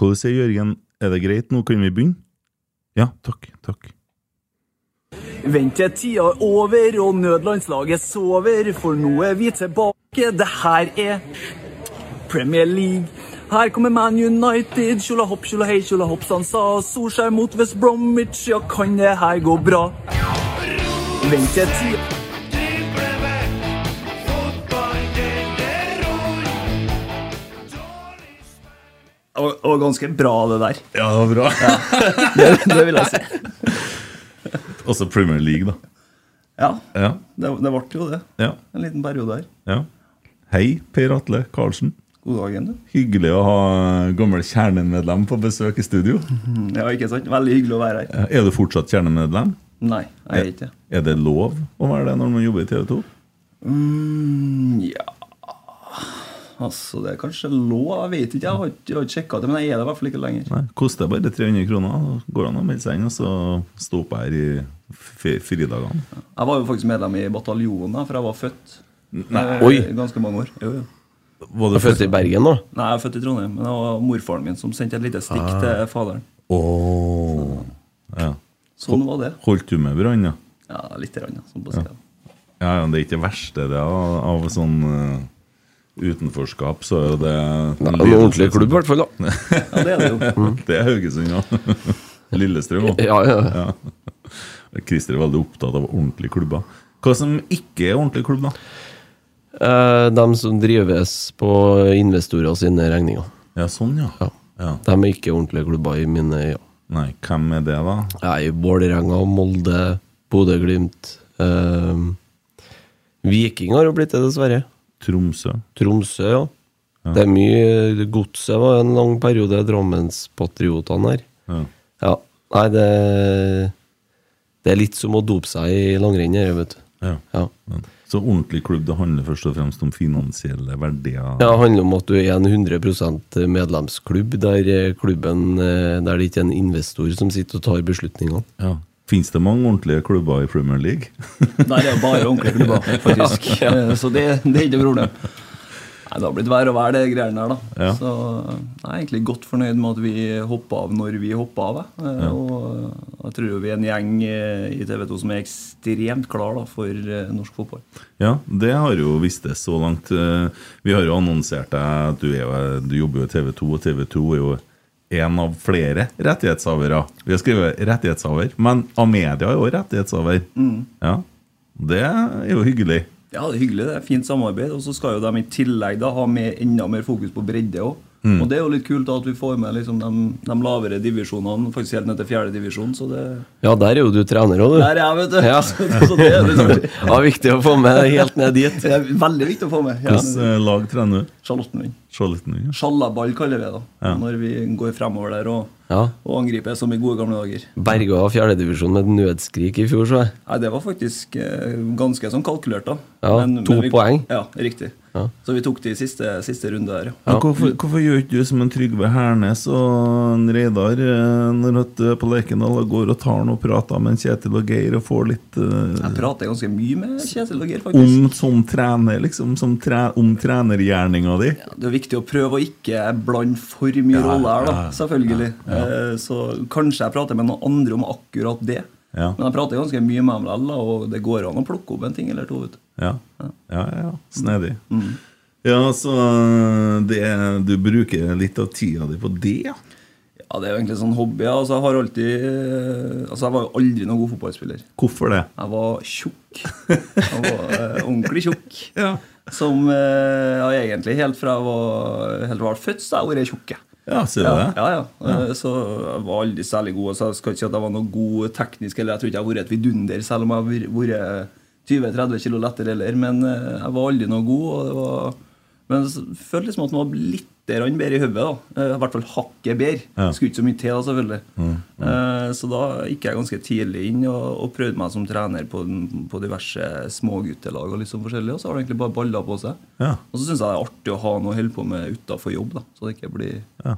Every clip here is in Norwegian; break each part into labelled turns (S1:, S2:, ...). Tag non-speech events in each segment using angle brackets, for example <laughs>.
S1: Hva du sier Jørgen? Er det greit? Nå kan vi begynne? Ja, takk. Takk.
S2: Vent til tida er over og nødlandslaget sover, for nå er vi tilbake. Det her er Premier League. Her kommer Man United. Tjola hopp, tjola hei, tjola hopp, sansa. Solskjær mot West Bromwich. Ja, kan det her gå bra? Vent til tida Det var- det var ganske bra, det der.
S1: Ja, det var bra.
S2: Det, det vil jeg si.
S1: Også Premier League, da.
S2: Ja,
S1: Ja.
S2: det, det ble jo det.
S1: ja,
S2: En liten periode her.
S1: ja. Hei, Per Atle Karlsen.
S2: God dag igjen, du.
S1: Hyggelig å ha gammel kjernemedlem på besøk i <laughs> studio.
S2: Mm, Ja, ikke sant? Veldig hyggelig å være her.
S1: Er du fortsatt kjernemedlem?
S2: Nei, jeg er ikke det.
S1: Er det lov å være det når man jobber i TV 2?
S2: Mm, Ja Altså, det er kanskje lov, jeg vet ikke. Jeg har ikke- jeg har ikke sjekka det, men jeg er det i hvert fall ikke lenger.
S1: Nei, koster bare 300 kroner. Da går det an å melde seg inn og så stå opp her i f- fridagene.
S2: Jeg var jo faktisk medlem i bataljonen, da, for jeg var født. eh,
S3: Oi.
S2: I ganske mange år. Jo, jo.
S1: Var
S3: Du er født i Bergen nå?
S2: Nei, jeg er født i Trondheim, men det var morfaren min som sendte et lite stikk
S3: Ah.
S2: til faderen.
S1: Åh. Ja.
S2: Sånn var det.
S1: Holdt du med brann, da?
S2: Ja, litt rann, ja, sånn på siden.
S1: Ja, ja, det er ikke det verste det av, av sånn eh, utenforskap, så er jo det
S3: Nei, det er en ordentlig klubb, i hvert fall. da
S2: <laughs> Ja, det er det
S3: <laughs>
S2: jo.
S1: Det er Haugesund, ja. <laughs> Lillestrøm òg.
S3: Ja, ja.
S1: Christer er veldig opptatt av ordentlige klubber. Hva som ikke er ordentlig klubb, da?
S3: Eh, De som drives på investorer sine regninger.
S1: Ja, sånn, ja.
S3: Ja.
S1: ja.
S3: De er ikke ordentlige klubber i mine øyne.
S1: Nei, hvem er det, da?
S3: Jeg er i Vålerenga, Molde, Bodø-Glimt eh, Viking har jo blitt det, dessverre.
S1: Tromsø?
S3: Tromsø, ja. Det er mye Godset var en lang periode Drammenspatriotene her.
S1: Ja.
S3: Ja. Nei, det Det er litt som å dope seg i langrenn, her, vet du.
S1: ja.
S3: Ja.
S1: Men- Så ordentlig klubb, det handler først og fremst om finansielle verdier?
S3: ja, det handler om at du er en 100 medlemsklubb, der eh, klubben eh, Der det ikke er en investor som sitter og tar beslutningene.
S1: Ja. Fins det mange ordentlige klubber i Premier League?
S2: Nei, det er jo bare ordentlige klubber,
S3: <laughs>
S2: faktisk. Eh, Så det, det er ikke noe problem. Nei, Det har blitt vær og vær, det greiene her, da.
S1: Ja.
S2: Så jeg er egentlig godt fornøyd med at vi hoppa av når vi hoppa av. jeg. Eh, Og jeg tror jo vi er en gjeng eh, i TV 2 som er ekstremt klar da, for eh, norsk fotball.
S1: Ja, det har jo visst det så langt. Eh, Vi har jo annonsert deg at du, er, jo- du jobber jo i TV 2, og TV 2 er jo en av flere rettighetshavere. Vi har skrevet rettighetshaver, men Amedia er jo rettighetshaver. Ja, Det er jo hyggelig.
S2: Ja, det er hyggelig. Det er fint samarbeid. Og så skal jo de i tillegg da ha med, enda mer fokus på bredde òg.
S3: Mm.
S2: Og det er jo litt kult da, at vi får med liksom, de, de lavere divisjonene, faktisk helt ned til fjerde divisjon. Så det
S3: Ja, der er jo du trener òg, du.
S2: Der er jeg, vet du!
S3: Ja.
S2: Så, <laughs> så det er liksom,
S3: Ja, viktig å få med helt ned dit.
S2: Det er veldig viktig å få med. Ja.
S1: Hvilket eh, lag trener du?
S2: Charlottenlund.
S1: Charlottenlund? ja.
S2: Sjallaball kaller vi det da, når vi går fremover der og,
S3: Ja.
S2: og angriper som i gode gamle dager.
S3: Berga fjerdedivisjon med et nødskrik i fjor, så jeg.
S2: Nei, Det var faktisk eh, ganske sånn kalkulert, da.
S3: Ja, to
S2: vi,
S3: poeng.
S2: Ja, riktig.
S4: Som vi tok til i siste, siste runde her. ja.
S1: Men Hvorfor, hvorfor gjør ikke du som en Trygve Hernes og en Reidar eh, når at du er på Lerkendal og går og tar noe og prater med en Kjetil og Geir og får litt eh,
S4: Jeg prater ganske mye med Kjetil og Geir, faktisk.
S1: om som trener, liksom? Som tre, om trenergjerninga di?
S4: Ja, Det er viktig å prøve å ikke blande for mye roller her, da, selvfølgelig. Eh, Så kanskje jeg prater med noen andre om akkurat det.
S1: Ja.
S4: Men jeg prater ganske mye med dem likevel, da, og det går an å plukke opp en ting eller to. Vet. du.
S1: Ja, ja, ja. Snedig.
S4: Mm.
S1: Ja, så eh, det, du bruker litt av tida di på det, ja?
S4: Ja, Det er jo egentlig en sånn hobby. ja. Altså, jeg har alltid eh, Altså, jeg var jo aldri noen god fotballspiller.
S1: Hvorfor det?
S4: Jeg var tjukk. Jeg var eh, ordentlig tjukk.
S1: Ja.
S4: Som eh, ja, egentlig helt fra jeg var, helt fra jeg var født, så har jeg vært tjukk. jeg.
S1: Ja, sier du
S4: Ja,
S1: det?
S4: ja, ja. Eh, Så jeg var aldri særlig god. Så jeg skal ikke si at jeg var noe god teknisk, eller jeg tror ikke jeg har vært et vidunder, selv om jeg har vært 20-30 kilo lettere heller. Men eh, jeg var aldri noe god. Og det var, men jeg følte liksom at man var litt grann bedre i hodet. da. Eh, I hvert fall hakket bedre.
S1: Ja. Mm,
S4: Skulle ikke så mye til, da, selvfølgelig. Eh, Så da gikk jeg ganske tidlig inn og, og prøvde meg som trener på, den- på diverse småguttelag og litt sånn forskjellig, og så har det egentlig bare balla på seg.
S1: Ja.
S4: Og så syns jeg det er artig å ha noe å holde på med utafor jobb, da, så det ikke blir
S1: Ja.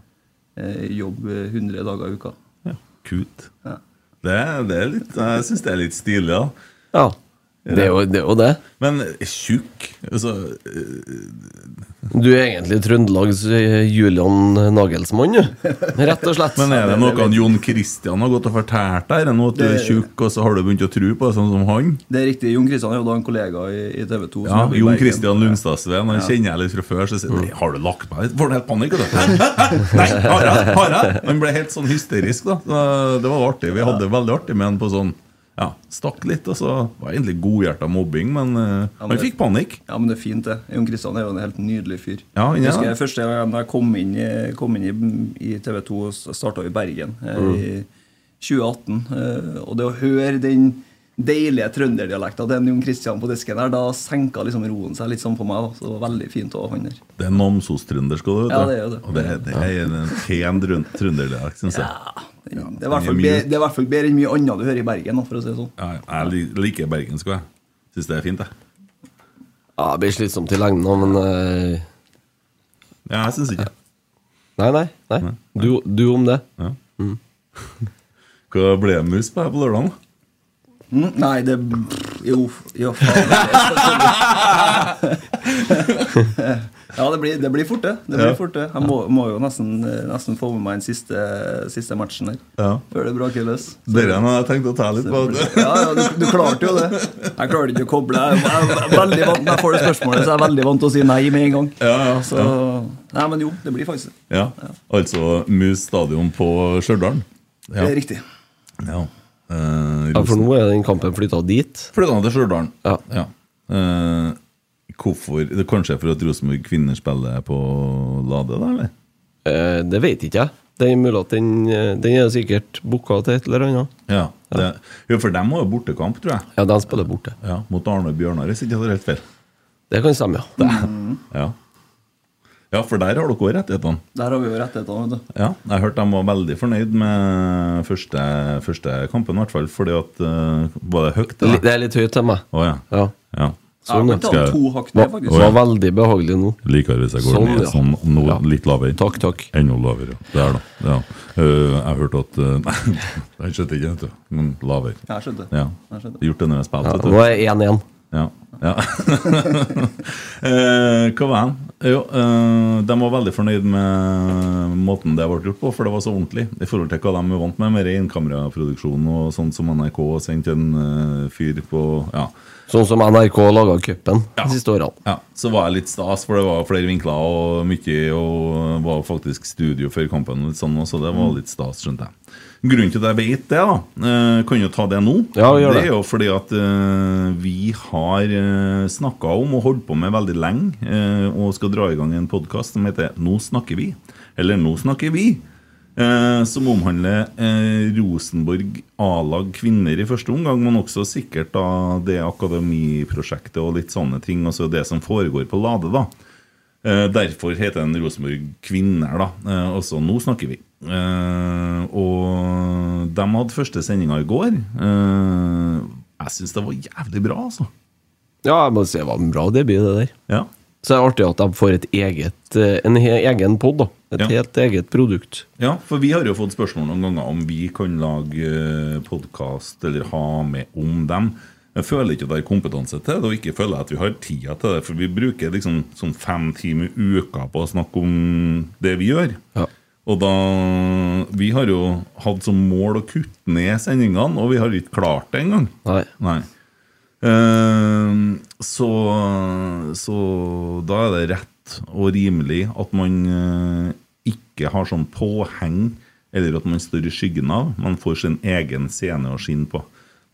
S4: eh, jobb eh, 100 dager i uka.
S1: ja. Kult.
S4: Ja.
S1: Det, det er litt, jeg syns det er litt stilig, da.
S3: Ja. Det er jo det. Er jo det.
S1: Men tjukk altså, eh,
S3: Du er egentlig Trøndelags eh, Julian Nagelsmann, du. Rett og slett.
S1: Men er det noe han Jon Christian har gått og fortalt deg? Er det noe at du er
S4: Det-
S1: tjukk, og så har du begynt å tro på det, sånn som han?
S4: Det er riktig. Jon Kristian er jo da en kollega i, i TV 2.
S1: Ja, Jon Christian Lundstadsveen. Han kjenner jeg litt fra før. Så sier han «Nei, 'Har du lagt meg litt?' Får han helt panikk. vet du. <laughs> Hæ? Hæ? Hæ? Nei, har jeg? Har jeg? Han ble helt sånn hysterisk, da. Så Det var artig. Vi hadde det veldig artig med han på sånn Ja, stakk litt, og så var det egentlig godhjerta mobbing, men eh, han
S4: men-
S1: fikk panikk.
S4: Ja, men det er fint, det. Jon Kristian er jo en helt nydelig fyr.
S1: Ja, han er
S4: jeg husker
S1: det.
S4: jeg første gang jeg kom inn, i- kom inn i, i TV 2 og starta i Bergen eh,
S1: Mm.
S4: i 2018. eh, Og det å høre den deilige trønderdialekta til en Jon Kristian på disken her, da senka liksom roen seg litt sånn på meg. Da. Så det var veldig fint å ha han der.
S1: Det er Namsos-trøndersk òg,
S4: Ja, det er jo det.
S1: Og det, det er en pen drøn- trønderdialekt, syns jeg.
S4: Det er i hvert
S1: han er
S4: fall
S1: mjuk.
S4: bedre- det er i hvert fall bedre enn mye annet du hører i Bergen, da, for å si det sånn.
S1: Ja, jeg lik- liker bergensk òg, jeg. Syns det er fint, jeg.
S3: Ja, det blir slitsomt i lengden nå, men eh,
S1: Ja, jeg syns ikke det.
S3: Nei, nei. nei. Du, du om det.
S1: Hva ble det mus på her på lørdag?
S4: Mm, Nei, det Jo, jo faen. Ja, <laughs> det blir, det blir fort, det. det, blir
S1: Ja.
S4: fort, det. Jeg må, må jo nesten, nesten få med meg den siste, siste matchen her.
S1: Ja.
S4: Før det braker
S1: <laughs>
S4: løs.
S1: Dere har jeg tenkt å ta litt på.
S4: Ja, ja, du, du klarte jo det. Jeg klarte ikke å koble. Jeg, jeg, er veldig vant, når jeg får det spørsmålet, så jeg er veldig vant til å si nei med en gang.
S1: Ja, ja,
S4: så, nei, men jo, det blir faktisk det.
S1: <laughs> Ja, altså Mus stadion på Stjørdal.
S4: Det er riktig.
S1: Ja. Eh,
S3: Ja, for
S1: Rosen-
S3: nå er den kampen flytta dit.
S1: Flytta han til Stjørdal.
S3: Ja.
S1: Eh, hvorfor? Det er kanskje for at Rosenborg kvinner spiller på Lade, da? eller?
S3: Eh, det vet ikke jeg. Det er mulig at den, eh, den er sikkert booka til et eller annet.
S1: Ja, det, jo, for dem har jo bortekamp, tror jeg.
S3: Ja, de spiller borte.
S1: Ja, Mot Arne Bjørnar, hvis ikke jeg tar helt feil.
S3: Det kan stemme, ja.
S1: Ja. ja, for der har dere òg rettighetene.
S4: Der har vi jo rettighetene, vet du.
S1: Ja, jeg hørte de var veldig fornøyd med første, første kampen, i hvert fall. Fordi at eh, Var det høyt,
S3: Det er litt-
S1: eller?
S3: Det er litt høyt til meg.
S1: Å ja.
S3: Ja.
S1: ja.
S4: Jeg
S3: Sånn,
S4: kan
S3: ja.
S4: ta
S1: skal-
S4: to hakk ned,
S3: Var,
S4: faktisk.
S3: var veldig behagelig nå.
S1: Liker hvis jeg går
S3: Sånn,
S1: ned
S3: ja.
S1: sånn, nå,
S3: Ja.
S1: litt lavere.
S3: Takk, takk.
S1: Enda lavere, ja. Det er det. Ja. Eh, jeg hørte at eh, <laughs> Nei, jeg skjønte ikke, vet du. Men lavere.
S4: Ja, jeg skjønte.
S1: Ja.
S4: Jeg skjønte.
S1: Gjort det når jeg
S3: Ja,
S1: spilte, vet
S3: nå
S1: du.
S3: er det 1-1.
S1: Ja. ja. <laughs> Eh, hva var den? Jo, eh, de var veldig fornøyd med måten det ble gjort på, for det var så ordentlig. I forhold til hva de er vant med, mer innkameraproduksjon og sånt som NRK sendte en eh, fyr på Ja.
S3: Sånn som NRK laga cupen de siste årene.
S1: Ja, så var jeg litt stas, for det var flere vinkler og mye, og var faktisk studio før kampen, og litt sånn, så det
S3: Mm.
S1: var litt stas, skjønte jeg. Grunnen til at jeg vet det, da, eh, kan jo ta det nå,
S3: Ja, gjør det.
S1: er jo fordi at eh, vi har eh, snakka om og holdt på med veldig lenge, eh, og skal dra i gang en podkast som heter Nå snakker vi, eller Nå snakker vi. Eh, som omhandler eh, Rosenborg A-lag kvinner i første omgang, men også sikkert da det akademiprosjektet og litt sånne ting. Altså det som foregår på Lade, da. Eh, derfor heter den Rosenborg Kvinner, da. Eh, altså nå snakker vi. Eh, og de hadde første sendinga i går. Eh, jeg syns det var jævlig bra, altså.
S3: Ja, jeg må si det var en bra debut, det der.
S1: Ja.
S3: Så det er artig at de får et eget, eh, en he- egen pod, da. Et
S1: Ja.
S3: helt eget produkt.
S1: Ja, for vi har jo fått spørsmål noen ganger om vi kan lage podkast eller ha med om dem. Jeg føler ikke at jeg har kompetanse til det, og ikke føler jeg at vi har tida til det. For vi bruker liksom sånn fem timer i uka på å snakke om det vi gjør.
S3: Ja.
S1: Og da Vi har jo hatt som mål å kutte ned sendingene, og vi har ikke klart det engang.
S3: Nei.
S1: Nei. Ehm, så, så da er det rett og rimelig at man eh, ikke har sånn påheng, eller at man står i skyggen av. Man får sin egen scene å skinne på.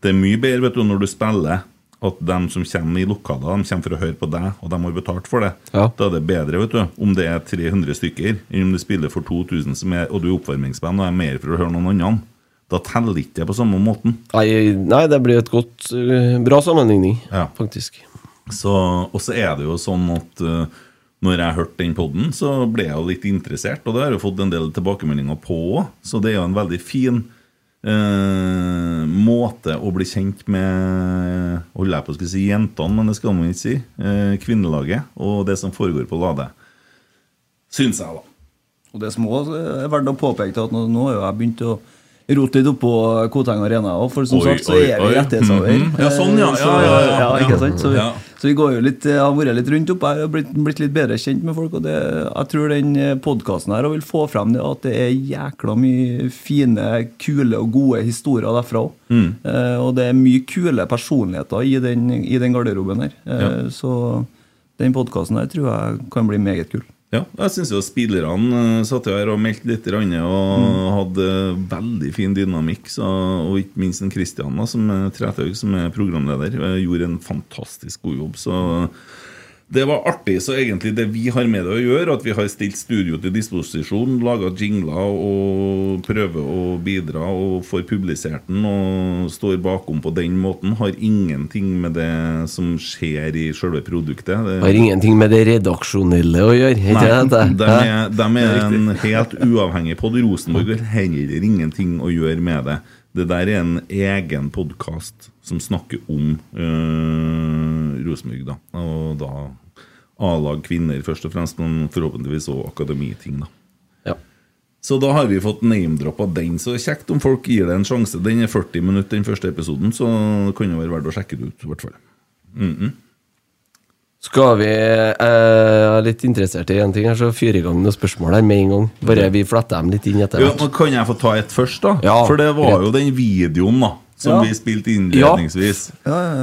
S1: Det er mye bedre vet du, når du spiller, at de som kommer i lokalet, de kommer for å høre på deg, og de har betalt for det.
S3: Ja.
S1: Da er det bedre vet du, om det er 300 stykker, enn om du spiller for 2000, som er, og du er oppvarmingsband og er mer for å høre noen andre. Da teller ikke det på samme måten.
S3: Nei, nei, det blir et godt eh, Bra sammenligning,
S1: Ja.
S3: faktisk.
S1: Så, og så er det jo sånn at eh, når jeg hørte den podden, så ble jeg jo litt interessert, og det har jeg jo fått en del tilbakemeldinger på òg, så det er jo en veldig fin eh, måte å bli kjent med Holder jeg på å skulle si jentene, men det skal man ikke si. eh, kvinnelaget og det som foregår på Lade. Syns jeg, da.
S4: Og det som også eh, er verdt å påpeke, er at nå, nå har jo jeg begynt å rote litt oppå Koteng Arena. Og for som
S1: Oi,
S4: sagt, så
S1: oi,
S4: er vi
S1: oi.
S4: rettighetshaver.
S1: Mhm. Ja, sånn, ja. Ja,
S4: Eh, så-
S1: ja, ja, ja.
S4: ikke sant? Så, vi-
S1: Ja.
S4: så vi går jo litt, eh, har vært litt rundt opp. Jeg har blitt, blitt litt bedre kjent med folk. Og det, jeg tror den podkasten her og vil få frem det at det er jækla mye fine, kule og gode historier derfra òg.
S1: Mm.
S4: Eh, og det er mye kule personligheter i den, i den garderoben her. Eh, Så den podkasten her tror jeg kan bli meget kul.
S1: Ja, jeg syns jo spillerne eh, satt jo her og meldte litt grann, og hadde veldig fin dynamikk. Så, og ikke minst en Christian da, som er Trethaug, som er programleder, eh, gjorde en fantastisk god jobb. Så det var artig. Så egentlig det vi har med det å gjøre, at vi har stilt studio til disposisjon, laga jingler og prøver å bidra og får publisert den og står bakom på den måten, har ingenting med det som skjer i sjølve produktet. Det,
S3: Har ingenting med det redaksjonelle å gjøre. Ikke
S1: Nei,
S3: det?
S1: de er, dem er en helt uavhengig pod. Rosenborg har heller ingenting å gjøre med det. Det der er en egen podkast som snakker om øh, Rosenborg, da. Og da A-lag kvinner, først og fremst, men forhåpentligvis òg akademiting, da.
S3: Ja.
S1: Så da har vi fått name-droppa den, så det er kjekt om folk gir det en sjanse. Den er 40 minutter, den første episoden, så det kan jo være verdt å sjekke det ut, i hvert fall.
S3: Skal vi eh, Jeg er litt interessert i en ting her, så fyrer i gang noen spørsmål her med en gang. Bare vi fletter dem litt inn etter
S1: Ja,
S3: hvert.
S1: men kan jeg få ta et først, da?
S3: Ja,
S1: For det var
S3: greit.
S1: jo den videoen da som
S4: Ja.
S1: vi spilte innledningsvis.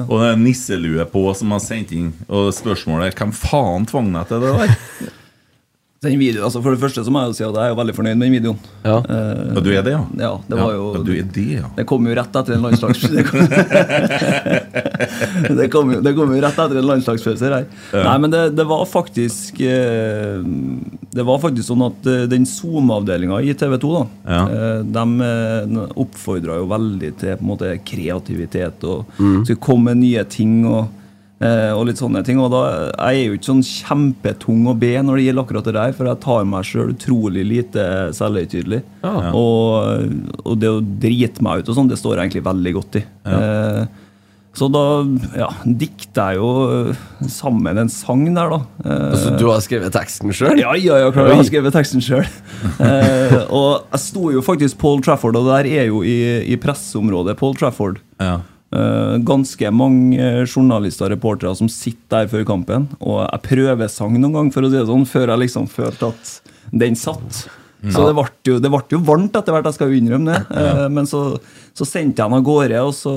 S1: Og det er nisselue på som har sendt inn. Og spørsmålet er hvem faen tvang deg til det der?
S4: <laughs> Den video, altså For det første så må jeg jo si at jeg er jo veldig fornøyd med den videoen.
S3: Ja.
S4: Eh,
S1: Ja, du er det, ja?
S4: ja, det var jo
S1: ja, du er det, ja.
S4: Det kom jo rett etter en landslags... <laughs> Det kom, det kom, jo, det kom jo rett etter en landslagsfølelse her. Nei, men det, det var faktisk eh, Det var faktisk sånn at eh, den Zoom-avdelinga i TV 2 da,
S1: Ja.
S4: eh, de eh, oppfordra jo veldig til på en måte, kreativitet og skulle komme med nye ting. og Eh, og litt sånne ting. Og da, jeg er jo ikke sånn kjempetung å be når det gjelder akkurat det der, for jeg tar meg sjøl utrolig lite selvhøytidelig. Og, og det å drite meg ut og sånn, det står jeg egentlig veldig godt i. Eh, så da ja, dikta jeg jo eh, sammen en sang der, da. Eh,
S3: Altså, du har skrevet teksten sjøl?
S4: ja, ja, ja, klar, jeg har skrevet teksten <laughs> sjøl. Eh, og jeg sto jo faktisk Paul Trafford, og det der er jo i, i presseområdet Paul Trafford.
S1: Ja.
S4: Eh, ganske mange eh, journalister og reportere som sitter der før kampen. Og jeg prøvesang noen gang, for å si det sånn, før jeg liksom følte at den satt.
S3: Mm.
S4: Så det ble, jo, det ble jo varmt etter hvert, jeg skal jo innrømme det. Eh, Men så, så sendte jeg den av gårde, og så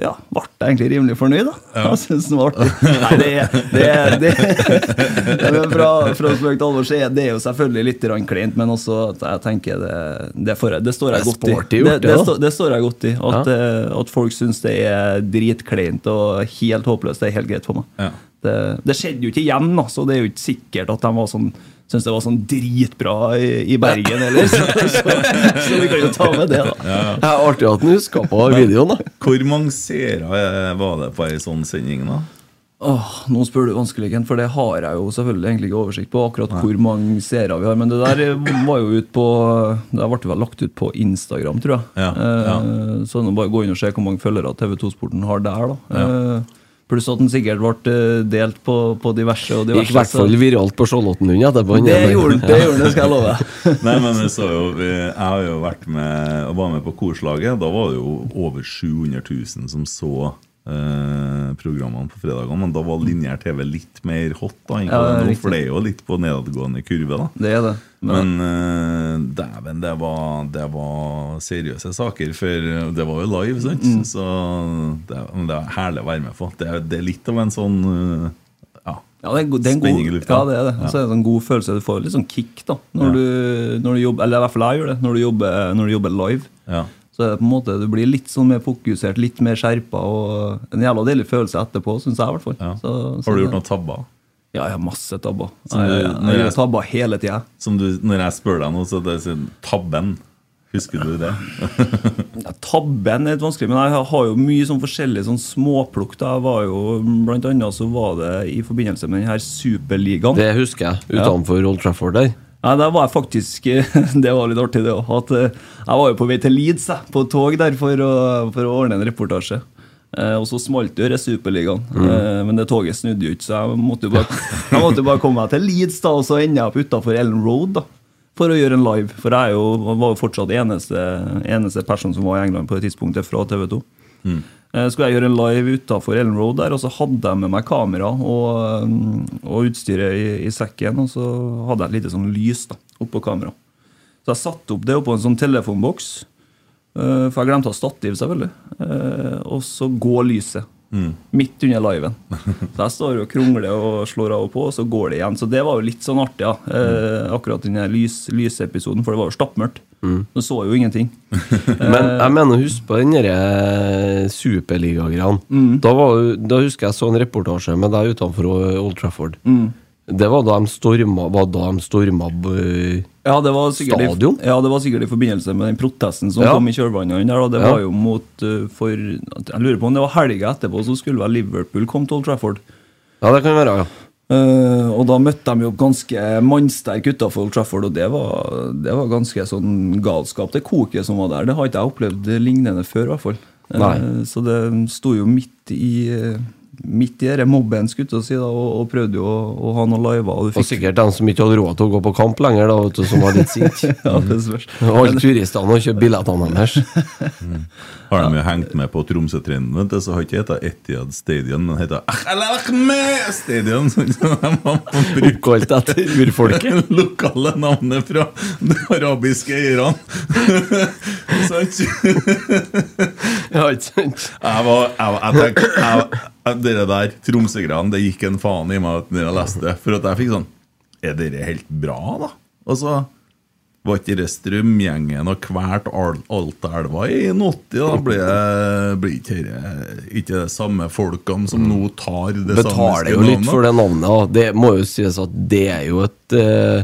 S4: ja, ble jeg egentlig rimelig fornøyd, da. Jeg synes den var artig. Nei, det er, det er, det er <laughs> men Fra, fra spøk til alvor så er det jo selvfølgelig litt grann kleint, men også at jeg tenker det, det, får jeg, det står jeg
S3: Det er
S4: godt i.
S3: sporty gjort,
S4: det,
S3: det da.
S4: står- det står jeg godt i. At, eh, at folk syns det er dritkleint og helt håpløst, det er helt greit for meg.
S1: Ja.
S4: Det, det skjedde jo ikke igjen, da, så det er jo ikke sikkert at de var sånn Syns det var sånn dritbra i, i Bergen heller, så, så, så vi kan jo ta med det, da.
S3: Det er artig at han huska på videoen, da.
S1: Hvor mange seere eh, var det på ei sånn sending, da?
S4: Åh, nå spør du vanskelig, Ken, for det har jeg jo selvfølgelig egentlig ikke oversikt på. akkurat hvor mange seere vi har, Men det der eh, var jo ut på, det der ble vel lagt ut på Instagram, tror jeg.
S1: Ja, ja.
S4: Eh, Så nå bare gå inn og se hvor mange følgere TV2 Sporten har der. da. Eh, Pluss at den sikkert ble eh, delt på, på diverse og
S3: Gikk
S4: diverse.
S3: i hvert
S4: så-
S3: fall viralt på Skjoldåttenlund etterpå.
S4: det gjorde den, det gjorde den, skal jeg love deg.
S1: Nei, men jeg, så jo, jeg har jo vært med og var med på korslaget. Da var det jo over 700 000 som så eh, programmene på fredagene. Men da var lineær TV litt mer hot, da, egentlig,
S4: Ja,
S1: nå,
S4: riktig.
S1: for det er jo litt på nedadgående kurve. da.
S4: Det er
S1: <laughs>
S4: det. Men,
S1: Men eh, dæven, det var, det var seriøse saker, for det var jo live, sant?
S4: Mm.
S1: Så det, men det er herlig å være med på. Det, er- det er litt av en sånn eh, ja,
S4: ja, det er, en god- det er en
S1: Spenning i
S4: god,
S1: lufta.
S4: ja, det er det. Og Så er det en sånn god følelse. Du får litt sånn kick da, når,
S1: Ja.
S4: du, når du jobber, eller i hvert fall jeg gjør det, når du jobber, når du jobber live.
S1: ja.
S4: Så er det på en måte, du blir litt sånn mer fokusert, litt mer skjerpa. og En jævla deilig følelse etterpå, syns jeg i hvert fall.
S1: ja.
S4: Så- så
S1: Har du
S4: det-
S1: gjort noen tabber?
S4: Ja, jeg har masse tabber.
S1: Som
S4: Jeg,
S1: du-
S4: jeg,
S1: når
S4: jeg
S1: jeg-
S4: gjør tabber hele tida.
S1: Som du, når jeg spør deg nå, så det er sånn Tabben. Husker du det?
S4: Ja, tabben er litt vanskelig, men jeg har jo mye sånn forskjellig sånn småplukk. da. Jeg var jo, Blant annet så var det i forbindelse med den her superligaen.
S3: Det husker jeg, utenfor Old Trafford der.
S4: Nei, der var jeg faktisk <laughs> Det var litt artig, det òg. At eh, jeg var jo på vei til Leeds, jeg, på tog der for å, for å ordne en reportasje. Eh, og så smalt jo det i Superligaen, eh, men det toget snudde jo ikke, så jeg måtte jo bare, <laughs> jeg måtte jo bare komme meg til Leeds, da, og så ender jeg opp utafor Ellen Road da, for å gjøre en live. For jeg er jo, var jo fortsatt eneste, eneste person som var i England på det tidspunktet, fra TV 2. Eh, skulle jeg gjøre en live utafor Ellen Road der, og så hadde jeg med meg kamera og, mm, og utstyret i, i sekken, og så hadde jeg et lite sånn lys da, oppå kamera. Så jeg satte opp det oppå en sånn telefonboks, eh, for jeg glemte å ha stativ, selvfølgelig. Eh, Og så går lyset. Midt under liven. Så jeg står og krongler og slår av og på, og så går det igjen. Så det var jo litt sånn artig, ja. Eh, akkurat den her lys, lysepisoden, for det var jo stappmørkt. Du så jo ingenting.
S3: Men jeg mener, husk på den derre superligagreia. Da, var jo- da husker jeg så en reportasje med deg utenfor eh, Old Trafford. Det var da de storma, var da de storma eh,
S4: Ja, det var sikkert
S3: Stadion?
S4: I, ja, det var sikkert i forbindelse med den protesten som
S3: Ja.
S4: kom i kjølvannet av den der. da. Det
S3: Ja.
S4: var jo mot eh, for, Jeg lurer på om det var helga etterpå, så skulle vel Liverpool komme til Old Trafford.
S3: Ja, det kan være, ja.
S4: Eh, og da møtte de jo ganske mannsterk utafor Old Trafford, og det var, det var ganske sånn galskap. Det koket som var der, det har ikke jeg opplevd lignende før, i hvert fall. Eh,
S3: Nei.
S4: så det sto jo midt i eh, Midt i dette mobben, skulle jeg til å si, da, og, og prøvde jo å, å ha noen liver. Og du
S3: Og
S4: fikk
S3: sikkert de som ikke hadde råd til å gå på kamp lenger, da, vet du, som <laughs> var litt sinte.
S4: <laughs> ja, det spørs.
S3: Og alle turistene har kjøpt billettene deres.
S1: Har de jo hengt med på Tromsø-trenden, vet du, så har ikke heta Etiad Stadion, men heta Ahlalakme Stadion! Sånn som de har på bruk
S3: Oppkalt etter urfolket.
S1: det lokale navnet fra de arabiske eierne. <laughs> Sant?
S3: <laughs> Ja, ikke sant?
S1: Jeg var, jeg, jeg tenkte, jeg, jeg, Dere der, Tromsø-greiene, det gikk en faen i meg når jeg leste det. For at jeg fikk sånn Er dere helt bra, da? Og så var ikke det strømgjengen og hvert Al- Altaelva i 80? Da blir det blir ikke dette ikke det samme folkene som nå tar det
S3: Mm. Betaler jo litt for det navnet. da. Det må jo sies at det er jo et eh,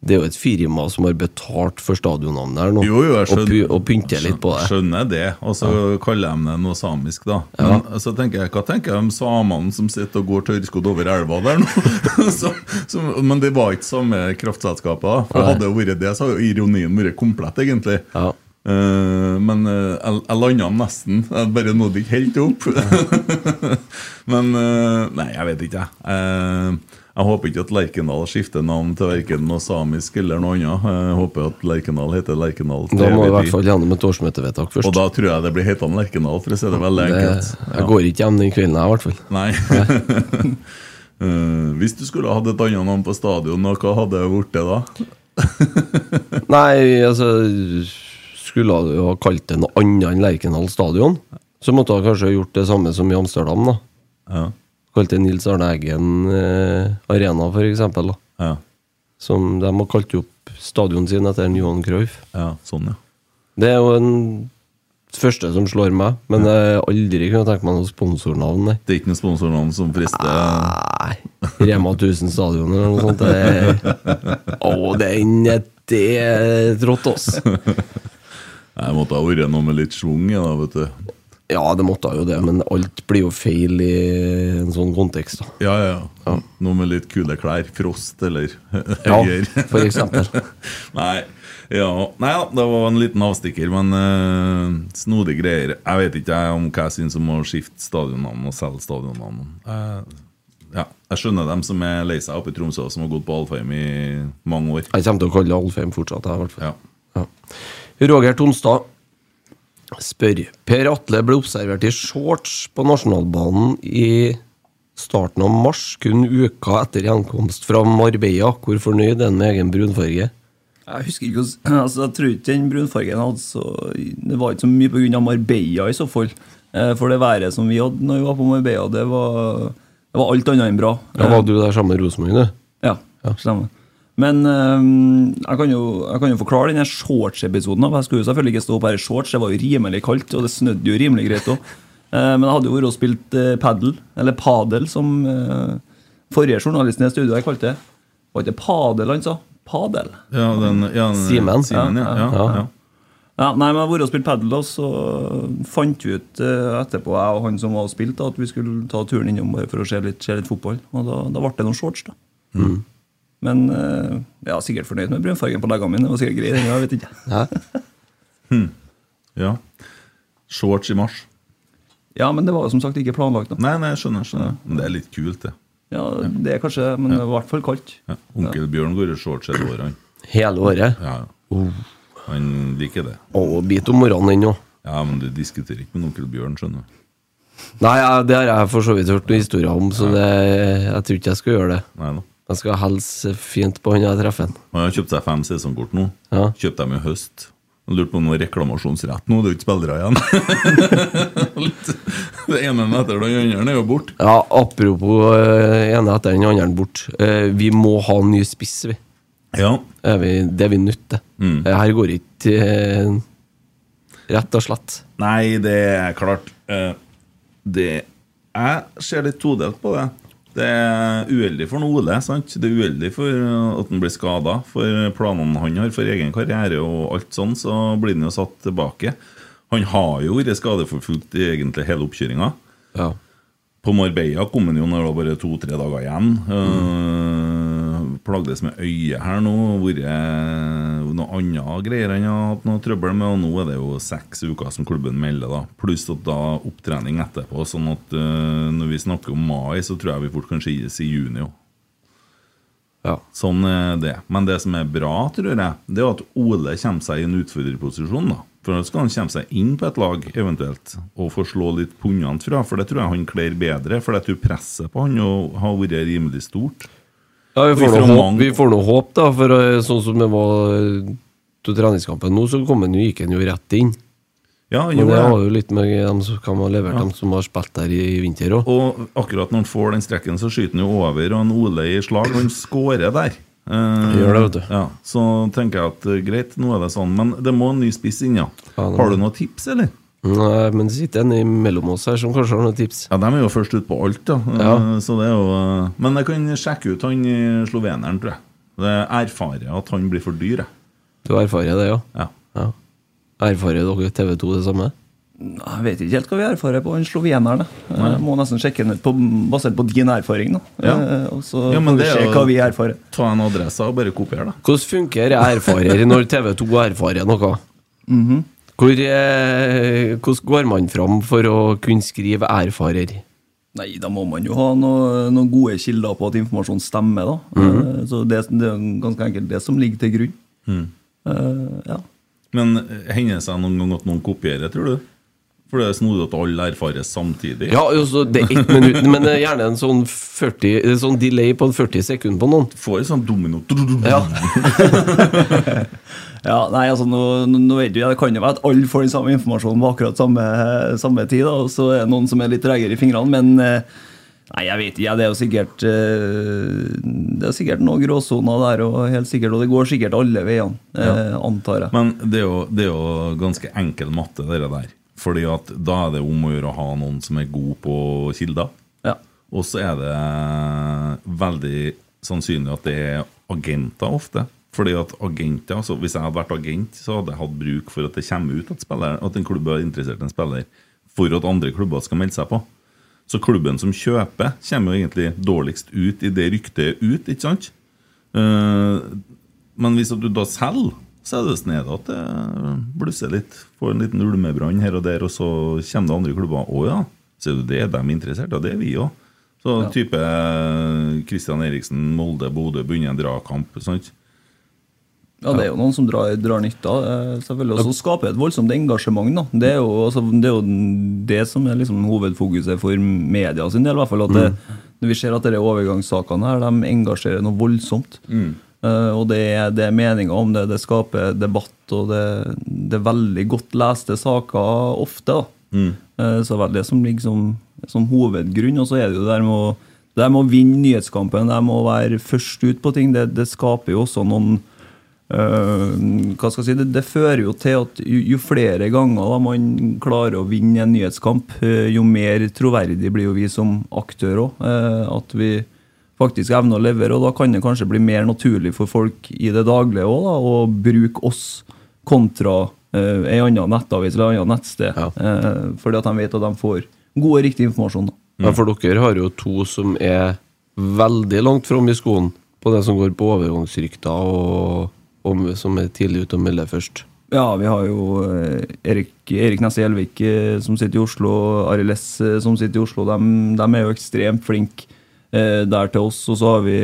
S3: Det er jo et firma som har betalt for stadionnavnet her nå,
S1: Jo, jo, jeg
S3: og, py,
S1: skjønner-
S3: og pynter litt på det.
S1: Skjønner jeg det, og så kaller de det noe samisk, da. Men så tenker jeg, hva tenker de samene som sitter og går tørrskodd over elva der nå? <laughs> så, som- men det var ikke samme kraftselskapet, da. For hadde det vært det, så hadde jo ironien vært komplett, egentlig.
S3: Ja.
S1: Eh, men eh, jeg, jeg landa nesten. Jeg bare nådde ikke helt opp. <laughs> men eh, Nei, jeg vet ikke, jeg. Eh, jeg håper ikke at Lerkendal skifter navn til verken noe samisk eller noe annet. Jeg håper at Lerkendal heter Lerkendal. til
S3: Da må vi i
S1: evig
S3: hvert
S1: tid.
S3: fall gjennom et årsmøtevedtak først.
S1: Og da tror jeg det blir hetende Lerkendal, for å si det veldig
S3: det,
S1: enkelt. Ja.
S3: jeg går ikke hjem den kvelden, jeg, i hvert
S1: <laughs>
S3: fall.
S1: Nei. <laughs> Eh, hvis du skulle hatt et annet navn på stadion, og hva hadde det blitt da?
S3: Nei, altså Skulle du ha kalt det noe annet enn Lerkendal stadion, så måtte du kanskje ha gjort det samme som i Amsterdam. da
S1: Ja.
S3: Kalt det Nils Arne Eggen eh, Arena, for eksempel. Da.
S1: Ja.
S3: Som de har kalt opp stadionet sin etter Johan Cruyff.
S1: ja, sånn, ja.
S3: Det er jo den første som slår meg, men jeg har aldri kunne tenke meg noe sponsornavn. Nei.
S1: Det er ikke noe sponsornavn som frister?
S3: Nei, <laughs> Rema 1000 Stadion eller noe sånt. Det er, å, den er det er trått, ass.
S1: Jeg måtte ha vært noe med litt schwung i det, vet du.
S3: Ja, det måtte jo det, men alt blir jo feil i en sånn kontekst. da
S1: Ja, ja. ja. Noe med litt kule klær. Frost eller
S3: Ja,
S1: høyer.
S3: for eksempel.
S1: <laughs> Nei. Ja. Nei ja, det var en liten avstikker, men eh, snodige greier. Jeg vet ikke jeg, om hva jeg syns om å skifte stadionnavn og selge stadionnavn. Eh, ja. Jeg skjønner dem som er lei seg oppe i Tromsø, som har gått på Alfheim i mange år.
S3: Jeg kommer til å kalle det Alfheim fortsatt. Jeg, i hvert fall.
S1: Ja.
S3: Ja. Roger Tomstad spør Per Atle ble observert i shorts på nasjonalbanen i starten av mars, kun uka etter gjenkomst fra Marbella. Hvor fornøyd er han med egen brunfarge?
S4: Jeg husker ikke hvordan <clears throat> altså, Jeg tror ikke den brunfargen hadde så Det var ikke så mye pga. Marbella i så fall. Eh, For det været som vi hadde når vi var på Marbella, det var, det var alt annet enn bra.
S3: Ja, var du der sammen med Rosenborg, du?
S4: Ja, stemmer. Men eh, jeg, kan jo, jeg kan jo forklare denne shorts-episoden. da, for Jeg skulle jo selvfølgelig ikke stå opp her i shorts, det var jo rimelig kaldt, og det snødde jo rimelig greit <laughs> òg. Men jeg hadde jo vært og spilt eh, padel, eller padel, som eh, forrige journalisten i studioet kalte det. Var ikke padel han sa? Padel.
S1: Ja, den, ja, den-
S3: Simen.
S1: Simen ja. Ja, ja.
S4: Ja, nei, men jeg har vært og spilt padel, da, så fant vi ut eh, etterpå, jeg og han som var og spilte, da, at vi skulle ta turen innom bare for å se litt, se litt fotball. Og da, da ble det noen shorts, da.
S1: Mm.
S4: Men eh, jeg er sikkert fornøyd med brunfargen på leggene mine. Det var sikkert greit, jeg vet ikke.
S3: Hæ?
S1: ja. Shorts i mars.
S4: Ja, men det var jo som sagt ikke planlagt, da.
S1: Nei, nei, jeg skjønner. skjønner. Men det er litt kult, det.
S4: Ja, det er kanskje, men det var i hvert fall kaldt.
S1: Ja. Onkel Bjørn går i shorts hele året, han.
S3: Hele året?
S1: Ja, Han liker det.
S3: Og bit om morgenen ennå.
S1: Ja, men du diskuterer ikke med onkel Bjørn, skjønner du.
S3: Nei, ja, det har jeg for så vidt hørt noen historier om, så det, jeg tror ikke jeg skal gjøre det.
S1: Nei da.
S3: Jeg skal hilse fint på han jeg treffer. han.
S1: Han har kjøpt seg fem sesongkort nå.
S3: Ja.
S1: Kjøpte dem i høst. Han lurte på om det var reklamasjonsrett nå, det er jo ikke spillere igjen. <laughs> Litt. det ene etter det andre er jo borte.
S3: Ja, apropos eh, ene etter den andre bort. Eh, Vi må ha en ny spiss, vi.
S1: Ja.
S3: Er vi det er vi nødt til. Eh, Her går det ikke eh, Rett og slett.
S1: Nei, det er klart. Eh, Det Jeg ser litt todelt på det. Det er uheldig for noe Ole. sant? Det er uheldig for eh, at han blir skada. For planene han har for egen karriere og alt sånn, så blir han jo satt tilbake. Han har jo vært skadeforfulgt i egentlig hele oppkjøringa.
S3: Ja.
S1: På Marbella kom han jo når det var bare to-tre dager igjen. Eh, plagdes med øyet her nå. Vært eh, noe annet greier han har hatt noe trøbbel med. Og nå er det jo seks uker som klubben melder, da. Pluss at da opptrening etterpå. Sånn at eh, når vi snakker om mai, så tror jeg vi fort kan si si juni òg.
S3: ja.
S1: Sånn er det. Men det som er bra, tror jeg, det er at Ole kommer seg i en utfordrerposisjon. da. For da skal han komme seg inn på et lag, eventuelt, og få slå litt pundene fra. For det tror jeg han kler bedre, for jeg tror presset på han jo har vært rimelig stort.
S3: ja
S1: Og
S3: vi, får
S1: ifra
S3: noe håp,
S1: mange-
S3: vi får noe håp, da. For eh, sånn som det var eh, til treningskampen nå, så kom han jo, gikk han jo rett inn.
S1: Ja, han
S3: Men det
S1: gjorde
S3: har
S1: det.
S3: jo litt med dem som kan ha levert dem som har spilt der i vinter òg.
S1: Og akkurat når han får den strekken, så skyter han jo over, og han Ole i slag, han skårer der. Eh,
S3: Gjør det, vet du.
S1: Ja, så tenker jeg at eh, greit, nå er det sånn. Men det må en ny spiss inn, ja.
S3: Ja, det må-
S1: Har du noen tips, eller?
S3: Men det sitter en imellom oss her som kanskje har noen tips.
S1: Ja, De er jo først ut på alt, da.
S3: Ja.
S1: Eh, Så det er jo, eh, men jeg kan sjekke ut han eh, sloveneren, tror jeg. Det erfarer at han blir for dyr. jeg.
S3: Du erfarer det, ja?
S1: Ja.
S3: ja. Erfarer dere TV2 det samme?
S4: ah, Jeg vet ikke helt hva vi erfarer på den sloveneren. da. Jeg må nesten sjekke den ut på, basert på din erfaring, da.
S1: Ja.
S4: Eh, Og så
S1: Ja, men
S4: får vi
S1: det er
S4: se
S1: jo-
S4: hva vi erfarer.
S1: Ta en adresse og bare kopier, da.
S3: Hvordan funker erfarer når TV2 erfarer noe? Hvor, eh, hvordan går man fram for å kunne skrive 'erfarer'?
S4: Nei, da må man jo ha noe, noen gode kilder på at informasjon stemmer, da. Eh, Så det, det er jo ganske enkelt det som ligger til grunn. Eh, ja.
S1: Men eh, hender det seg noen gang at noen kopierer, tror du? For det er snodig at alle erfarer samtidig.
S3: Ja, altså, det er ett minutt, men det er gjerne en sånn, 40, en sånn delay på en 40 sekunder på noen.
S1: Får en sånn domino
S3: Ja.
S4: ja, nei, altså nå, nå nå vet du, ja, Det kan jo være at alle får den samme informasjonen på akkurat samme, samme tid, da, og så er det noen som er litt tregere i fingrene, men eh, Nei, jeg vet ikke. Ja, det er jo sikkert eh, Det er sikkert noen gråsoner der, og helt sikkert, og det går sikkert alle veiene, eh, antar jeg.
S1: <laughs> Men det er, jo, det er jo ganske enkel matte, det der. Fordi at da er det om å gjøre å ha noen som er god på kilder.
S4: Ja.
S1: Og så er det veldig sannsynlig at det er agenter ofte. Fordi at agenter, altså Hvis jeg hadde vært agent, så hadde jeg hatt bruk for at det kommer ut at, spilleren- at en klubb er interessert i en spiller. for at andre klubber skal melde seg på. Så klubben som kjøper, kommer jo egentlig dårligst ut i det ryktet er ut, ikke sant? Eh, Men hvis at du da selger, så er det snedig at det blusser litt. Får en liten ulmebrann her og der, og så kommer det andre klubber. Å ja, så er det det de er interessert i, og det er vi òg. Så type Kristian Eriksen, Molde, Bodø begynner en dragkamp. sant?
S4: Ja, det er jo noen som drar, drar nytte av det, selvfølgelig. Og så skaper det et voldsomt engasjement. da. Det er jo, altså, det, er jo det som er liksom hovedfokuset for media sin del. i hvert fall, at det, når Vi ser at disse overgangssakene her, de engasjerer noe voldsomt. Eh, og det er, det er meninger om det, det skaper debatt, og det, det er veldig godt leste saker ofte. da. Eh, så det er vel det som ligger som, som hovedgrunn. Og så er det jo det der med å, det der med å vinne nyhetskampen, det der med å være først ut på ting, det, det skaper jo også noen Eh, hva skal jeg si, det, det fører jo til at jo, jo flere ganger da man klarer å vinne en nyhetskamp, eh, jo mer troverdig blir jo vi som aktør òg. at vi faktisk evner å levere. og Da kan det kanskje bli mer naturlig for folk i det daglige også, da, å bruke oss kontra uh, ei anna nettavis eller ei anna nettsted.
S3: Ja.
S4: eh, fordi at de vet at de får god og riktig informasjon. da.
S3: Men for dere har jo to som er veldig langt fram i skoen på det som går på overgangsrykter, og, og som er tidlig ute og melder først.
S4: Ja, vi har jo eh, Erik, Erik Nesse Gjelvik eh, som sitter i Oslo, Arild S eh, som sitter i Oslo. De, er jo ekstremt flinke eh, der til oss. Og så har vi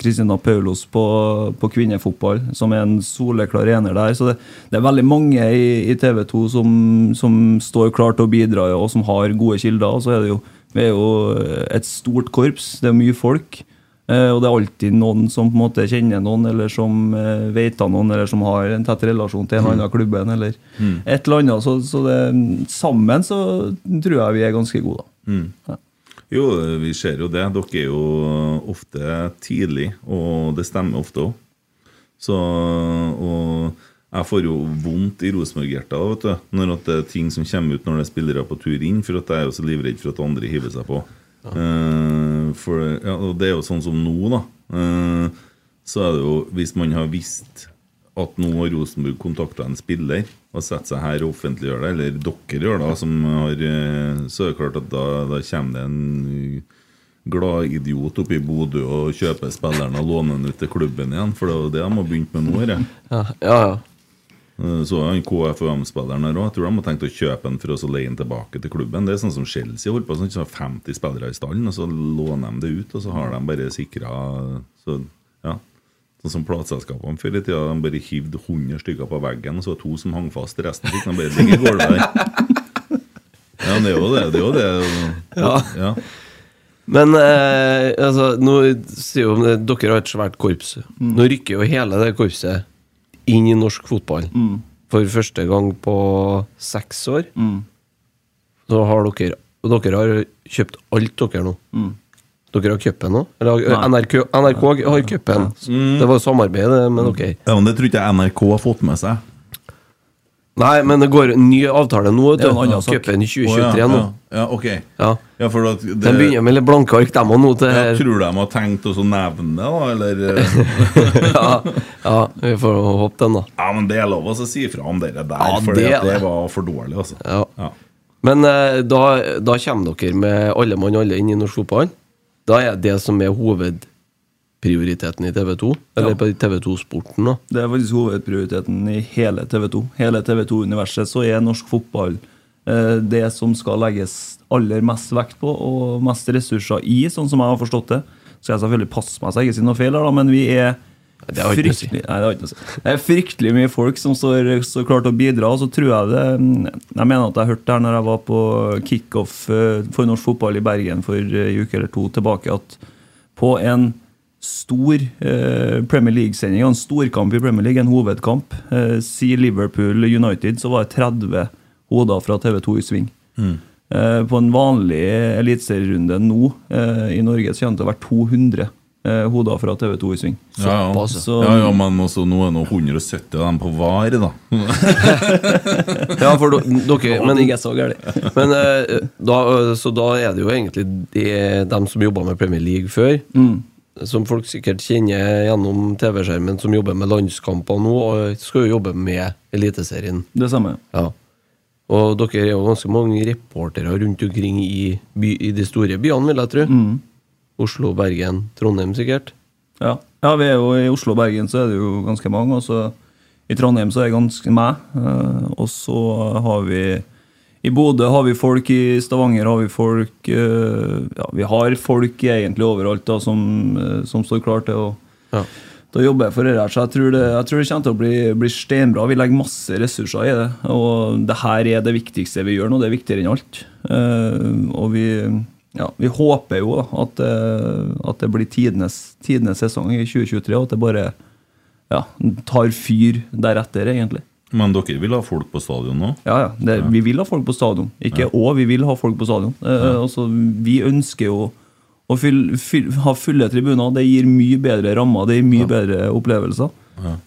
S4: Kristina Paulos på, på kvinnefotball, som er en soleklar ener der. Så det, det er veldig mange i, i TV 2 som, som står klar til å bidra, og som har gode kilder. Og så er det jo, vi er jo et stort korps, det er mye folk. Eh, Og det er alltid noen som på en måte kjenner noen, eller som eh, vet av noen, eller som har en tett relasjon til en eller annen klubben, eller et eller annet. Så, så det, sammen så tror jeg vi er ganske gode, da.
S1: Jo, eh, vi ser jo det. Dere er jo eh, ofte tidlig, og det stemmer ofte òg. Så Og jeg får jo vondt i Rosenborg-hjertet vet du, når at det er ting som kommer ut når det er spillere på tur inn, for at jeg er jo så livredd for at andre hiver seg på. Eh, for, ja, og det er jo sånn som nå, da. Eh, så er det jo, hvis man har visst at nå har Rosenborg kontakta en spiller og setter seg her og offentliggjør det, eller dere gjør det, som har, eh, så er det klart at da, da kommer det en gladidiot oppe i Bodø og kjøper spilleren og låner den ut til klubben igjen, for det er jo det de har begynt med nå. Her.
S3: Ja, ja. ja.
S1: Eh, Så han KFUM-spilleren her òg. Jeg tror de har tenkt å kjøpe den for å så leie den tilbake til klubben. Det er sånn som Chelsea holder på sånn, så har 50 spillere i stallen, og så låner de det ut, og så har de bare sikra så, ja. Sånn som plateselskapene før i tida. De bare hivde 100 stykker på veggen, og så var det to som hang fast. Resten fikk de bare ligge i gulvet der. Ja, det er jo det. det, er jo det. Ja.
S3: Men eh, altså, nå sier jo det- dere har et svært korps.
S1: Mm.
S3: Nå rykker jo hele det korpset inn i norsk fotball.
S1: Mm.
S3: For første gang på seks år.
S1: Mm.
S3: Så har dere Og dere har kjøpt alt dere nå.
S1: Mm.
S3: Dere har cupen nå? Eller har- NRK, NRK har cupen. Det var samarbeid, det, men ok.
S1: ja, men det tror ikke jeg NRK har fått med seg.
S3: Nei, men det går en ny avtale nå. vet
S4: Det er
S3: du.
S4: en annen sak.
S3: Cupen i
S1: Å,
S3: 2023
S1: ja, ja,
S3: nå.
S1: ja, ok.
S3: Ja.
S1: Ja, for at det,
S3: De begynner med litt blanke ark, dem òg, nå. Til
S1: ja, Tror du de har tenkt å så nevne det, da? Eller eh?
S3: <laughs> ja, ja, vi får håpe den, da.
S1: Ja, men det er lov å si ifra om dere der,
S3: Ja,
S1: for
S3: det
S1: det,
S3: er det.
S1: var for dårlig, altså.
S3: Ja. Men eh, da, da kommer dere med alle mann alle inn i norsk fotball. Da er det som er hovedprioriteten i TV2, eller
S4: Ja.
S3: på TV2-sporten, da.
S4: Det er faktisk hovedprioriteten i hele TV 2. Hele TV 2-universet så er norsk fotball eh, det som skal legges aller mest vekt på og mest ressurser i, sånn som jeg har forstått det. Skal jeg selvfølgelig passe meg så jeg ikke sier noe feil, her da, men vi er
S3: det har ikke noe å si.
S4: fryktelig, nei, det, har ikke noe å si. det er fryktelig mye folk som står så klart å bidra. Og så tror jeg det Jeg mener at jeg hørte det her når jeg var på kickoff eh, for norsk fotball i Bergen for eh, en uke eller to tilbake, at på en stor eh, Premier League-sending, en storkamp i Premier League, en hovedkamp, eh, si Liverpool United, så var det 30 hoder fra TV 2 i sving. Eh, på en vanlig eliteserierunde nå eh, i Norge så kommer det til å være 200 eh, hoder fra TV 2 i sving.
S1: Ja, ja.
S3: Såpass,
S4: ja.
S1: ja, ja, men også nå er nå 170 av dem på var, da. <laughs>
S3: <laughs> Ja, for do- dere
S4: men
S3: men,
S4: ikke så gærlig.
S3: men, eh, da, eh, Så da er det jo egentlig de, dem som jobba med Premier League før, som folk sikkert kjenner gjennom TV-skjermen, som jobber med landskamper nå, og skal jo jobbe med Eliteserien.
S4: Det samme.
S3: Ja. Og dere er jo ganske mange reportere rundt omkring i, by, i de store byene, vil jeg tro. Oslo, Bergen, Trondheim sikkert.
S4: Ja. ja, vi er jo i Oslo og Bergen, så er det jo ganske mange. Og så i Trondheim så er det ganske meg. Eh, Og så har vi I Bodø har vi folk, i Stavanger har vi folk eh, Ja, vi har folk egentlig overalt da, som, eh, som står klar til å
S3: Ja.
S4: da jobber jeg for det her, så jeg tror det, jeg tror det kommer til å bli, bli stenbra. Vi legger masse ressurser i det. Og det her er det viktigste vi gjør nå. Det er viktigere enn alt. Eh, og vi, ja, vi håper jo da, at, eh, at det blir tidenes, tidenes sesong i 2023, og at det bare ja, tar fyr deretter, egentlig.
S1: Men dere vil ha folk på stadion nå?
S4: Ja, ja. Det, Vi vil ha folk på stadion. Ikke og, vi vil ha folk på stadion. Eh, altså, vi ønsker jo å fyll, fyll, ha fulle tribuner. Det gir mye bedre rammer, det gir mye bedre opplevelser.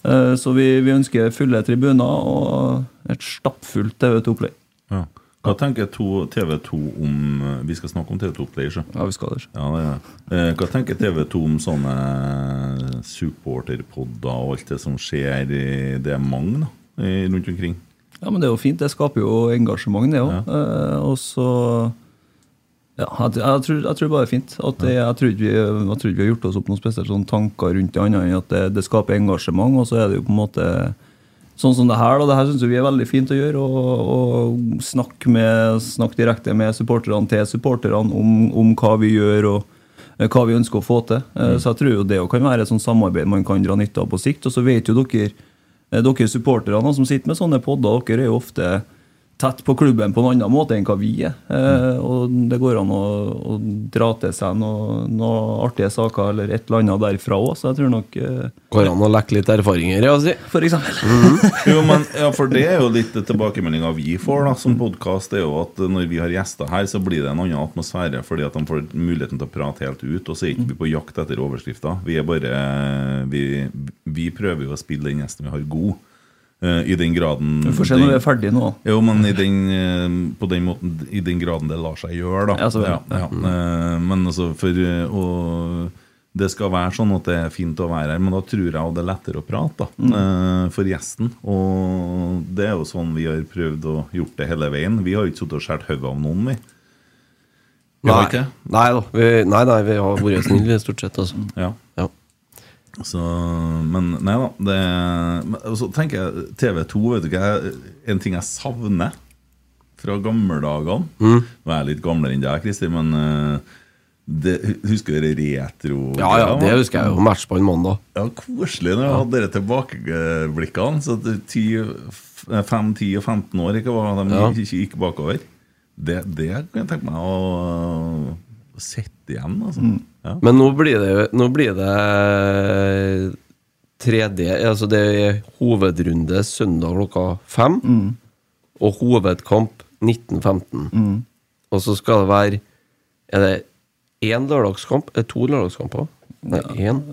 S4: Eh, så vi, vi ønsker fulle tribuner og et stappfullt TV2-opplegg.
S1: Ja. Hva tenker to- TV2 om eh, Vi skal snakke om TV2 Play, ikke
S4: Ja, vi skal det.
S1: Ja, det er. det. Eh, Hva tenker TV2 om sånne supporterpodder og alt det som skjer? i- Det er mange da, i- rundt omkring.
S4: Ja, men det er jo fint. Det skaper jo engasjement, det òg. Eh, og så ja, jeg, jeg, tror, jeg tror bare det er fint. At det, jeg, tror ikke vi, jeg tror ikke vi har gjort oss opp noen spesielle sånne tanker rundt det annet enn at det, det skaper engasjement, og så er det jo på en måte sånn som det her. da, Det her syns vi er veldig fint å gjøre. Og, og snakke, med, snakke direkte med supporterne til supporterne om, om hva vi gjør. og eh, hva vi ønsker å få til. Eh, Så jeg tror jo det jo kan være et sånt samarbeid man kan dra nytte av på sikt. Og så vet jo dere, eh, dere supporterne som sitter med sånne podder, dere er jo ofte tett på klubben på en annen måte enn hva vi er. Eh, Og det går an å, å dra til seg noen noe artige saker eller et eller annet derfra òg, så jeg tror nok eh,
S3: Går an å lekke litt erfaringer, ja, si.
S4: For eksempel.
S1: Jo, men ja, for det er jo litt tilbakemeldinga vi får da, som podkast, er jo at når vi har gjester her, så blir det en annen atmosfære, fordi at de får muligheten til å prate helt ut, og så er ikke vi på jakt etter overskrifter. Vi er bare Vi, vi prøver jo å spille den gjesten vi har, god. eh, I den graden
S4: Vi får se når vi
S1: den-
S4: er ferdige nå.
S1: Jo, men i den, eh, på den måten, i den graden det lar seg gjøre, da.
S4: Ja, så vel.
S1: ja. Eh, Men altså, for eh, Og det skal være sånn at det er fint å være her, men da tror jeg også det er lettere å prate da, eh, for gjesten. Og det er jo sånn vi har prøvd å gjort det hele veien. Vi har jo ikke sittet og skåret hodet av noen, vi. Vi har ikke
S3: Nei, nei da. Vi, nei, nei, vi har vært snille, stort sett, altså.
S1: Ja.
S3: Ja.
S1: Så, men nei da. Det, men- og så tenker jeg TV2 vet du ikke, jeg- En ting jeg savner fra gammeldagene
S3: Mm.
S1: Nå er jeg litt gamlere enn deg, Christer, men eh, det, husker dere retro?
S3: Ja, ja, det husker jeg jo. Match på en mandag.
S1: Ja, koselig når jeg hadde dere tilbakeblikkene. Så at 10, 5, 10 og 15 år ikke var de
S3: Ja.
S1: ikke gikk bakover. Det, det kan jeg tenke meg å sitte igjen, altså.
S3: Mm.
S1: Ja.
S3: Men nå blir det, nå blir det 3D altså Det er hovedrunde søndag klokka fem.
S4: Mm.
S3: Og hovedkamp 19.15.
S4: Mm.
S3: Og så skal det være Er det én lørdagskamp? Er det to lørdagskamper? Nei, én.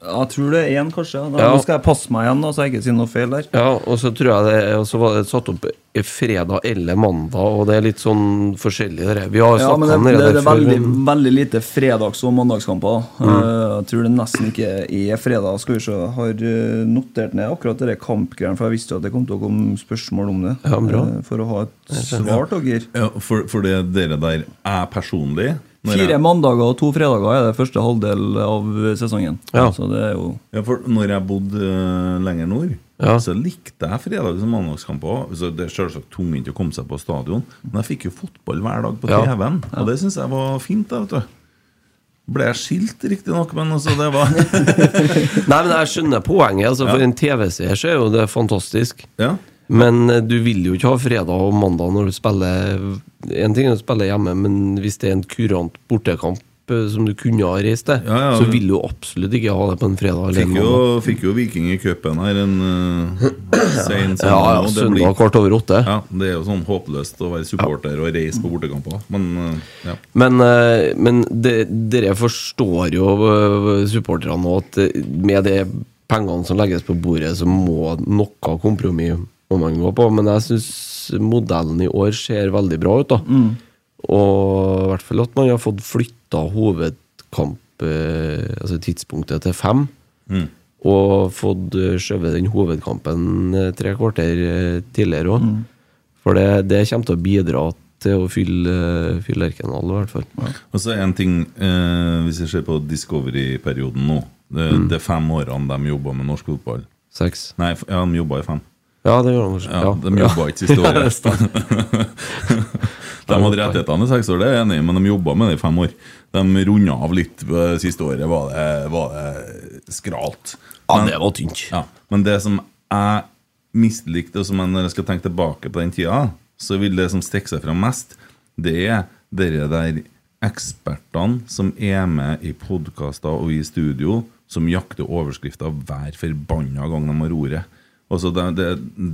S4: Jeg tror det er én, kanskje. Da,
S3: Ja.
S4: Nå skal jeg passe meg igjen, da, så jeg ikke sier noe feil der.
S3: Ja, og så tror jeg det Og så var det satt opp fredag eller mandag, og det er litt sånn forskjellig. det der. Vi har
S4: Ja, men det,
S3: snakka om
S4: det,
S3: det
S4: er
S3: der før.
S4: veldig,
S3: men- Mm.
S4: veldig lite fredags- og mandagskamper. da. Eh, jeg tror det nesten ikke er fredag. Skal vi se, jeg har eh, notert ned akkurat det der kampgreiene, for jeg visste jo at det kom til å komme spørsmål om det.
S3: Ja,
S4: <laughs>
S3: bra.
S4: eh, for å ha et svar til dere.
S1: Ja, for, for det dere der er personlig når
S4: Fire
S1: jeg,
S4: mandager og to fredager er det første halvdel av sesongen.
S3: Ja.
S4: Så det er jo
S1: ja, for når jeg bodde eh, lenger nord,
S3: Ja.
S1: så likte jeg fredags- og mandagskamper. også. Så Det er selvsagt tungvint å komme seg på stadion, men jeg fikk jo fotball hver dag på
S3: Ja.
S1: TV-en. Og det syns jeg var fint. da, vet du Ble jeg skilt, riktignok, men altså, det var
S3: <laughs> Nei, men jeg skjønner poenget. Altså, for en TV-seer så er jo det fantastisk.
S1: Ja.
S3: Men eh, du vil jo ikke ha fredag og mandag når du spiller En ting er å spille hjemme, men hvis det er en kurant bortekamp eh, som du kunne ha reist til,
S1: Ja, ja,
S3: så
S1: men-
S3: vil du absolutt ikke ha det på en fredag eller en
S1: Fikk jo,
S3: mandag.
S1: fikk jo Viking i cupen her en uh, sen
S3: Ja,
S1: søndag.
S3: ja,
S1: og det
S3: søndag
S1: blir-
S3: kvart over åtte.
S1: ja, det er jo sånn håpløst å være supporter og reise på bortekamper. Men eh, ja.
S3: Men, eh, men det, dere forstår jo, eh, supporterne nå, at eh, med de pengene som legges på bordet, så må noe kompromiss må man gå på. Men jeg syns modellen i år ser veldig bra ut, da. Og i hvert fall at man har fått flytta hovedkamp, eh, altså tidspunktet, til fem.
S1: Mm.
S3: Og fått eh, skjøvet den hovedkampen eh, tre kvarter eh, tidligere òg. For det, det kommer til å bidra til å fylle, fylle Lerkendal, i hvert fall.
S1: Og så en ting, eh, hvis jeg ser på Discovery-perioden nå det,
S3: Mm.
S1: det er fem årene de jobba med norsk fotball.
S3: Seks.
S1: Nei, f- ja, de jobba i fem.
S3: Ja, det gjør han kanskje.
S1: Ja, De jobba ikke siste
S3: <laughs> Ja, det er
S1: året.
S3: sant.
S1: <laughs> de hadde rettighetene i seks år, det er jeg enig i, men de jobba med det i fem år. De runda av litt eh, siste året, var det, var det skralt.
S3: Ja,
S1: Men-
S3: det var tynt.
S1: ja. Men det som jeg mislikte, og som jeg, når jeg skal tenke tilbake på den tida, så vil det som stikke seg fram mest, det er dere der ekspertene som er med i podkaster og i studio, som jakter overskrifter hver forbanna gang de har ordet. Altså det, det,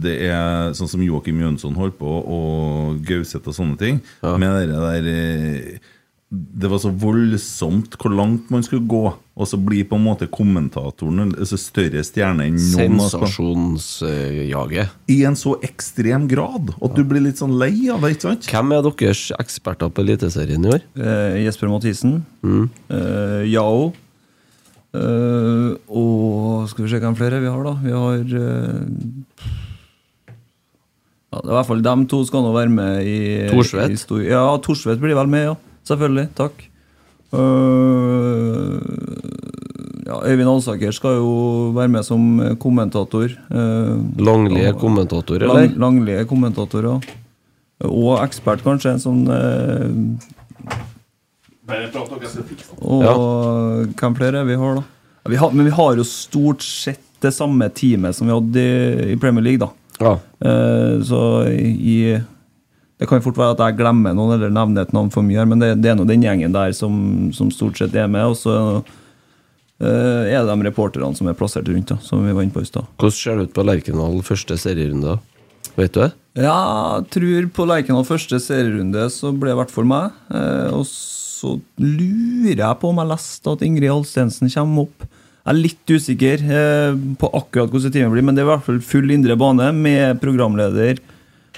S1: det er sånn som Joakim Jønsson holdt på, og Gauseth og sånne ting. Med dere der eh, det var så voldsomt hvor langt man skulle gå. Og så blir på en måte kommentatoren en altså større stjerne enn noen. av oss på-
S3: Sensasjonsjaget.
S1: I en så ekstrem grad at du blir litt sånn lei av det, ikke sant?
S3: Hvem er deres eksperter på Eliteserien i år?
S4: Eh, Jesper Mathisen. Eh, Yao. Eh, og skal vi se hvem flere vi har, da. Vi har eh, ja, det er I hvert fall dem to skal nå være med i
S3: Thorsvedt?
S4: i stor- Ja, Thorsvedt blir vel med, ja. Selvfølgelig. Takk. Eh, ja, Øyvind Alsaker skal jo være med som kommentator. Eh,
S3: Langlige
S4: og-
S3: kommentator,
S4: Lang,
S3: eller?
S4: langlige kommentatorer. Og ekspert, kanskje. En sånn eh, Og hvem flere er vi har, da? Ja, Vi har, men vi har jo stort sett det samme teamet som vi hadde i, i Premier League, da.
S3: Ja.
S4: Eh, så i Det kan jo fort være at jeg glemmer noen eller nevner et navn for mye, her, men det, det er nå den gjengen der som, som stort sett er med. Og så eh, er det de reporterne som er plassert rundt, da, som vi var inne på i stad.
S3: Hvordan ser det ut på Lerkendal første serierunde? Vet du det?
S4: Ja, jeg tror på Lerkendal første serierunde så ble det i hvert fall meg. Eh, og så lurer jeg på om jeg leste at Ingrid Alstensen kommer opp. Jeg er litt usikker eh, på akkurat hvordan timen blir, men det er i hvert fall full indre bane med programleder,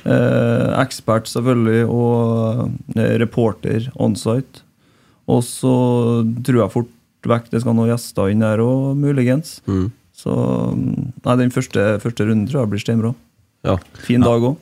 S4: eh, ekspert selvfølgelig, og eh, reporter onsite. Og så tror jeg fort vekk det skal noen gjester inn der òg, muligens. Så mm, nei, den første, første runden tror jeg blir steinbra.
S3: Ja.
S4: Fin dag òg.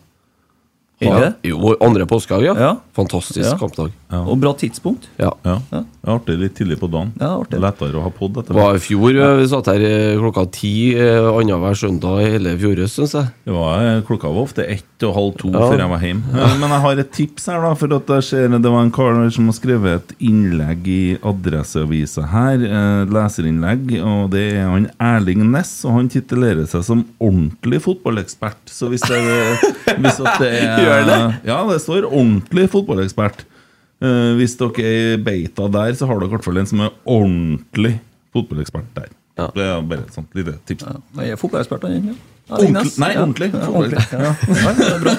S4: Er det
S3: ja.
S4: det?
S3: Jo, andre påskedag, ja.
S4: Ja.
S3: Fantastisk
S4: Ja.
S3: kampdag.
S4: Og bra tidspunkt.
S3: Ja.
S1: Ja. Det er artig litt tidlig på dagen.
S4: Ja, artig.
S1: Lettere å ha pod etter
S3: Det var i fjor. eh, Vi satt her eh, klokka ti eh, annenhver søndag i hele fjoråret, syns jeg.
S1: Det var, eh, klokka var ofte ett og halv to
S3: Ja.
S1: før jeg var hjemme. Eh, Men jeg har et tips her, da. For at jeg ser det var en kar som har skrevet et innlegg i Adresseavisa her. eh, Leserinnlegg. Og det er han Erling Næss, og han titulerer seg som ordentlig fotballekspert. Så hvis det, hvis at det er Ja, det står ordentlig fotballekspert. Eh, hvis dere er beita der, så har dere i hvert fall en som er ordentlig fotballekspert der.
S3: Ja.
S1: Det er bare et sånt lite tips.
S4: Jeg er fotballekspert. han, Ja.
S1: Ordentlig- nei, ordentlig.
S4: <laughs> Ja, ordentlig. Ja. Ja, det er bra.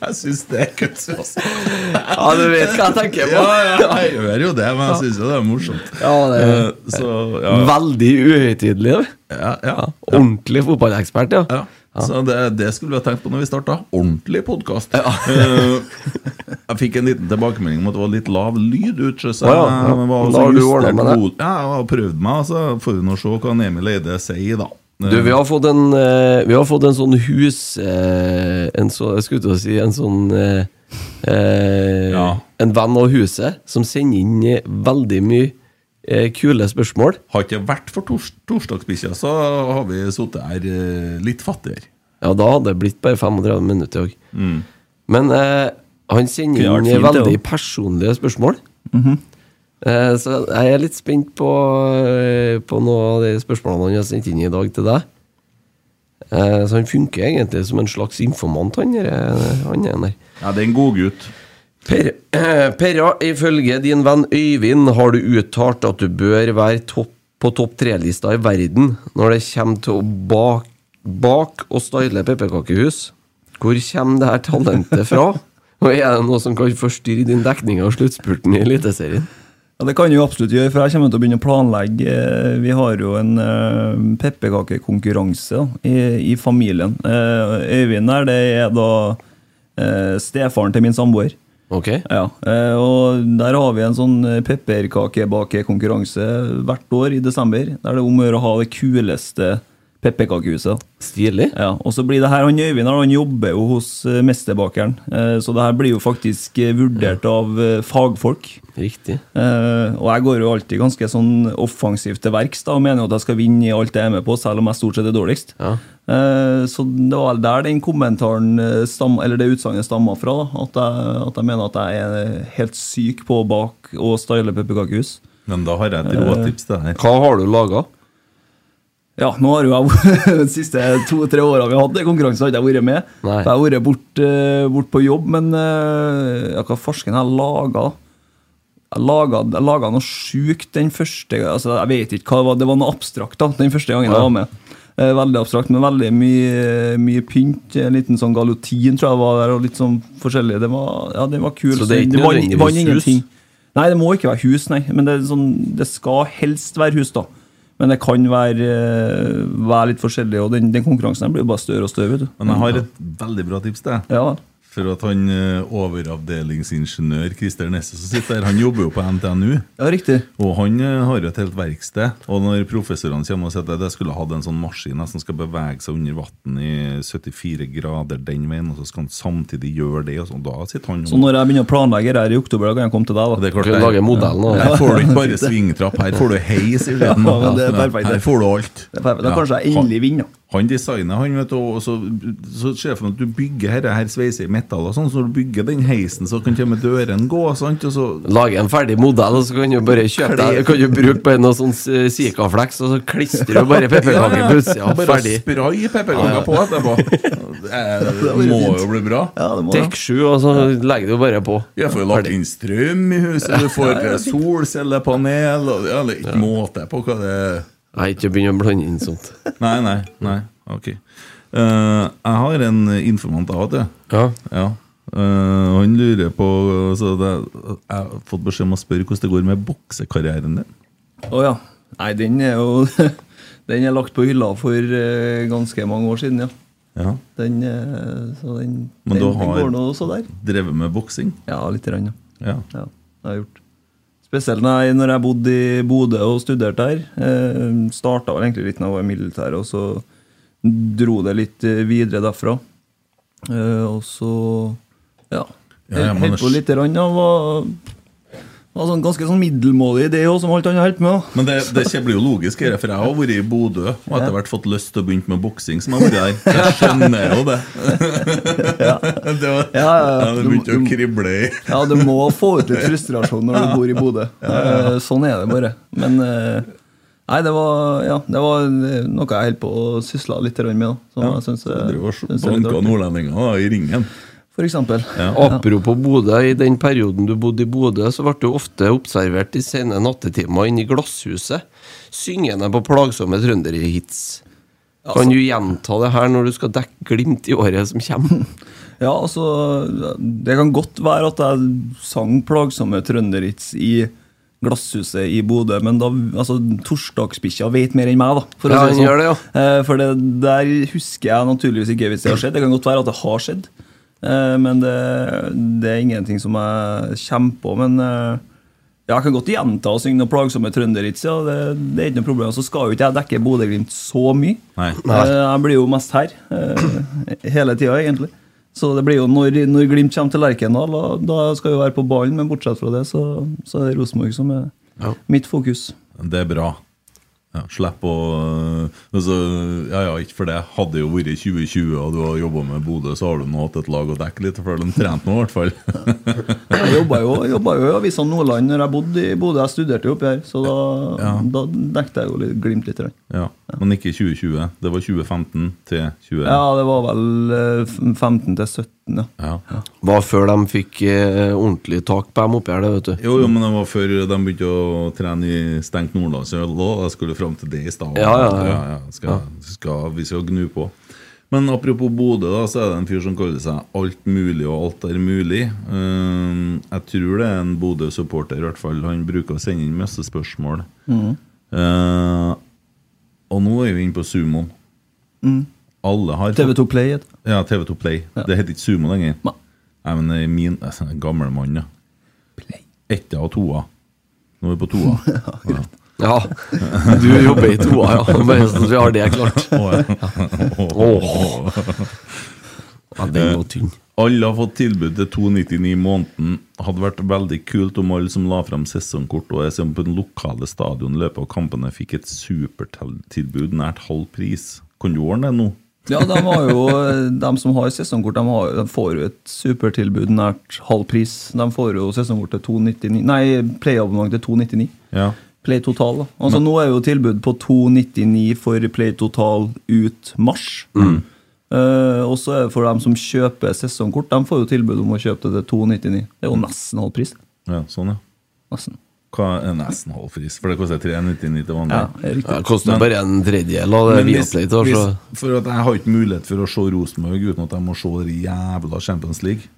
S1: Jeg syns det er kuttsus.
S3: Ja, du vet hva jeg tenker
S1: Ja, ja, jeg gjør jo det, men jeg syns jo det er morsomt. Eh, Så, ja,
S3: Veldig uhøytidelig. det.
S1: ja, ja.
S3: Ordentlig fotballekspert, ja.
S1: ja. Så det, det skulle vi ha tenkt på når vi starta. Ordentlig podkast. jeg fikk en liten tilbakemelding om at det var litt lav lyd ute. Så jeg eh,
S3: Å ja, ja.
S1: var
S3: Da
S1: også
S3: har du
S1: justert
S3: ordnet med det.
S1: hodet. Ja, jeg har prøvd meg, så får vi nå se hva han Emil Eide sier, da.
S3: Du, vi har fått en, eh, vi har fått en sånn hus eh, en så, Jeg skulle til å si en sånn eh, eh,
S1: Ja.
S3: En venn av huset som sender inn eh, veldig mye eh, kule spørsmål.
S1: Har ikke vært for tors torsdagsbikkja, så har vi sittet her eh, litt fattigere.
S3: Ja, da hadde det blitt bare 35 minutter òg. Men eh, han sender
S4: Mm. Kunne vært
S3: inn
S4: fint, det
S3: veldig
S4: også.
S3: personlige spørsmål. eh, så jeg er litt spent på, eh, på noen av de spørsmålene han har sendt inn i dag til deg. Eh, så han funker egentlig som en slags informant, han der. eh, Han er der.
S1: Ja, det er en godgutt.
S3: Per, eh, Perra, ifølge din venn Øyvind har du uttalt at du bør være topp, på topp tre-lista i verden når det kommer til å bak, bak og style pepperkakehus. Hvor kommer det her talentet fra? Og er det noe som kan forstyrre din dekning av sluttspurten i Eliteserien?
S4: Ja, det kan jeg jo absolutt gjøre, for jeg kommer til å begynne å planlegge. Eh, Vi har jo en eh, pepperkakekonkurranse da, i, i familien. Eh, Øyvind her, det er da eh, stefaren til min samboer.
S3: Ok?
S4: Ja, eh, og der har vi en sånn pepperkakebakekonkurranse hvert år i desember. Der det er om å gjøre å ha det kuleste pepperkakehuset.
S3: Stilig.
S4: Ja, og så blir det her, han Øyvind her, han jobber jo hos eh, mesterbakeren, eh, så det her blir jo faktisk eh, vurdert av eh, fagfolk.
S3: Riktig.
S4: Eh, og jeg går jo alltid ganske sånn offensivt til verks da, og mener jo at jeg skal vinne i alt jeg er med på, selv om jeg stort sett er dårligst.
S3: Ja.
S4: Eh, så det var der den kommentaren eh, stam, eller det utsagnet stammer fra. Da, at, jeg, at jeg mener at jeg er helt syk på å bake og style pepperkakehus.
S1: Men da har jeg et råtips til deg.
S3: Hva har du laga?
S4: Ja, nå har jo jeg <laughs> de siste to-tre åra vi har hatt det konkurransen, har ikke jeg vært med.
S3: Nei.
S4: Jeg har vært bort, eh, bort på jobb, men eh, ja, hva farsken jeg laga? Jeg laga, jeg laga noe sjukt den første altså Jeg vet ikke hva det var, det var noe abstrakt da, den første gangen jeg var med. Eh, Veldig abstrakt, men veldig mye, mye pynt. En liten sånn galotin tror jeg var der, og litt sånn forskjellig. Det var, ja, den var kul.
S3: Så det er ikke
S4: vann-
S3: nødvendigvis
S4: vann
S3: hus?
S4: ingenting. Nei, det må ikke være hus, nei. Men det, er sånn, det skal helst være hus, da. Men det kan være, eh, være litt forskjellig, og den, den konkurransen her blir jo bare større og større. vet du.
S1: Men jeg har et veldig bra tips til deg.
S4: Ja,
S1: For at han eh, overavdelingsingeniør Christer Nesse som sitter der, han jobber jo på NTNU.
S4: ja riktig.
S1: Og han eh, har jo et helt verksted. Og når professorene kommer og sier at jeg skulle hatt en sånn maskin jeg, som skal bevege seg under vann i 74 grader den veien, og så skal han samtidig gjøre det, og sånn, da sitter han
S4: Så når jeg begynner å planlegge her i oktober, da kan jeg komme til deg,
S1: Og
S4: da.
S1: det er klart,
S3: Skal vi lage
S1: der-
S3: modellen og-
S1: Her får du ikke bare svingtrapp, her får du heis i lyden.
S4: Ja, men det er perfekt.
S1: Her får du alt.
S4: Det er perfekt. Da
S1: Ja.
S4: kanskje jeg endelig vinner. da.
S1: Han designer, han, vet du, og så, så ser jeg for meg at du bygger her, her sveiser i metall og sånn, så når du bygger den heisen, så kan til og med døren gå, sant, og så
S3: Lage en ferdig modell, og så kan du bare kjøpe deg Kan du bruke på en av sånn eh, Sikaflex, og så klistrer du bare pepperkaker på utsida.
S1: Bare
S3: Ferdig.
S1: spray pepperkaker på etterpå. Det må jo bli bra.
S4: Ja, det må
S3: Dekk sju, og så legger du bare på.
S1: Jeg får jo lagt inn strøm i huset, du får eh, solcellepanel, og ja, det er ikke måte på hva det er.
S3: Nei, ikke begynn å blande inn sånt.
S1: Nei, nei, nei, ok Eh, Jeg har en informant av det
S3: Ja.
S1: Ja Eh, Han lurer på så det, Jeg har fått beskjed om å spørre hvordan det går med boksekarrieren din
S4: Å ja. Nei, den er jo <laughs> Den er lagt på hylla for eh, ganske mange år siden, ja.
S1: Ja
S4: Den, eh, så den,
S1: Men
S4: den,
S1: du
S4: den
S1: har-
S4: går nå så der.
S1: Drevet med boksing
S4: Ja, lite grann, ja.
S1: Ja
S4: Ja, det har jeg gjort. Spesielt når jeg, når jeg bodde i Bodø og studerte her. Eh, Starta vel egentlig litt når jeg var i militæret, og så dro det litt eh, videre derfra. Eh, og så ja.
S1: Ja, ja, men
S4: Helt
S1: det-
S4: på lite grann. ja, Var, var sånn, ganske sånn middelmådig i det òg, som alt annet holdt med. da.
S1: Men det, det ikke blir jo logisk her For jeg har vært i Bodø Og etter hvert fått lyst til å begynne med boksing Som jeg har vært der Jeg skjønner jo det <laughs> Det var
S4: Ja, ja, ja.
S1: Det begynte å krible i
S4: Ja, du må få ut litt frustrasjon når du bor i Bodø. Eh, Sånn er det bare. Men eh, nei, det var, ja, det var noe jeg holdt på å sysle litt grann med. da, Som jeg synes,
S1: Så
S4: eh,
S1: det var
S4: synes er litt
S1: banka
S4: artig.
S1: nordlendinger da, i ringen
S4: For eksempel.
S3: Apropos Bodø, i den perioden du bodde i Bodø, så ble du ofte observert i sene nattetimer inne i glasshuset, syngende på plagsomme trønderhits.
S1: Altså-
S3: Kan du gjenta det her når du skal dekke Glimt i året som
S1: <laughs>
S3: kommer?
S4: Ja, altså Det kan godt være at jeg sang plagsomme trønderhits i Glasshuset i Bodø, men da altså, Torsdagsbikkja vet mer enn meg, da. For,
S3: Ja,
S4: si
S3: han gjør det,
S4: Eh, for det, der husker jeg naturligvis ikke hvis det har skjedd. Det kan godt være at det har skjedd, eh, men det, det er ingenting som jeg kommer på. Men eh, ja, jeg kan godt gjenta og synge noen plagsomme trønderhits, ja. Det, det er ikke noe problem. Så skal jo ikke jeg dekke Bodø-Glimt så mye.
S1: Nei
S3: Nei.
S4: Eh, Jeg blir jo mest her eh, hele tida, egentlig. Så det blir jo når, når Glimt kommer til Lerkendal, og da skal jeg jo være på ballen. Men bortsett fra det, så, så er det Rosenborg som er
S3: Ja.
S4: mitt fokus.
S1: Det er bra. Ja, slipp å altså, Ja ja, ikke for det. Hadde det jo vært 2020 og du har jobba med Bodø, så har du nå hatt et lag å dekke litt for. De trente nå, i hvert fall. <laughs>
S4: Jeg jobba jo, jobba jo i Avisa Nordland når jeg bodde i Bodø. Jeg studerte jo oppi her, så da,
S1: Ja.
S4: da dekket jeg jo litt, Glimt litt. grann.
S1: Ja, Men ikke 2020. Det var 2015 til 20...
S4: Ja, det var vel eh, f- 15 til 17, ja.
S1: Ja.
S3: Var før de fikk eh, ordentlig tak på dem oppi her, det, vet du.
S1: Jo, jo, men det var før de begynte å trene i stengt nordlandsøl. og Jeg skulle fram til det i stad.
S3: Ja, ja, ja.
S1: skal, skal, vi skal gnu på. Men apropos Bodø, da, så er det en fyr som kaller seg alt mulig og alt er mulig. Ehm, jeg tror det er en Bodø-supporter, i hvert fall. Han bruker å sende inn masse spørsmål.
S3: Mm.
S1: Eh, og nå er vi inne på sumoen.
S3: Mm.
S1: Alle har
S4: TV2 Play. heter det.
S1: Ja, TV2 Play. Det heter ikke sumo lenger.
S4: Nei.
S1: Nei, men det er min altså, en gammel mann, ja.
S4: Play. <laughs>
S1: Etta og toa. Nå er vi på toa. ja.
S3: Ja. Du jobber i toa, ja. Bare så vi har det klart.
S1: <laughs>
S3: Åh. Ja, den var tynn.
S1: Alle har fått tilbud til 299 i måneden. Hadde vært veldig kult om alle som la frem sesongkort og SM på den lokale stadion i løpet av kampene, fikk et supertilbud nært halv pris. Kan du ordne det nå?
S4: Ja, de, har jo, de som har sesongkort, de, har, de får jo et supertilbud nært halv pris. De får jo sesongkort til 299 Nei, playabonnement til 299.
S1: Ja.
S4: Play Total. da. Altså Nå er jo tilbud på 299 for Play Total ut mars. Eh, og så er det for dem som kjøper sesongkort, de får jo tilbud om å kjøpe det til 299. Det er jo nesten halv pris.
S1: ja sånn, ja.
S4: Nesten.
S1: Hva er nesten halv pris? For det koster 399 til vanlig.
S4: Ja, det er riktig.
S3: Det koster bare en tredjedel av det
S1: Men hvis-
S3: Viaplay tar, så
S1: hvis- for at jeg har ikke mulighet for å se Rosenborg uten at jeg må se det jævla Champions League.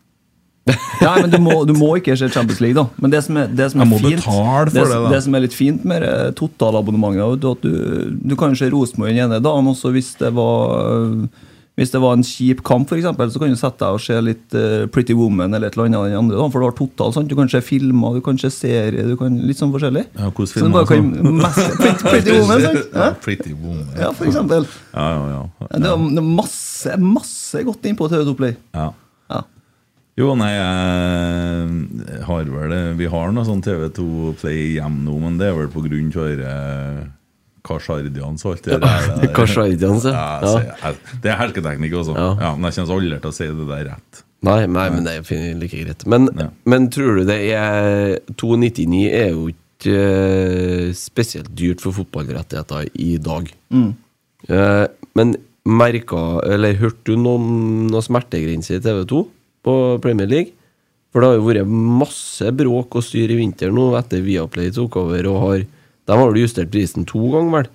S4: Nei, men du må, du må ikke se Champions League, da. Men det som er, det som er
S1: Jeg må
S4: fint
S1: betale for
S4: det,
S1: det, da.
S4: det som er litt fint med det totalabonnementet, er jo at du, du kan jo se Rosenborg den ene dagen, og så hvis det var hvis det var en kjip kamp, for eksempel, så kan du sette deg og se litt eh, Pretty Woman eller et eller annet den andre dagen, for du har total, sant? Du kan se filmer, du kan se serier, du kan litt sånn forskjellig.
S1: Ja, hvordan
S4: så du
S1: filmer, sånn?
S4: bare kan meske Pretty, pretty Woman, sant?
S1: <laughs> Ja,
S4: Hæ?
S1: pretty woman.
S4: Ja, for eksempel.
S1: Ja, ja, ja.
S4: Det er det er masse, masse godt inn på TV2 Play.
S1: ja.
S4: Ja.
S1: Jo, nei, jeg har vel det. Vi har noe sånn TV2 Play hjem nå, men det er vel på grunn til å høre Kasjardians og alt det
S4: <laughs>
S1: der.
S3: <laughs> Kasjaidians,
S1: Ja, altså,
S3: ja.
S1: jeg sier- jeg- det er helketeknikk også.
S3: Ja.
S1: Ja, men jeg kommer aldri til å si det der rett.
S3: Nei, nei, men det er fin- like greit. Men,
S1: Ja.
S3: men tror du det er 299 er jo ikke eh, spesielt dyrt for fotballrettigheter i dag. Eh, men merka eller hørte du noen noe smertegrense i TV 2 på Premier League? For det har jo vært masse bråk og styr i vinter nå etter Viaplay tok over og har De har vel justert prisen to ganger, vel?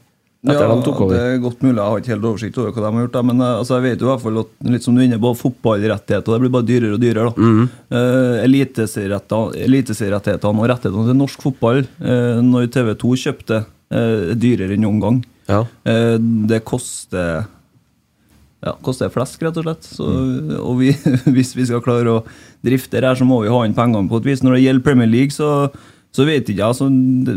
S3: Etter de tok over.
S4: det er godt mulig. Jeg har ikke helt oversikt over hva de har gjort. Da. Men eh, altså, jeg vet jo i hvert fall at litt som du er inne på, fotballrettigheter det blir bare dyrere og dyrere. da.
S3: Mhm.
S4: Eh, eliteserieretter- Eliteserierettighetene og rettighetene til norsk fotball, eh, når TV 2 kjøpte, eh, er dyrere enn noen gang.
S3: Ja.
S4: Eh, det koster ja, koster flesk, rett og slett. Så, og vi, <laughs> hvis vi skal klare å drifte det her, så må vi ha inn pengene på et vis. Når det gjelder Premier League, så, så vet ikke jeg. Altså,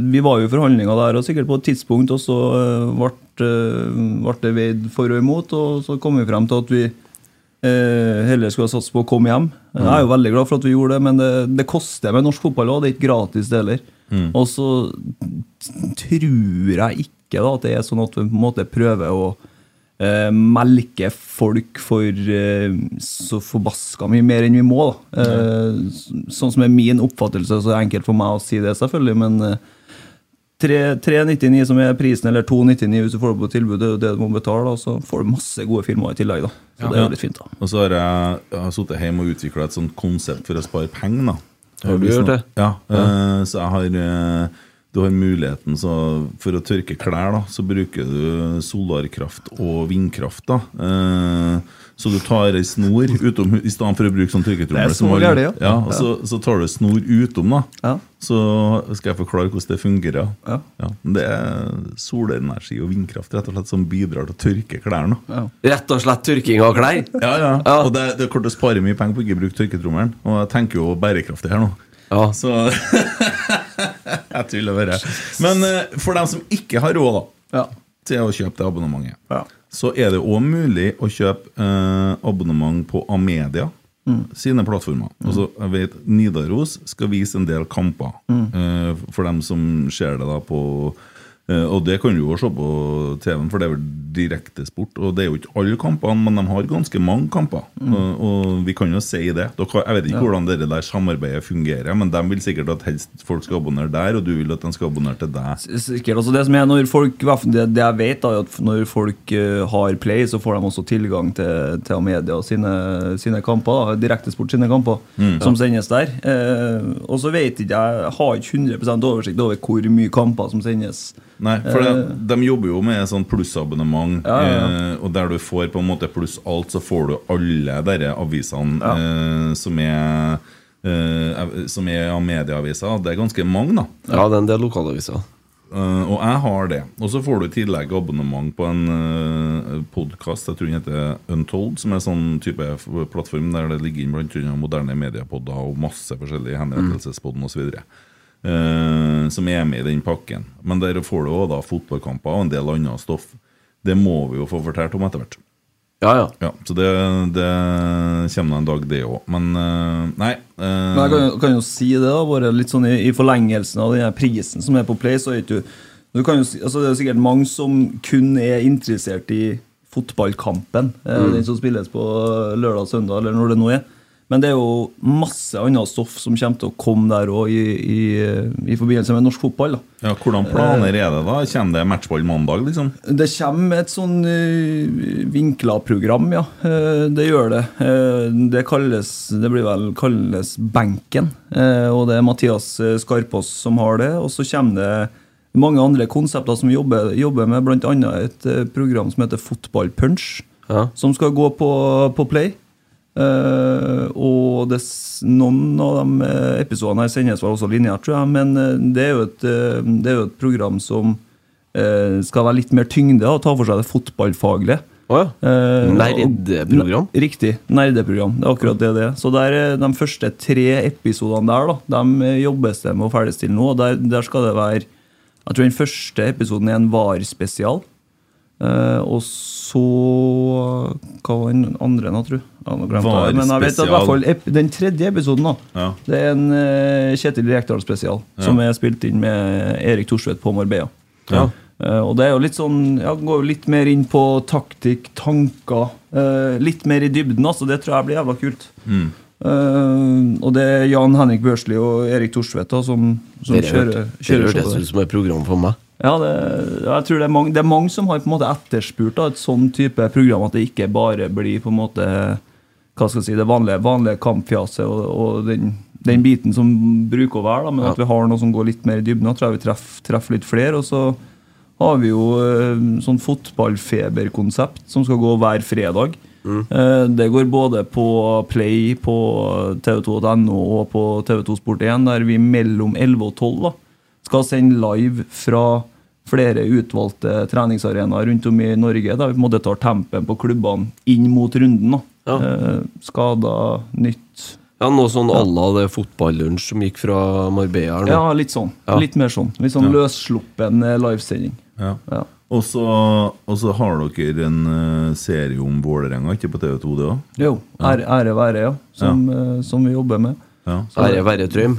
S4: vi var jo i forhandlinger der, og sikkert på et tidspunkt, og så eh, ble, eh, ble det veid for og imot, og så kom vi frem til at vi eh, heller skulle ha satset på å komme hjem. Jeg er jo veldig glad for at vi gjorde det, men det, det koster med norsk fotball òg. Det er ikke gratis, det heller. Og så tror jeg ikke da, at det er sånn at vi på en måte prøver å eh, melke folk for eh, så forbaska mye mer enn vi må. Da. Eh, så- sånn som er min oppfattelse, så er det enkelt for meg å si det, selvfølgelig, men eh, tre- 399 som er prisen, eller 299 hvis du får det på tilbud, det er jo det du må betale, da, og så får du masse gode filmer i tillegg. da. Så det er jo litt fint, da.
S1: Og så har jeg, jeg har sittet hjemme og utvikla et sånt konsept for å spare penger. da.
S3: Har du gjort det?
S1: Ja. eh, så jeg har eh, Du har muligheten så, for å tørke klær, da, så bruker du solarkraft og vindkraft. da. Eh, så du tar ei snor utom, i stedet for å bruke sånn tørketrommel.
S4: Det er
S1: som
S4: så
S1: alle-
S4: gærlig, ja.
S1: ja. og Så, så tar du snor utom, da.
S4: Ja.
S1: Så skal jeg forklare hvordan det fungerer.
S4: Ja.
S1: men det er solenergi og vindkraft rett og slett som bidrar til å tørke klærne. da.
S3: Rett og slett tørking av klær?
S1: Ja, ja.
S3: Ja.
S1: Og det, det er klart å spare mye penger på ikke å bruke tørketrommelen. Og jeg tenker jo bærekraftig her nå.
S3: Ja.
S1: Så <laughs> jeg tuller bare. Men eh, for dem som ikke har råd da,
S4: Ja.
S1: til å kjøpe det abonnementet,
S4: Ja.
S1: så er det òg mulig å kjøpe eh, abonnement på Amedia. Sine plattformer. Altså, jeg vet, Nidaros skal vise en del kamper eh, for dem som ser det da på eh, Og det kan du jo se på TV-en, for det er vel direktesport. Og det er jo ikke alle kampene, men de har ganske mange kamper. Og, og vi kan jo si det. Dere, jeg vet ikke hvordan det der samarbeidet fungerer, men de vil sikkert at helst folk skal abonnere der, og du vil at de skal abonnere til deg.
S4: Sikkert, altså det som er når folk, i hvert fall det, det jeg vet da, er at når folk eh, har Play, så får de også tilgang til, til media og sine, sine kamper, da, Direktesport sine kamper, som sendes der. Eh, og så vet ikke jeg, jeg har ikke 100 oversikt over hvor mye kamper som sendes.
S1: Nei, for de, de jobber jo med sånn plussabonnement, Eh, og der du får på en måte pluss alt, så får du alle dere avisene eh, som er eh, av- som er av medieaviser. Det er ganske mange, da.
S3: ja, det er en del lokalaviser.
S1: Eh, og jeg har det. Og så får du i tillegg abonnement på en uh, podkast, jeg tror den heter Untold, som er sånn type f- plattform der det ligger inn blant annet moderne mediepodder og masse forskjellige henrettelsespodder osv. eh, som er med i den pakken. Men der får du òg fotballkamper og en del annet stoff. Det må vi jo få fortalt om etter hvert.
S3: Ja, ja.
S1: Ja, så det, det kommer en dag, det òg. Men eh, nei. eh,
S4: Men jeg kan, jo- kan jo si det, da, bare litt sånn i, i forlengelsen av den her prisen som er på Play. så er ikke du, du kan jo, si- altså Det er sikkert mange som kun er interessert i fotballkampen. eh, Den som spilles på eh, lørdag søndag, eller når det nå er. Men det er jo masse annet stoff som kommer til å komme der òg, i, i, eh, i forbindelse med norsk fotball. da.
S1: ja, hvordan planer er det, da? Kommer det matchball mandag, liksom?
S4: Det kommer et sånn uh, vinkla program, ja. Eh, det gjør det. Eh, det kalles Det blir vel kalles Benken. Eh, og det er Mathias eh, Skarpaas som har det. Og så kommer det mange andre konsepter som vi jobber, jobber med, bl.a. et eh, program som heter Fotballpunch,
S3: Ja.
S4: som skal gå på, på Play. Eh, og det, s- noen av de eh, episodene her sendes vel også lineært, tror jeg. Men eh, det, er jo et, eh, det er jo et program som eh, skal være litt mer tyngde og ta for seg det fotballfaglige.
S3: Å, ja.
S4: Eh,
S3: Nerdeprogram?
S4: og- Riktig. Nerdeprogram. Det er akkurat det det er. Så der, eh, de første tre episodene der da, de eh, jobbes det med å ferdigstille nå. og Der, der skal det være Jeg tror den første episoden er en VAR-spesial. Eh, og så Hva var den andre, nå, tro? Ja, nå glemte jeg det, Men jeg vet at i hvert fall ep- den tredje episoden da,
S1: Ja.
S4: det er en eh, Kjetil Rekdal-spesial som er spilt inn med Erik Thorsvedt på Marbella.
S1: Ja.
S4: Eh, Og det er jo litt sånn, ja, går jo litt mer inn på taktikk, tanker. eh, litt mer i dybden, altså. Det tror jeg blir jævla kult. Eh, og det er Jan Henrik Børsli og Erik Thorsvedt da, som, som
S3: Dere
S4: kjører,
S3: hørte- dere
S4: kjører
S3: hørtes
S4: showet.
S3: ut sånn som et program for meg.
S4: Ja, det, ja, jeg tror det er, mange, det er mange som har på en måte etterspurt da, et sånn type program, at det ikke bare blir på en måte hva skal jeg si, det vanlige, vanlige kampfjaset og, og den, den biten som bruker å være, da, men at vi har noe som går litt mer i dybden. Da tror jeg vi treffer, treffer litt flere. Og så har vi jo eh, sånn fotballfeberkonsept som skal gå hver fredag. Eh, Det går både på Play, på tv2.no og på TV2 Sport1, der vi mellom 11 og 12 da, skal sende live fra flere utvalgte treningsarenaer rundt om i Norge, der vi på en måte tar tempen på klubbene inn mot runden. da.
S3: Ja.
S4: Eh, Skader, nytt
S3: Ja, Noe sånn à la det fotballunsj som gikk fra Marbella her nå.
S4: Ja, litt sånn.
S3: Ja.
S4: Litt mer sånn. Litt sånn løssluppen eh, livesending.
S1: Ja.
S4: Ja.
S1: Og så, og så har dere en eh, serie om Vålerenga, ikke på TV2 det òg?
S4: Jo. Ære, ære være, ja. Som, eh, som vi jobber med.
S1: Ja.
S3: Ære være Trøim.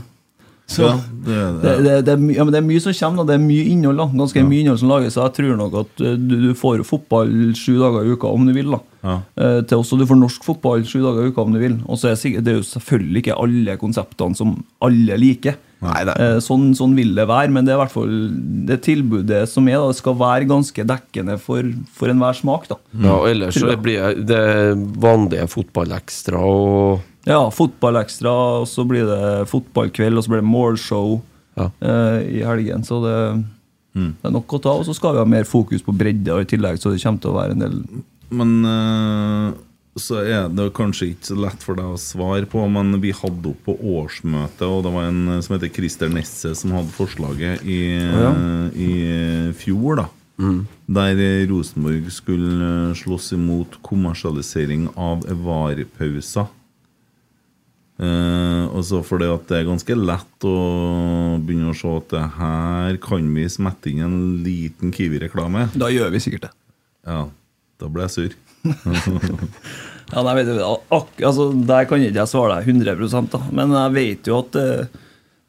S4: Så
S1: Ja, det,
S4: det, det, det, er my, ja, men det er mye som kommer, da. Det er mye innhold. da Ganske mye innhold som lages. Så jeg tror nok at eh, du, du får jo fotball sju dager i uka om du vil. da
S1: Ja.
S4: Eh, Til også Du får norsk fotball sju dager i uka om du vil. Og så er det, sikkert, det er jo selvfølgelig ikke alle konseptene som alle liker.
S3: Nei, nei.
S4: Eh, Sånn, sånn vil det være, men det er i hvert fall det tilbudet som er, da, det skal være ganske dekkende for, for enhver smak. da
S3: Ja, og ellers så blir jeg- det vanlige fotballekstra og
S4: Ja, fotballekstra, og så blir det fotballkveld, og så blir det målshow
S3: Ja.
S4: eh, i helgen. Så det, det er nok å ta. Og så skal vi ha mer fokus på bredda i tillegg, så det kommer til å være en del
S1: Men eh, så er det kanskje ikke så lett for deg å svare på, men vi hadde opp på årsmøtet, og det var en eh, som heter Christer Nesse som hadde forslaget i, eh, i fjor, da. Der Rosenborg skulle eh, slåss imot kommersialisering av varepauser. Eh, også fordi at det er ganske lett å begynne å se at det her kan vi smette inn en liten Kiwi-reklame.
S4: Da gjør vi sikkert det.
S1: Ja, da ble jeg
S4: <laughs>
S1: sur.
S4: Ja, nei, vet du, ak altså, Der kan ikke jeg svare deg 100 da. men jeg vet jo at eh,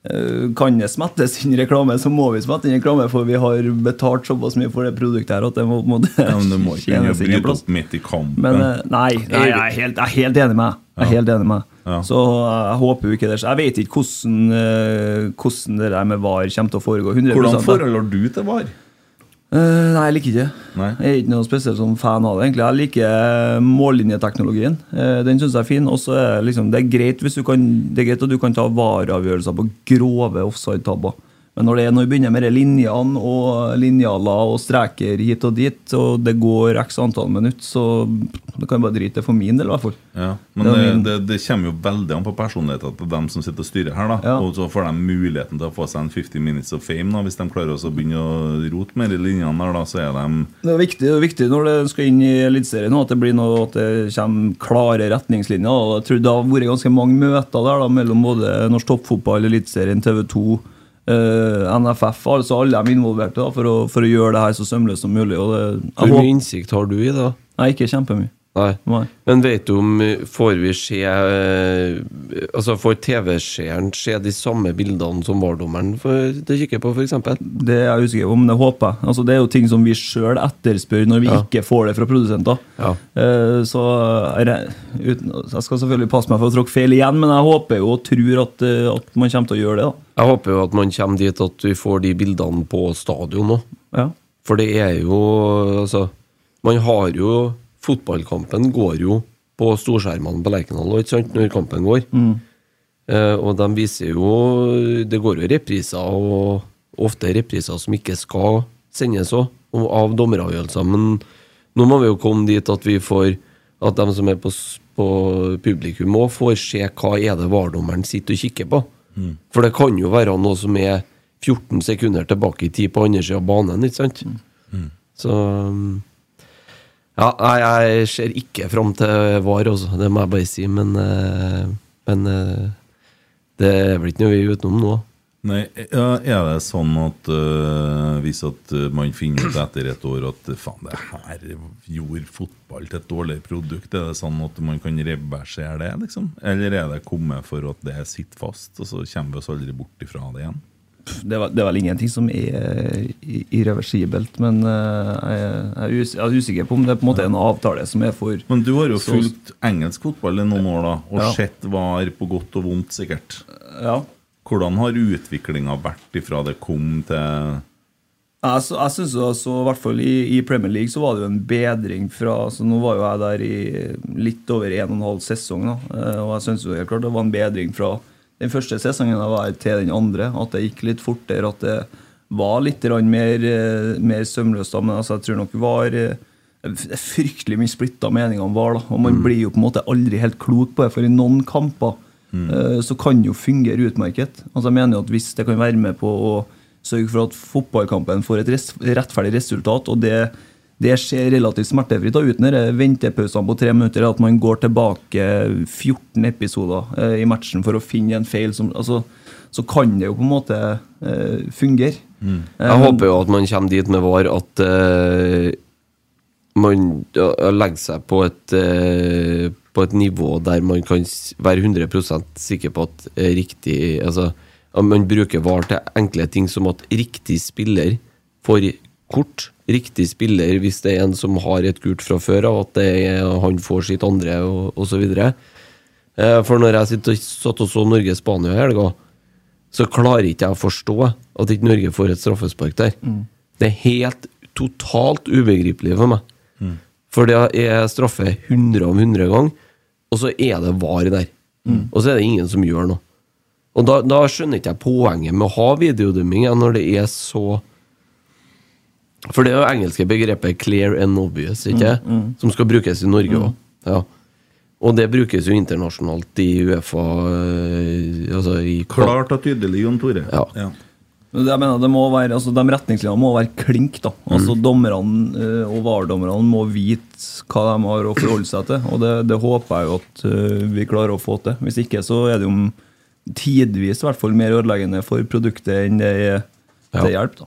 S4: eh, kan det smettes inn reklame, så må vi smette inn reklame, for vi har betalt såpass mye for det produktet her at det må, må det
S1: Ja, men du må ikke begynne å
S4: tjene seg inn
S1: bryte
S4: plass.
S1: opp midt i kampen.
S4: Men eh, nei, nei jeg, er helt, jeg er helt enig med deg. Jeg er helt enig med deg.
S1: Ja.
S4: Så eh, jeg håper jo ikke det skjer. Jeg vet ikke hvordan, eh, hvordan det der med VAR kommer til å foregå. 100
S1: Hvordan forhold har du til VAR?
S4: Eh, nei, jeg liker ikke.
S1: Nei.
S4: Jeg er ikke noe spesielt som fan av det. egentlig. Jeg liker eh, mållinjeteknologien. Eh, den syns jeg er fin. Og så er det liksom, det er greit hvis du kan, det er greit at du kan ta VAR-avgjørelser på grove offside-tabber. Men når det er når vi begynner med de linjene og linjaler og streker hit og dit, og det går x antall minutter, så det kan jeg bare drite i for min del, i hvert fall.
S1: Ja, men
S4: Det
S1: det,
S4: var min.
S1: det, det kommer jo veldig an på personligheten til dem som sitter og styrer her. da
S4: Ja.
S1: Og så får de muligheten til å få seg en 50 minutes of fame. da Hvis de klarer også å begynne å rote mer i linjene der, da, så er de
S4: Det er viktig, det er viktig når det skal inn i Eliteserien nå, at det blir noe, at det kommer klare retningslinjer. og Jeg tror det har vært ganske mange møter der da, mellom både norsk toppfotball, Eliteserien, TV 2, eh, NFF, altså alle de involverte, da, for, å, for å gjøre det her så sømløst som mulig. Og det,
S3: Hvor
S4: jeg
S3: mye
S4: håper,
S3: innsikt har du i det? da?
S4: nei, ikke kjempemye.
S3: Nei.
S4: Nei.
S3: Men vet du om eh, Får vi se eh, Altså Får TV-seeren se de samme bildene som VAR-dommeren får- det kikker på, f.eks.?
S4: Det er jeg usikker på, men det håper jeg. Altså, det er jo ting som vi sjøl etterspør når vi
S3: Ja.
S4: ikke får det fra produsenter.
S3: Ja.
S4: Eh, så jeg re- uten, jeg skal selvfølgelig passe meg for å tråkke feil igjen, men jeg håper jo og tror at, eh, at man kommer til å gjøre det. da.
S3: Jeg håper jo at man kommer dit at vi får de bildene på stadion òg.
S4: Ja.
S3: For det er jo Altså, man har jo Fotballkampen går jo på storskjermene på Lerkendal og ikke sant, når kampen går. Eh, og de viser jo Det går jo repriser, og ofte repriser som ikke skal sendes òg, av dommeravgjørelser. Men nå må vi jo komme dit at vi får At de som er på, s- på publikum òg, får se hva er det VAR-dommeren sitter og kikker på. For det kan jo være noe som er 14 sekunder tilbake i tid på andre sida av banen, ikke sant? Så Ja, nei, jeg ser ikke fram til VAR, altså. Det må jeg bare si. Men, eh, men eh, det er vel ikke noe vi er utenom nå.
S1: Nei, ja, Er det sånn at øh, hvis at øh, man finner ut etter et år at eh, faen, det her gjorde fotball til et dårlig produkt, er det sånn at man kan reversere det? liksom? Eller er det kommet for at det sitter fast, og så kommer vi oss aldri bort ifra det igjen?
S4: Det, er, vel- det er vel ingenting som er eh, i- irreversibelt, men eh, jeg, jeg, er us- jeg er usikker på om det er på en måte en avtale som er for
S1: Men du har jo
S4: Så-
S1: fulgt engelsk fotball i noen år da, og
S4: Ja.
S1: sett var på godt og vondt, sikkert.
S4: Ja.
S1: Hvordan har utviklinga vært ifra det kom til
S4: Jeg, sy- jeg synes altså, i hvert fall i, i Premier League så var det jo en bedring fra altså, Nå var jo jeg der i litt over en og en halv sesong, da, eh, og jeg synes jo helt klart det var en bedring fra den første sesongen jeg var her til den andre. At det gikk litt fortere, at det var litt grann mer, eh, mer sømløst. da, Men altså, jeg tror nok var eh, det er fryktelig mye splitta meninger om VAR. da, og
S3: Mm.
S4: Man blir jo på en måte aldri helt klok på det, for i noen kamper
S3: Mm.
S4: eh, så kan det jo fungere utmerket. Altså Jeg mener jo at hvis det kan være med på å sørge for at fotballkampen får et res rettferdig resultat, og det, det skjer relativt smertefritt da, uten disse ventepausene på tre minutter, at man går tilbake 14 episoder eh, i matchen for å finne en feil, som, altså, så kan det jo på en måte eh, fungere.
S3: Mm.
S4: Eh,
S3: Jeg håper jo at man kommer dit med VAR at eh, man ja, legger seg på et, eh, på et nivå der man kan s- være 100 sikker på at eh, riktig Altså, at man bruker VAR til enkle ting som at riktig spiller får kort. Riktig spiller hvis det er en som har et gult fra før av, at det er, han får sitt andre, og osv. For når jeg sitter, og- satt og så Norge-Spania i helga, så klarer ikke jeg å forstå at ikke Norge får et straffespark der. Det er helt totalt ubegripelig for meg. For det er straffe 100 av 100 ganger, og så er det var der. Og så er det ingen som gjør noe. Og da, da skjønner ikke jeg poenget med å ha videodømming jeg, når det er så For det er jo engelske begrepet 'clear and obvious', ikke som skal brukes i Norge òg. Ja. Og det brukes jo internasjonalt i Uefa eh, altså i
S1: Klart og tydelig, Jon Tore.
S3: Ja.
S4: Men Jeg mener, det må være, altså, De retningslinjene må være klink. da. Altså
S3: Mm.
S4: Dommerne eh, og VAR-dommerne må vite hva de har å forholde seg til. og Det, det håper jeg jo at eh, vi klarer å få til. Hvis ikke så er det jo tidvis i hvert fall mer ødeleggende for produktet enn det er til
S3: Ja.
S4: hjelp. da.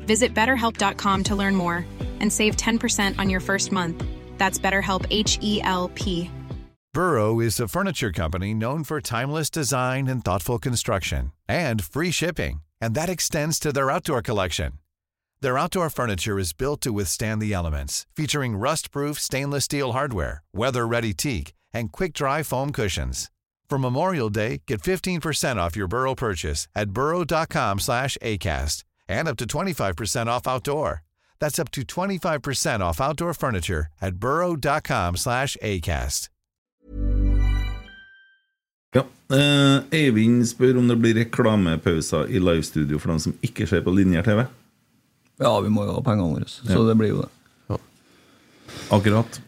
S5: Visit betterhelp.com to learn more and save 10% on your first month. That's BetterHelp H E L P.
S6: Burrow is a furniture company known for timeless design and thoughtful construction and free shipping, and that extends to their outdoor collection. Their outdoor furniture is built to withstand the elements, featuring rust-proof stainless steel hardware, weather-ready teak, and quick-dry foam cushions. For Memorial Day, get 15% off your Burrow purchase at burrow.com slash ACAST and up to 25% off outdoor. That's up to 25% off outdoor furniture at burrow.com slash ACAST.
S1: Ja. Eh, Eivind spør om det blir reklamepauser i livestudio for dem som ikke ser på linjer-TV.
S4: Ja, vi må jo ha pengene våre, så det blir jo det.
S1: Akkurat.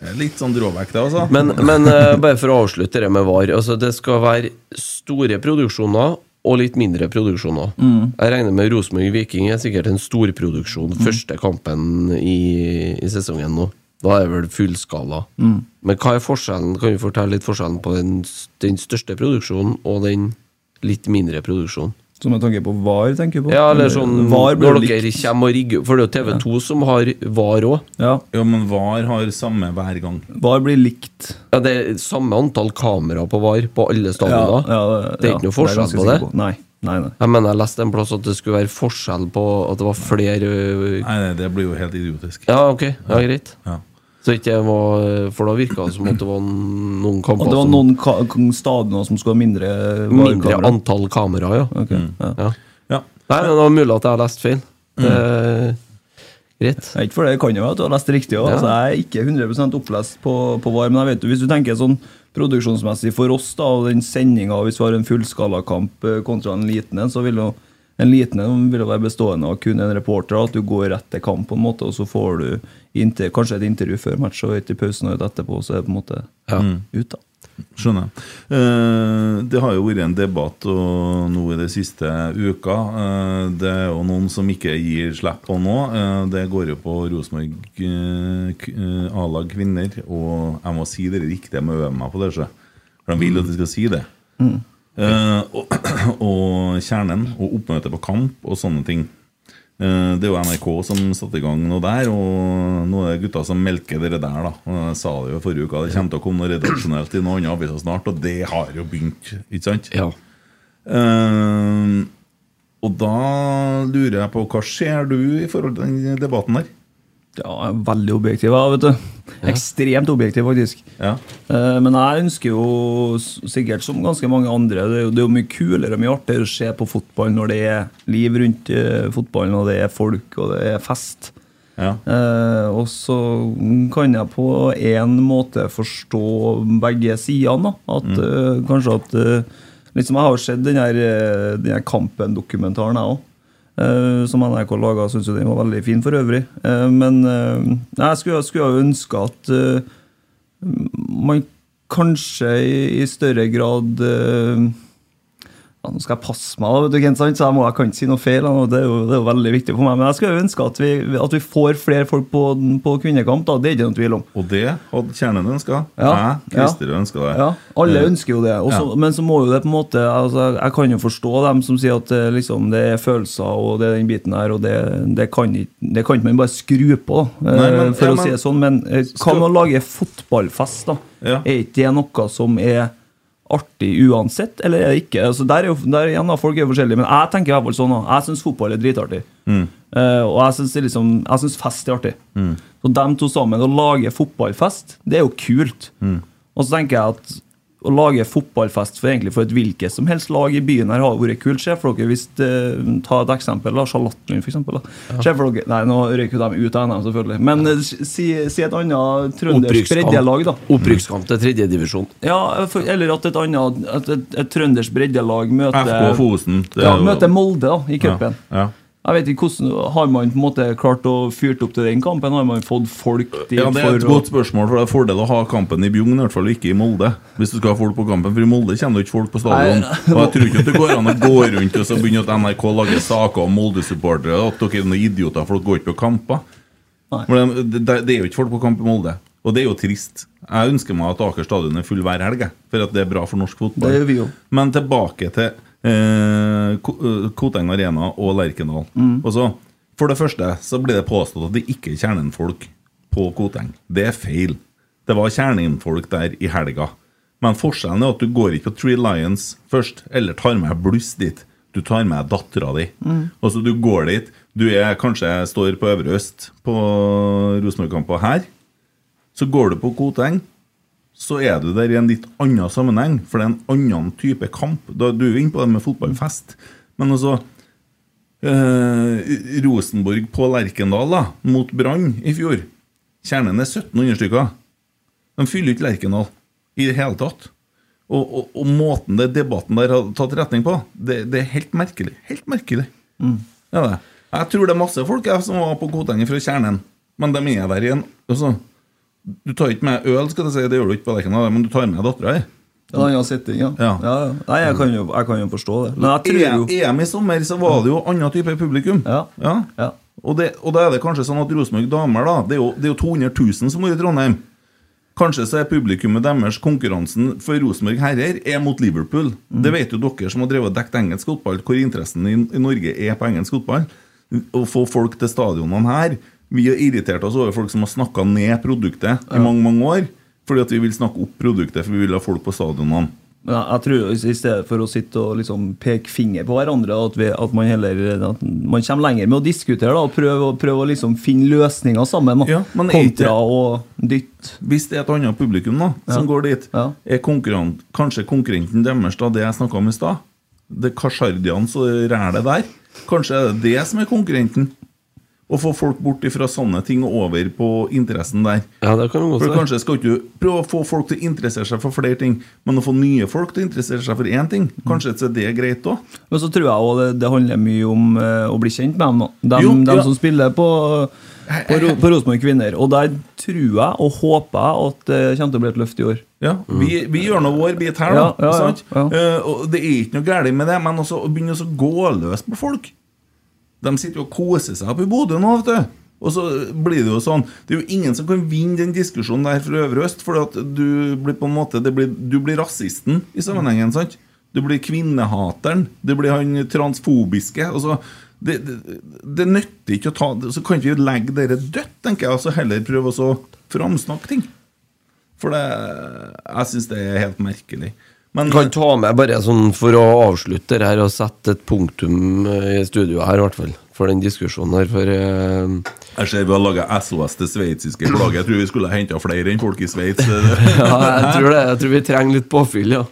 S1: Det er Litt sånn dråvekt, det, altså.
S3: Men, men eh, bare for å avslutte det med VAR. Altså, det skal være store produksjoner og litt mindre produksjoner. Jeg regner med Rosenborg Viking er sikkert en storproduksjon. Første kampen i, i sesongen nå. Da er det vel fullskala. Men hva er forskjellen? Kan du fortelle litt forskjellen på den, s- den største produksjonen og den litt mindre produksjonen?
S4: Så med tanke på VAR, tenker du på?
S3: Ja, eller sånn
S4: VAR blir
S3: når
S4: jo
S3: dere
S4: likt.
S3: kommer og rigger For det er jo TV2 som har VAR òg.
S4: Ja,
S1: Ja, men VAR har samme hver gang.
S4: VAR blir likt.
S3: Ja, det er samme antall kamera på VAR på alle stadioner. det er
S4: ja,
S3: ikke noe
S4: jeg
S3: forskjell
S4: ganske
S3: på det.
S4: sikker Nei, nei, nei.
S3: Jeg mener jeg leste en plass at det skulle være forskjell på at det var flere ø,
S1: Nei, nei, det blir jo helt idiotisk.
S3: Ja, ok, ja, greit.
S1: Ja.
S3: Så ikke det var eh, For da virka det som at det var noen
S4: Og
S3: kamper
S4: det var
S3: som-
S4: noen ka- stadioner som skulle ha mindre
S3: Mindre Mm.
S4: VAR-kamera.
S3: antall kameraer, ja.
S4: Ok, ja.
S3: ja.
S1: ja.
S3: Nei, men det var mulig at jeg har lest feil.
S4: Mm.
S3: Eh, greit.
S4: Det er ikke for det, det kan jo være at du har lest riktig også.
S3: Ja.
S4: Altså, jeg er ikke 100 opplest på, på VAR, men jeg vet jo, hvis du tenker sånn produksjonsmessig for oss, da, og den sendinga hvis vi har en fullskalakamp eh, kontra en liten en, så vil jo en liten en vil jo være bestående av kun en reporter. At du går rett til kamp, på en måte, og så får du inntil, kanskje et intervju før match og et i pausen og et etterpå, så er det på en måte
S3: Ja.
S4: ut, da.
S1: Skjønner. Eh, Det har jo vært en debatt og nå i de siste uka. Eh, Det er jo noen som ikke gir slipp på nå. Eh, Det går jo på Rosenborg eh, k- eh, A-lag kvinner. Og jeg må si det riktig, jeg må øve meg på det. sjø. For de vil at jeg skal si det. Eh, og, <clears throat> og kjernen, og oppmøte på kamp og sånne ting. Eh, Det er jo NRK som satte i gang noe der, og nå er det gutta som melker dere der. da Og Jeg sa det jo forrige uke, det kommer til å komme noe redaksjonelt i noen andre aviser snart, og det har jo begynt. ikke sant?
S3: Ja.
S1: Eh, og da lurer jeg på, hva ser du i forhold til den debatten der?
S4: Ja, jeg er veldig objektiv, jeg, vet du. Ekstremt objektiv, faktisk.
S1: Ja,
S4: Eh, Men jeg ønsker jo, s- sikkert som ganske mange andre, det er jo, det er jo mye kulere og mye artigere å se på fotball når det er liv rundt eh, fotballen, og det er folk, og det er fest.
S1: ja,
S4: Eh, og så kan jeg på en måte forstå begge sidene. da. At eh, kanskje at eh, liksom Jeg har jo sett den her, eh, den her Kampen-dokumentaren, jeg òg. som NRK laga. Syns jo den var veldig fin for øvrig. Eh, men eh, jeg skulle, skulle jo ønske at eh, man kanskje i, i større grad eh, ja, nå skal jeg passe meg, da, vet du, ikke sant? så jeg, må, jeg kan ikke si noe feil. da, og Det er jo, det er jo veldig viktig for meg. Men jeg skulle jo ønske at vi, at vi får flere folk på, på kvinnekamp. da, Det er ikke noen tvil om.
S1: Og det hadde kjernen ønska.
S4: Ja,
S1: jeg, Christer, ønska det.
S4: Ja, alle
S1: Eh,
S4: ønsker jo det. Også,
S1: ja.
S4: Men så må jo det på en måte altså, Jeg kan jo forstå dem som sier at eh, liksom, det er følelser og det er den biten her, og det, det, kan, ikke, det kan ikke man bare skru på, da, eh,
S1: Nei, men- ja,
S4: for å si
S1: men-
S4: det sånn. Men eh, hva med å lage fotballfest, da?
S1: Ja.
S4: Er ikke det noe som er artig uansett, eller er det ikke? Altså, der er jo, der igjen da, Folk er jo forskjellige, men jeg tenker i hvert fall sånn. da. Jeg syns fotball er dritartig. Eh, og jeg syns liksom, jeg synes fest er artig. Så de to sammen, å lage fotballfest, det er jo kult. Og så tenker jeg at å lage fotballfest for egentlig for et hvilket som helst lag i byen her har vært kult. Se for dere hvis eh, Ta et eksempel. da, Charlottenlund, for eksempel. Da. Se for dere, nei, nå røyker jo de ut av NM, selvfølgelig. Men eh, si, si et annet trøndersk breddelag, da.
S3: Opprykkskamp, opprykkskamp til tredjedivisjon.
S4: Ja, for, eller at et annet at et, et trøndersk breddelag møter
S1: FK Fosen. det er
S4: ja,
S1: jo-
S4: møter Molde da, i cupen.
S1: Ja, ja.
S4: Jeg vet ikke hvordan Har man på en måte klart å fyrt opp til den kampen? Har man fått folk dit
S1: Ja, Det er et
S4: for
S1: godt spørsmål, for det er fordel å ha kampen i Bjugn, i hvert fall ikke i Molde. Hvis du skal ha folk på kampen, for i Molde kommer det ikke folk på stadion.
S4: Nei.
S1: Og jeg tror ikke at det går an å gå rundt og så begynne at NRK lager saker om Molde-supportere, at dere er noen idioter, for dere går ikke på kamper.
S4: Nei.
S1: Men det, det- det er jo ikke folk på kamp i Molde, og det er jo trist. Jeg ønsker meg at Aker stadion er full hver helg, jeg, for at det er bra for norsk fotball.
S4: Det gjør vi jo.
S1: Men tilbake til eh, Ko- eh, Koteng Arena og Lerkendal. Og så, for det første så ble det påstått at det ikke er kjernenfolk på Koteng. Det er feil. Det var kjernenfolk der i helga. Men forskjellen er at du går ikke på Tree Lions først, eller tar med bluss dit. Du tar med dattera di. Altså, du går dit, Du er kanskje står på Øvre Øst på Rosenborg-kamper her. Så går du på Koteng, så er du der i en litt annen sammenheng, for det er en annen type kamp. Da, du er jo inne på det med fotballfest. Men altså eh, Rosenborg på Lerkendal da, mot Brann i fjor. Kjernen er 1700 stykker. De fyller ikke Lerkendal i det hele tatt. Og, og, og måten det debatten der har tatt retning på, det, det er helt merkelig. Helt merkelig. Det er det. Jeg tror det er masse folk jeg, som var på Koteng fra Kjernen, men de er der igjen. Altså, du tar ikke med øl, skal du si, det gjør du ikke på Lerkendal, men du tar med dattera di.
S4: Ja, ja, sitting, ja.
S1: Ja.
S4: Ja, ja. Nei, jeg kan, jo, jeg kan jo forstå det. Men jeg tror jo
S1: E- EM i sommer så var det jo annen type publikum.
S4: Ja. Ja.
S1: Og, det, og da er det kanskje sånn at Rosenborg damer, da, det er, jo, det er jo 200 000 som bor i Trondheim. Kanskje så er publikummet deres konkurransen for Rosenborg herrer er mot Liverpool.
S4: Mm.
S1: Det vet jo dere som har drevet og dekket engelsk fotball, hvor interessen i, i Norge er på engelsk fotball. Å få folk til stadionene her Vi har irritert oss over folk som har snakka ned produktet i mange mange år, fordi at vi vil snakke opp produktet, for vi vil ha folk på stadionene.
S4: Men jeg, jeg tror jo i stedet for å sitte og liksom peke finger på hverandre, at, vi, at man heller at man kommer lenger med å diskutere da, og prøve, å- prøve å liksom finne løsninger sammen. Da,
S1: Ja, men er ikke-
S4: kontra å dytte.
S1: Hvis det er et annet publikum da, som går dit,
S4: Ja.
S1: er konkurren- kanskje konkurrenten deres da, det jeg snakka om i stad? Det Kasjardians og rælet der? Kanskje er det det som er konkurrenten? Å få folk bort ifra sånne ting og over på interessen der.
S3: Ja, det kan du godt
S1: For
S3: si.
S1: kanskje skal ikke du prøve å få folk til å interessere seg for flere ting, men å få nye folk til å interessere seg for én ting, kanskje så er det greit òg?
S4: Men så tror jeg også det, det handler mye om eh, å bli kjent med dem. da. De,
S1: Jo,
S4: de
S1: ja.
S4: som spiller på, på, Ro- på Rosenborg Kvinner. Og der tror jeg og håper jeg at det kommer til å bli et løft i år.
S1: Ja, vi, vi gjør nå vår bit her, da.
S4: Ja, ja, ja,
S1: sant?
S4: ja.
S1: Eh, og det er ikke noe galt med det, men også å begynne å gå løs på folk De sitter jo og koser seg oppe i Bodø nå, vet du. Og så blir det jo sånn Det er jo ingen som kan vinne den diskusjonen der fra Øvre Øst, for at du blir på en måte det blir, Du blir rasisten i sammenhengen, sant? Du blir kvinnehateren. Du blir han transfobiske. Altså, det, det, det nytter ikke å ta Så kan ikke vi legge dere dødt, tenker jeg, og så heller prøve å så framsnakke ting. For det Jeg syns det er helt merkelig. Men
S3: Kan ta med bare sånn for å avslutte det her og sette et punktum eh, i studioet her, i hvert fall. For den diskusjonen her, for eh,
S1: jeg ser vi har laga SOS til sveitsiske flagget. Jeg tror vi skulle ha henta flere enn folk i Sveits. <laughs>
S3: Ja, jeg tror det. Jeg tror vi trenger litt påfyll, ja.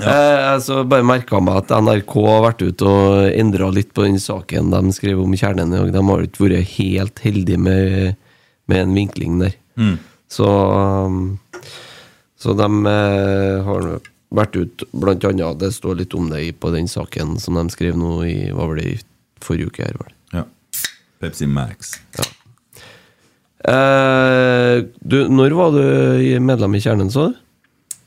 S3: Eh, jeg så bare merka meg at NRK har vært ute og endra litt på den saken de skrev om kjernen i dag. De har jo ikke vært helt heldige med, med en vinkling der. Så, um, så de eh, har vært ute, blant annet Det står litt om det i- på den saken som de skrev nå i hva var det, i forrige uke. her var det
S1: Ja. Pepsi Max.
S3: Eh, du, Når var du i- medlem i Kjernen, sa du?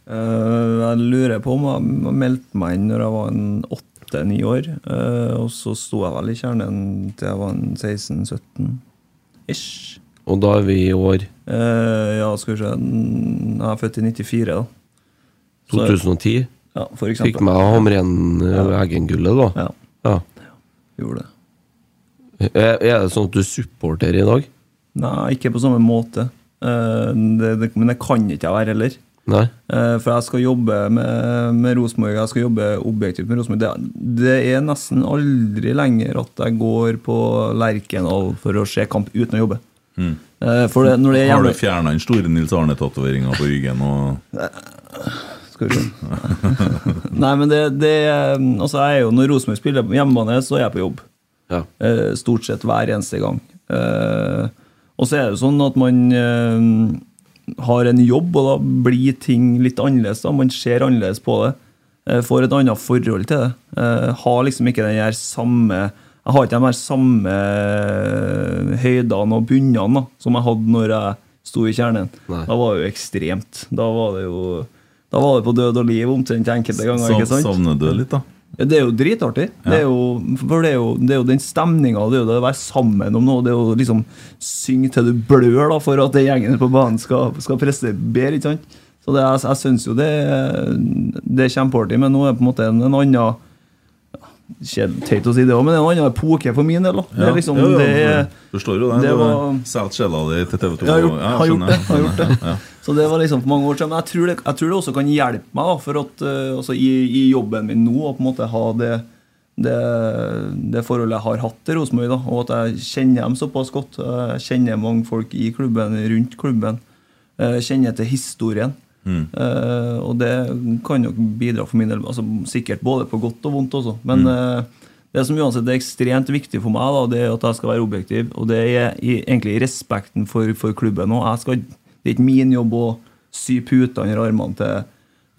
S4: Eh, jeg lurer på om jeg meldte meg inn når jeg var en åtte-ni år. eh, og så sto jeg vel i kjernen til jeg var en 16-17 ish.
S3: Og da er vi i år
S4: Eh, ja, skal vi se Jeg er født i 94, da. Så-
S3: 2010.
S4: Ja, for eksempel.
S3: Fikk meg Hamren eh, Eggen-gullet, da.
S4: Ja,
S3: Ja.
S4: gjorde det.
S3: Er er det sånn at du supporter i dag?
S4: Nei, ikke på samme måte. Eh, det, det, men det kan ikke jeg være heller.
S3: Nei?
S4: Eh, for jeg skal jobbe med, med Rosenborg. Jeg skal jobbe objektivt med Rosenborg. Det, det er nesten aldri lenger at jeg går på Lerkendal for å se kamp uten å jobbe. Eh, for det, når det
S1: Mm.
S4: er
S1: Har
S4: hjemme
S1: du fjerna den store Nils Arne-tatoveringa på ryggen?
S4: <laughs>
S1: Og...
S4: Skal vi se. <laughs> Nei, men det, det eh, Altså, jeg er jo, når Rosenborg spiller på hjemmebane, så er jeg på jobb.
S3: Ja.
S4: Eh, Stort sett hver eneste gang. Eh, Og så er det jo sånn at man eh, har en jobb, og da blir ting litt annerledes. da, Man ser annerledes på det. Eh, Får et annet forhold til det. Eh, Har liksom ikke den her samme Jeg har ikke de her samme eh, høydene og bunnene da, som jeg hadde når jeg sto i kjernen.
S3: Nei.
S4: Da var det jo ekstremt. Da var det jo da var det på død og liv omtrent enkelte ganger.
S1: Sav-
S4: ikke sant?
S1: Savner du det litt, da?
S4: Ja, det er jo dritartig. Det, er jo, for det, er jo, det er jo den stemninga, det er jo det å være sammen om noe. Det er jo liksom synge til du blør da, for at den gjengen på banen skal, skal prestere bedre. ikke sant? Så det, jeg, jeg syns jo det, er- det er kjempeartig, men nå er det på en måte en, en annen ja, kjedelig- Teit å si det òg, men det er en annen epoke for min del. da. Det
S1: Ja.
S4: er liksom,
S1: Jo, jo,
S4: det er...
S1: Forstår jo det.
S4: det
S1: det var...
S4: var-
S1: Solgt sjela di til TV 2.
S4: Jeg har gjort, har gjort det. Har gjort det.
S1: sånn, Ja.
S4: Så det var liksom for mange år siden. Men jeg tror det, jeg tror det også kan hjelpe meg da, for at, eh, altså, i, i jobben min nå å på en måte ha det det, det forholdet jeg har hatt til Rosenborg, da, og at jeg kjenner dem såpass godt. Jeg kjenner mange folk i klubben, rundt klubben. Jeg kjenner til historien. Eh, og det kan nok bidra for min del, altså, sikkert både på godt og vondt også. Men eh, det som uansett er ekstremt viktig for meg, da, det er at jeg skal være objektiv. Og det er i, egentlig i respekten for, for klubben òg. Det er ikke min jobb å sy puter under armene til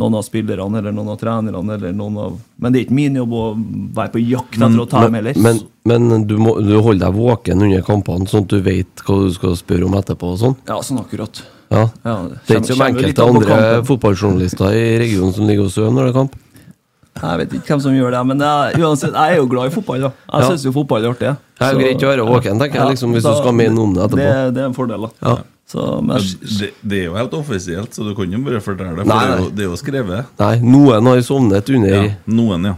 S4: noen av spillerne eller noen av trenerne. Eller noen av, men det er ikke min jobb å være på jakt etter å ta dem heller.
S3: Men, men du, må, du holder deg våken under kampene, sånn at du vet hva du skal spørre om etterpå og sånn?
S4: ja, sånn akkurat.
S3: Ja.
S4: Ja, det
S3: Det er
S4: kommer-
S3: ikke som
S4: kommer jo litt
S3: enkelte
S4: an på
S3: andre
S4: kampen.
S3: fotballjournalister i regionen som ligger og sover når det er kamp.
S4: Jeg vet ikke hvem som gjør det, men jeg, uansett, jeg er jo glad i fotball. da. Jeg
S3: Ja.
S4: synes syns jo fotball er artig.
S3: Det er jo
S4: Så-
S3: greit å være våken, tenker jeg, liksom, hvis du skal mene noe om det etterpå.
S4: Det, det er en fordel, da.
S3: Ja.
S4: Så, men,
S1: Det, det er jo helt offisielt, så du kan jo bare fortelle det. For
S3: Nei,
S1: det, er
S3: nei.
S1: jo, det er jo skrevet.
S3: Nei, noen har sovnet under
S1: Ja, noen, ja.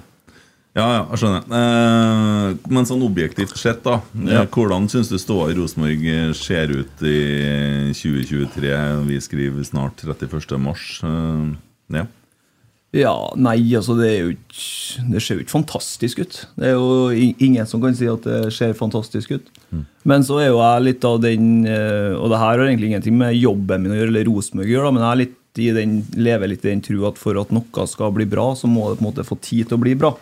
S1: Ja, ja, jeg skjønner. Eh, men sånn objektivt sett, da. eh, Hvordan syns du ståa i Rosenborg eh, ser ut i 2023? Vi skriver snart 31. mars. eh, ja.
S4: ja, nei, altså, det er jo ikke Det ser jo ikke fantastisk ut. Det er jo i- ingen som kan si at det ser fantastisk ut. Men så er jo jeg litt av den eh, Og det her har egentlig ingenting med jobben min å gjøre, eller Rosenborg å gjøre, da, men jeg er litt i den, lever litt i den tro at for at noe skal bli bra, så må det på en måte få tid til å bli bra.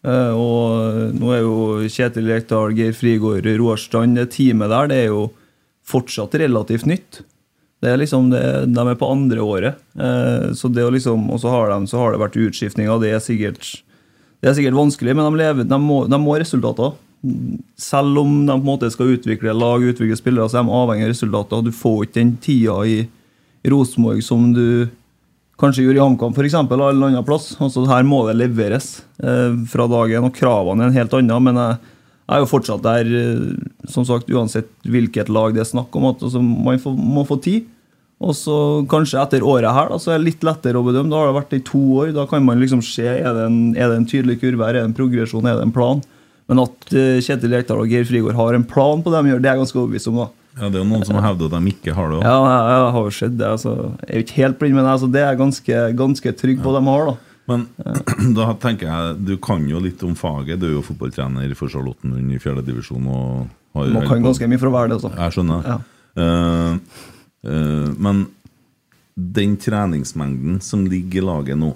S4: Eh, Og nå er jo Kjetil Rekdal, Geir Frigård, Roar Strand Det teamet der det er jo fortsatt relativt nytt. Det er liksom det, De er på andre året. Eh, Så det å liksom, Og så har, de, så har det vært utskiftninger. Det er sikkert, det er sikkert vanskelig, men de, lever, de, må, de må resultater. Selv om de på en måte skal utvikle lag, utvikle spillere, så er de avhengig av resultater. Du får ikke den tida i Rosenborg som du kanskje gjorde i HamKam for eksempel, eller en annen plass. Altså, her må det leveres eh, fra dagen, og kravene er en helt annen. Men jeg, jeg er jo fortsatt der, eh, som sagt, uansett hvilket lag det er snakk om, at altså, man får, må få tid. Og så kanskje etter året her, da, så er det litt lettere å bedømme. Da har det vært i to år. Da kan man liksom se er det en, er det en tydelig kurve her, er det en progresjon, er det en plan. Men at eh, Kjetil Rekdal og Geir Frigård har en plan på det de gjør, det er jeg ganske overbevist om. da.
S1: ja, det er jo noen som hevder at de ikke har det òg.
S4: Ja, jeg, jeg har jo sett det. Altså. Jeg er jo ikke helt blind, men altså, det er jeg ganske, ganske trygg på at de har. da.
S1: Men <clears throat> da tenker jeg, du kan jo litt om faget. Du er jo fotballtrener for Charlottenlund i fjerde divisjon. og har-
S4: Man kan ganske mye for å være det. Altså.
S1: Jeg skjønner.
S4: Ja.
S1: Eh, eh, men den treningsmengden som ligger i laget nå,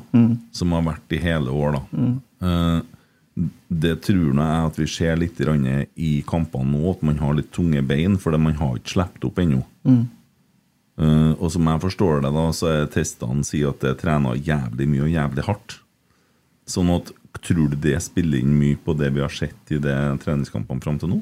S1: som har vært i hele år, da eh, det tror nå jeg at vi ser litt grann i kampene nå, at man har litt tunge bein, fordi man har ikke sluppet opp ennå. Eh, og som jeg forstår det, da, så er testene sier at det er trena jævlig mye og jævlig hardt. Sånn at tror du det spiller inn mye på det vi har sett i de treningskampene fram til nå?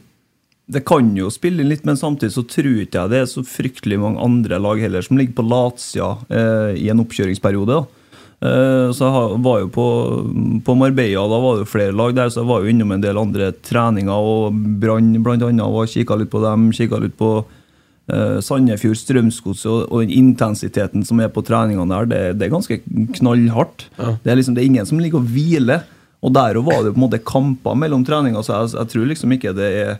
S4: Det kan jo spille inn litt, men samtidig så tror ikke jeg det er så fryktelig mange andre lag heller som ligger på latsida eh, i en oppkjøringsperiode. da. Eh, så jeg har- var jo på, på Marbella, da var det jo flere lag der, så jeg var jo innom en del andre treninger og Brann bl.a. og kikka litt på dem. Kikka litt på eh, Sandefjord, Strømsgodset og, og den intensiteten som er på treningene der, det, det er ganske knallhardt. Det, er liksom, det er ingen som ligger og hviler. Og der og var det jo på en måte kamper mellom treninger, så jeg, jeg tror liksom ikke det er eh,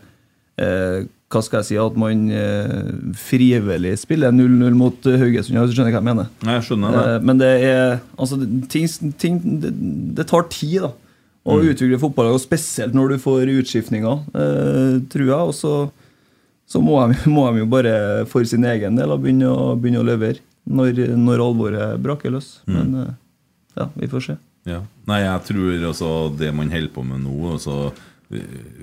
S4: Hva skal jeg si At man eh, frivillig spiller 0-0 mot eh, Haugesund, hvis du skjønner hva jeg mener.
S1: Nei, jeg skjønner det.
S4: Eh, Men det er Altså, det- ting, ting det, det tar tid, da. Å
S1: Mm.
S4: utvikle fotballag, og spesielt når du får utskiftninger, eh, tror jeg. Og så, så må, de, <laughs> må de jo bare for sin egen del da, begynne å, begynne å levere når, når alvoret braker løs.
S1: Mm.
S4: Men eh, ja, vi får se.
S1: Ja. Nei, jeg tror altså det man holder på med nå altså,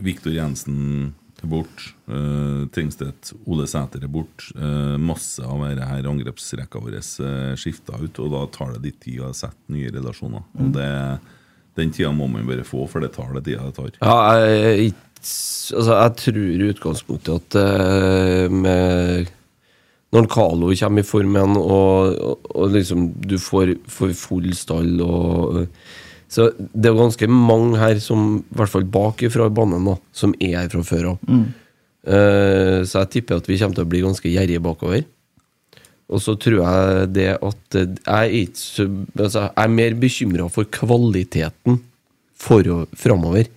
S1: Viktor Jensen er bort, eh, Tingstedt, Ole Sæter er bort. eh, masse av dette her angrepsrekka vår uh, skifta ut, og da tar det litt tid å sette nye relasjoner.
S3: Mm.
S1: Og det, den tida må man bare få, for det tar det tida det tar.
S3: Ja, jeg, er ikke- altså, jeg tror i utgangspunktet at eh, med, når Carlo kommer i form igjen, og, og, og liksom du får, får full stall og Så det er jo ganske mange her, som, i hvert fall bak fra banen, da, som er her fra før av. Eh, så jeg tipper at vi kommer til å bli ganske gjerrige bakover. Og så tror jeg det at eh, Jeg er, ikke, så- altså, jeg er mer bekymra for kvaliteten framover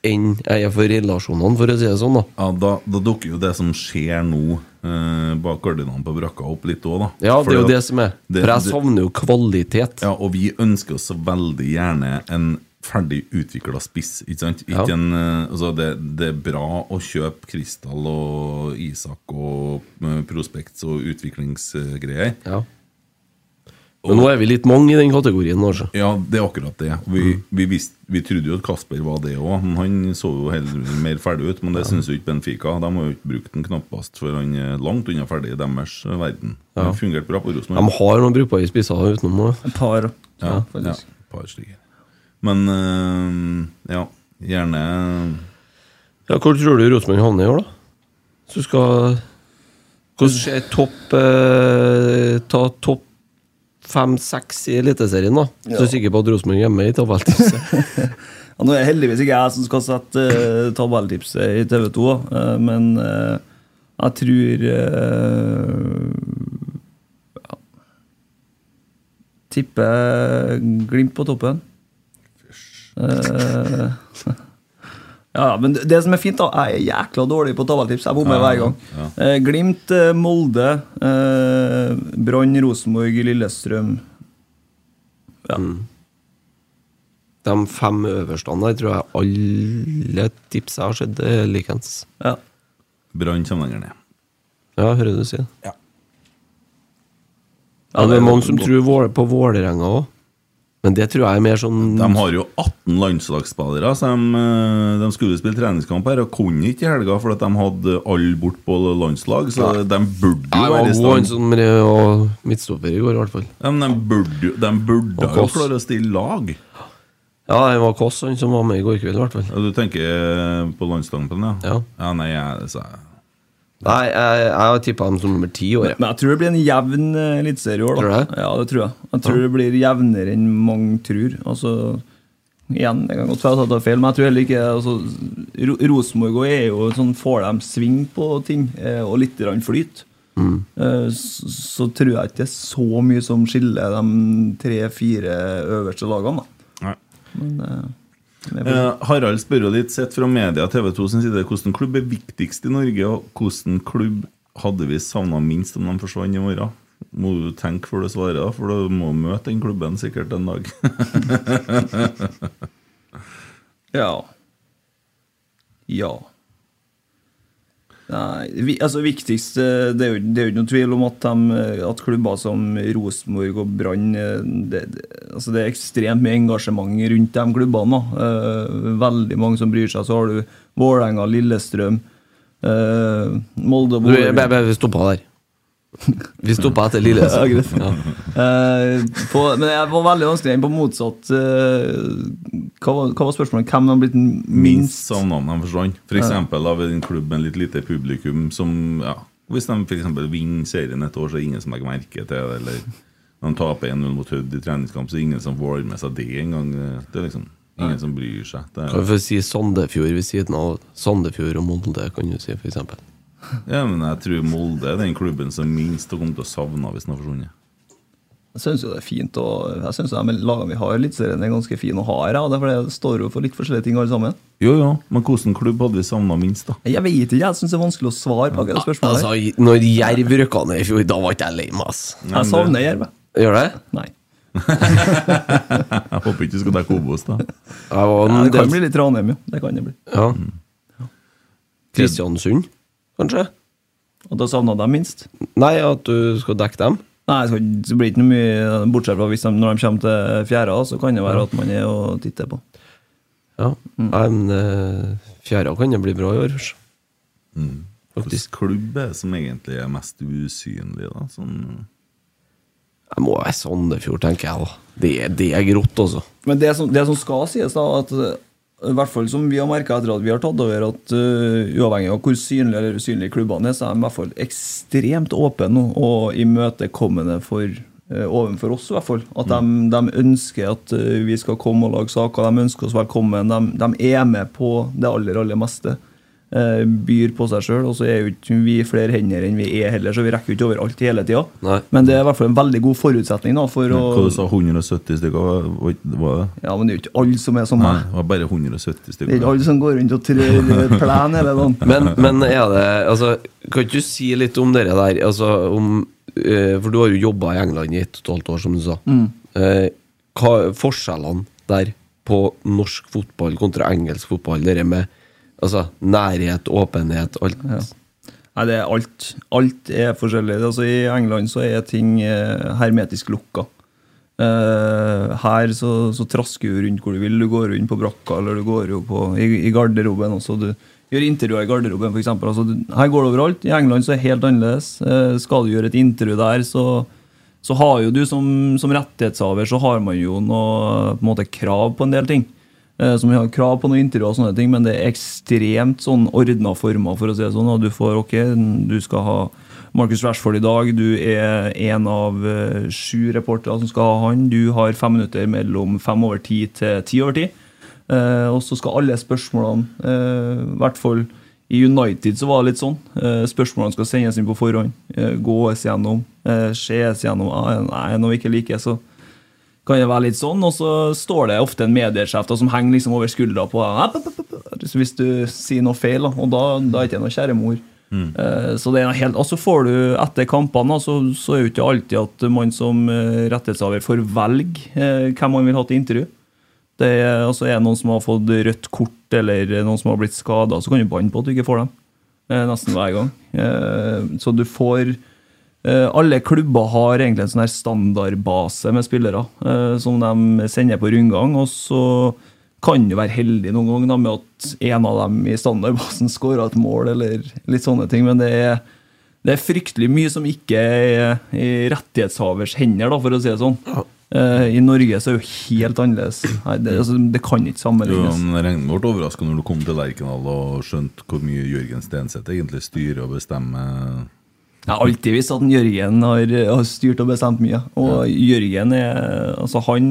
S3: enn jeg er for relasjonene, for å si det sånn. da
S1: Ja, da, da dukker jo det som skjer nå eh, bak gardinene på brakka, opp litt òg, da.
S3: Ja, det er
S1: Fordi
S3: jo
S1: at
S3: det som er.
S1: det-
S3: For jeg
S1: det-
S3: savner jo kvalitet.
S1: Ja, og vi ønsker oss så veldig gjerne en ferdig utvikla spiss. Ikke sant?
S3: Ja.
S1: Ikke en, eh, altså det, det er bra å kjøpe Kristall og Isak og eh, Prospects og utviklingsgreier.
S3: Ja. Men nå er vi litt mange i den kategorien, altså. kanskje.
S1: Ja, det er akkurat det. Og Vi,
S3: Mm.
S1: vi, visste- vi trodde jo at Kasper var det òg. Han så jo heller mer ferdig ut, men det synes syns jo ikke Benfica. De har jo ikke brukt den knappast, for han er langt unna ferdig i deres eh, verden. Han
S3: Ja.
S1: fungerte bra på
S3: De
S1: Rosenborg.
S3: har noen brukbare spisser utenom nå.
S4: Et par.
S1: Ja, ja,
S4: faktisk.
S1: et par stykker. Men eh, ja, gjerne
S3: Ja, hvor tror du Rosenborg havner i år, da? Hvis du skal Hvordan ser topp eh, Ta topp fem-seks i Eliteserien, da? Så er jeg sikker på at Rosenborg er med i <laughs> tabelltipset.
S4: Ja, nå er det heldigvis ikke jeg som skal sette eh, tabelltipset i TV 2, men eh, jeg tror eh, ja. Tipper Glimt på toppen. Eh, <laughs> ja, men det som er fint, da Jeg er jækla dårlig på tabelltips. Jeg bommer hver gang. Eh, Glimt, eh, Molde, eh, Brann, Rosenborg, Lillestrøm.
S3: De fem øverste der tror jeg alle tips jeg har eh, sett, er likens.
S4: Ja.
S1: Brann kommer lenger ned.
S3: Ja, hører du sier det. Ja. det er mange som tror Vål- på Vålerenga òg, men det tror jeg er mer sånn
S1: De har jo 18 landslagsspillere, så de, eh, de skulle spille treningskamp her og kunne ikke i helga fordi de hadde alle bort på landslag, så de burde
S3: Jeg
S1: jo
S3: var sånn-
S1: være i
S3: god han
S1: stand.
S3: som re- og midtstopper i går, i hvert fall.
S1: Ja, men de burde, jo- de burde
S3: Og
S1: jo
S3: Koss.
S1: klare å stille lag.
S3: Ja, det var Kåss han som var med i går kveld, i hvert fall.
S1: Ja, du tenker eh, på landskampen, ja?
S3: Ja.
S1: nei, jeg, så, jeg-
S3: Nei, jeg, jeg har tippa dem som nummer ti i år. jeg.
S4: Men jeg tror det blir en jevn eh, eliteserie i år. da.
S3: Tror du det?
S4: Ja, det tror jeg. Jeg tror det blir jevnere enn mange tror. Altså, igjen, det kan godt være at jeg tar feil, men jeg tror heller ikke altså, Ro Rosenborg også er jo sånn, får de sving på ting, eh, og litt grann flyt,
S3: Mm.
S4: eh, så, så tror jeg ikke det er så mye som skiller de tre-fire øverste lagene. Da.
S1: nei.
S4: Men jeg-
S1: Eh, Harald spør jo litt, sett fra media TV 2 sin side, hvordan klubb er viktigst i Norge, og hvordan klubb hadde vi savna minst om de forsvant i morgen? Må du tenke før du svarer, da, for du må møte den klubben sikkert en dag.
S4: Ja. Ja. Nei, vi, altså viktigste det er, jo, det er jo ikke noen tvil om at, de, at klubber som Rosenborg og Brann eh, det, det, altså det er ekstremt mye engasjement rundt de klubbene. da. Eh, veldig mange som bryr seg. Så har du Vålerenga, Lillestrøm, eh, Molde og
S3: Du, jeg-
S4: Vålerenga.
S3: jeg- jeg- Vi stoppa der. <laughs> Vi stoppa etter Lille.
S4: Ja, greit. Eh, på, men jeg var veldig vanskelig inn på motsatt eh, hva, var, hva var spørsmålet? Hvem har blitt
S1: minst
S4: minst
S1: savna om de forsvant. F.eks. av en klubb med litt lite publikum som ja, Hvis de for eksempel vinner serien et år, så er det ingen som legger merke til det. Eller når de taper 1-0 mot Hødd i treningskamp, så er det ingen som får med seg det engang. Det er liksom ingen som bryr seg. Det
S3: Kan
S1: er,
S3: vi si Sandefjord ved siden av Sandefjord og Molde, kan du si, for eksempel.
S1: ja, men jeg tror Molde er den klubben som minst har kommet til å savne hvis den har forsvunnet.
S4: Jeg syns jo det er fint, og jeg syns de lagene vi har i Eliteserien, er ganske fine å ha her. ja, Det er fordi det står jo for litt forskjellige ting, alle sammen.
S1: Jo, jo, men hvilken klubb hadde vi savna minst, da?
S4: Jeg vet ikke, jeg syns det er vanskelig å svare på akkurat det spørsmålet.
S3: Altså,
S4: her.
S3: i- når Jerv røkka ned i fjor, da var ikke jeg lei meg, ass.
S4: Jeg savner Jerv. jeg.
S3: Gjør det?
S4: Nei.
S1: Jeg håper ikke du skal dekke Obos, <laughs> da.
S3: Jeg
S4: Ja,
S3: var en
S4: Mm, det kan
S3: del-
S4: bli litt Ranheim, jo. Det kan det bli.
S3: Ja. Mm. Kristiansund, kanskje?
S4: Og da savna de minst.
S3: Nei, at du skal dekke dem?
S4: Nei, så det blir ikke noe mye Bortsett fra hvis de, når de kommer til fjerde, så kan det være at man er og titter på.
S3: Ja. Nei, men eh, fjerde kan det bli bra i år. altså.
S1: Hvilken klubb er det som egentlig er mest usynlig, da? Sånn,
S3: Jeg må være Sandefjord, tenker jeg. da. Det, er- det er grått, altså.
S4: Men det som, det som skal sies, da, at eh, i hvert fall som vi har merka etter at vi har tatt over, at eh, uavhengig av hvor synlige eller usynlige klubbene er, så er de i hvert fall ekstremt åpne nå og imøtekommende for eh, Overfor oss, i hvert fall. At de,
S1: Mm.
S4: de ønsker at eh, vi skal komme og lage saker. De ønsker oss velkommen. De, de er med på det aller, aller meste. Eh, byr på seg sjøl. Og så er jo ikke vi flere hender enn vi er heller, så vi rekker jo ikke overalt hele tida.
S3: Nei.
S4: Men det er i hvert fall en veldig god forutsetning da, for å
S1: hva du sa 170 stykker? Var var det?
S4: Ja, men det er jo ikke alle som er som
S1: Nei,
S4: meg.
S1: det var bare 170
S4: Det er
S1: stykker.
S4: ikke alle som går rundt og <laughs> trør plen hele dagen.
S3: Men, men er det altså, Kan ikke du si litt om det der? Altså, om, eh, for du har jo jobba i England i ett og et halvt år, som du sa. Eh, hva er forskjellene der på norsk fotball kontra engelsk fotball. Det med altså, nærhet, åpenhet, alt.
S4: Nei, det er alt. Alt er forskjellig. Altså, I England så er ting eh, hermetisk lukka. Eh, her så, så trasker du rundt hvor du vil. Du går rundt på brakka eller du går jo på, i, i garderoben også. Du gjør intervjuer i garderoben, f.eks. Altså, du- her går det overalt. I England så er det helt annerledes. Eh, skal du gjøre et intervju der, så, så har jo du som, som rettighetshaver så har man jo noe, på en måte, krav på en del ting. Eh, som har krav på noen intervjuer og sånne ting, men det er ekstremt sånn ordna former, for å si det sånn. Og du får ok, du skal ha Marcus Rashford i dag, du er en av eh, sju reportere som skal ha han. Du har fem minutter mellom fem over ti til ti over ti. Eh, og så skal alle spørsmålene, eh, i hvert fall i United så var det litt sånn. Eh, spørsmålene skal sendes inn på forhånd. Eh, gås gjennom, eh, ses gjennom. Ah, nei, noe vi ikke liker, så kan det være litt sånn, og så står det ofte en mediesjef da, som henger liksom over skuldra på deg. App, app, app, app, hvis- Hvis du sier noe feil, da, og da, da er det ikke noe kjære mor. Eh, Så det er noe helt, og så får du etter kampene, da, så, så er det jo ikke alltid at man som eh, rettighetshaver får velge eh, hvem man vil ha til intervju. Det er, altså er det noen som har fått rødt kort eller noen som har blitt skada, så kan du banne på at du ikke får dem. Eh, nesten hver gang. Eh, så du får eh, Alle klubber har egentlig en sånn her standardbase med spillere eh, som de sender på rundgang. Og så kan du være heldig noen ganger da, med at en av dem i standardbasen <laughs> skårer et mål, eller litt sånne ting. Men det er, det er fryktelig mye som ikke er i rettighetshavers hender, da, for å si det sånn. Eh, I Norge så er det jo helt annerledes. Nei, det, altså, det kan ikke
S1: Du
S4: sammenlignes.
S1: regnet med å bli overraska når du kom til Lerkendal og skjønte hvor mye Jørgen Stenseth egentlig styrer og bestemmer.
S4: Jeg har alltid visst at en Jørgen har, har styrt og bestemt mye. Og Jørgen er, altså, han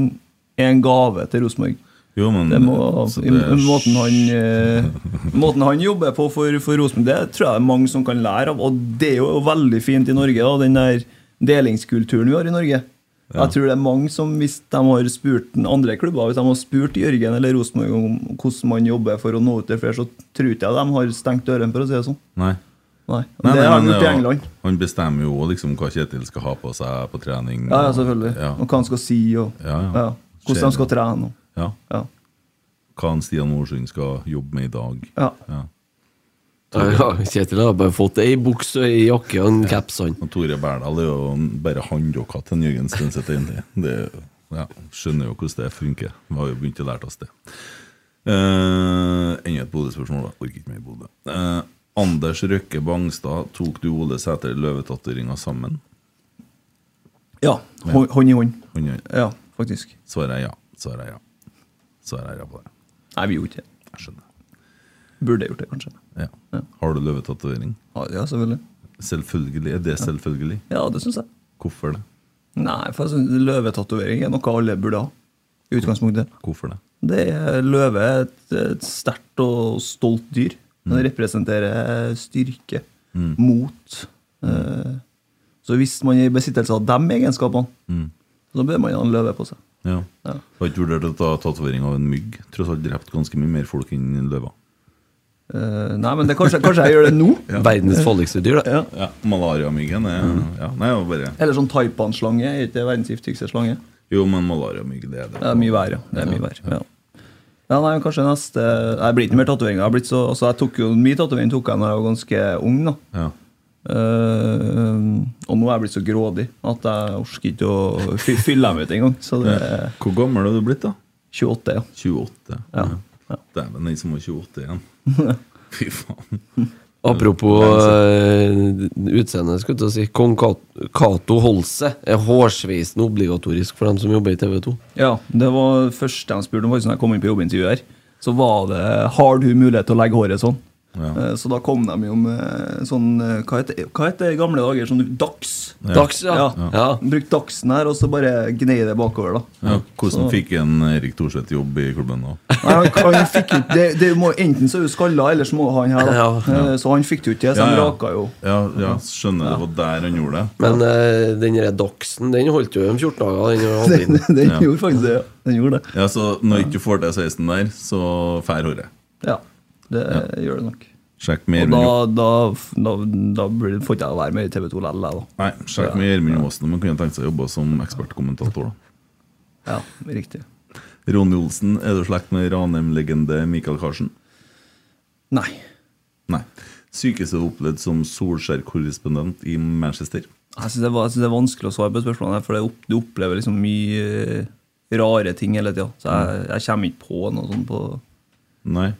S4: er en gave til Rosenborg.
S1: Jo, men
S4: Det må,
S1: så
S4: i, måten, han, eh, måten han jobber på for, for Rosenborg, det tror jeg det er mange som kan lære av. Og det er jo veldig fint i Norge, da, den der delingskulturen vi har i Norge. Jeg tror det er mange som, hvis de har spurt den andre klubber, hvis de har spurt Jørgen eller Rosenborg om hvordan man jobber for å nå ut til flere, så tror ikke jeg de har stengt dørene, for å si det sånn.
S1: Nei.
S4: Nei.
S1: Nei,
S4: det
S1: nei,
S4: har
S1: men
S4: de gjort i
S1: jo-
S4: England.
S1: Han bestemmer jo også liksom hva Kjetil skal ha på seg på trening.
S4: Ja, ja,
S1: og-
S4: selvfølgelig.
S1: Ja,
S4: Og hva han skal si, og
S1: Ja, ja.
S4: hvordan
S1: Skjer
S4: de skal
S1: det.
S4: trene. Og,
S1: ja.
S4: ja.
S1: Hva han Stian Norsund skal jobbe med i dag.
S4: Ja.
S1: Ja.
S3: Ja, Kjetil har bare fått ei bukse, ei jakke og en caps. han.
S1: Og Tore Berdal er jo bare handjokka til en Jørgen Stenseth, egentlig. Det, ja, skjønner jo hvordan det funker. Vi har jo begynt å lære oss det. Eh, Enda et Bodø-spørsmål, da. Orker ikke mer Bodø. Eh, Anders Røkke Bangstad, tok du Ole Sæter løvetatoveringa sammen?
S4: ja. Hånd hånd i hånd.
S1: Han gjør-
S4: Ja, faktisk.
S1: Svarer jeg ja. Svarer jeg ja. Svarer jeg ja på det.
S4: Nei, vi gjorde ikke det.
S1: Jeg skjønner.
S4: Burde gjort det, kanskje.
S1: Ja. Har du løvetatovering?
S4: Ja, ja selvfølgelig.
S1: Selvfølgelig. Er det selvfølgelig?
S4: Ja, det syns jeg.
S1: Hvorfor det?
S4: Nei, for jeg synes løvetatovering er noe alle burde ha. I utgangspunktet.
S1: Hvorfor det?
S4: Det er løve er et, et sterkt og stolt dyr. Det representerer styrke, mot. Eh, så hvis man er i besittelse av de egenskapene, så bør man ha en løve på seg.
S1: Mm. Ja.
S4: Ja.
S1: Har ikke vurdert å ta tatovering av en mygg. Tross alt drept ganske mye mer folk enn løver.
S4: Eh, nei, men det, kanskje, kanskje jeg gjør <laughs> det nå?
S3: Verdens farligste dyr, da.
S4: Ja.
S1: Ja, Malariamyggen er ja, Nei, det var bare
S4: Eller sånn taipanslange. Er ikke det verdens giftigste slange?
S1: Jo, men malariamygg, det er det.
S4: Det er mye verre. Det er mye verre, ja. Ja, nei, kanskje neste Jeg blir ikke mer tatoveringer. Jeg har blitt så- Altså, jeg tok jo Mye tatovering tok jeg da jeg var ganske ung, da.
S1: Ja.
S4: Eh, og nå er jeg blitt så grådig at jeg orker ikke å fy- fylle dem ut engang. Så det er
S1: Hvor gammel er du blitt, da?
S4: 28, ja.
S1: 28?
S4: Ja, ja.
S1: Dæven, den som var 28
S4: <laughs>
S1: igjen. Fy faen.
S3: Apropos eh, utseende, skulle jeg til å si. Kong Kat- Cato Holse er hårsveisen obligatorisk for dem som jobber i TV2.
S4: Ja, det var første de spurte om faktisk når jeg kom inn på jobbintervjuet her. Så var det Har du mulighet til å legge håret sånn?
S1: Ja.
S4: Eh, Så da kom de jo med sånn eh, Hva heter, hva heter det i gamle dager? Sånn dags?
S3: Dags, ja.
S4: Ja.
S3: ja.
S4: Bruk dagsen her, og så bare gnei det bakover, da.
S1: Ja, hvordan
S4: Så-
S1: fikk en Erik Thorseth jobb i klubben nå?
S4: Nei, han, han fikk jo ikke det, det må, Enten så er du skalla, eller så må han her, da. Eh, Så han fikk det jo ikke, så
S1: Ja,
S4: han
S1: ja.
S4: raka jo.
S1: Ja, ja skjønner det var der han gjorde det.
S3: Men eh, den der dagsen, den holdt jo i 14 dager. Den hadde
S4: Den,
S3: inn.
S4: <laughs> den
S1: Ja.
S4: gjorde faktisk det. ja. Den gjorde det.
S1: Ja, Så når ikke du får til 16 der, så fær håret.
S4: Ja, det gjør det nok.
S1: Sjekk med
S4: Og
S1: Gjermund
S4: da,
S1: Jo-
S4: da, da, da blir det- får ikke jeg være med i TV 2 likevel, da.
S1: Nei, sjekk med Gjermund Aasen om han kunne tenkt seg å jobbe som ekspertkommentator. da
S4: Ja, riktig.
S1: Ronny Olsen, er du slekt med Ranheim-legende Michael Karsen?
S4: Nei.
S1: Nei. Sykeste du har opplevd som Solskjær-korrespondent i Manchester?
S4: Jeg syns det, var- jeg synes det er vanskelig å svare på spørsmålene, for det opp, du opplever liksom mye eh, rare ting hele tida. Så jeg, jeg kommer ikke på noe sånt på
S1: Nei.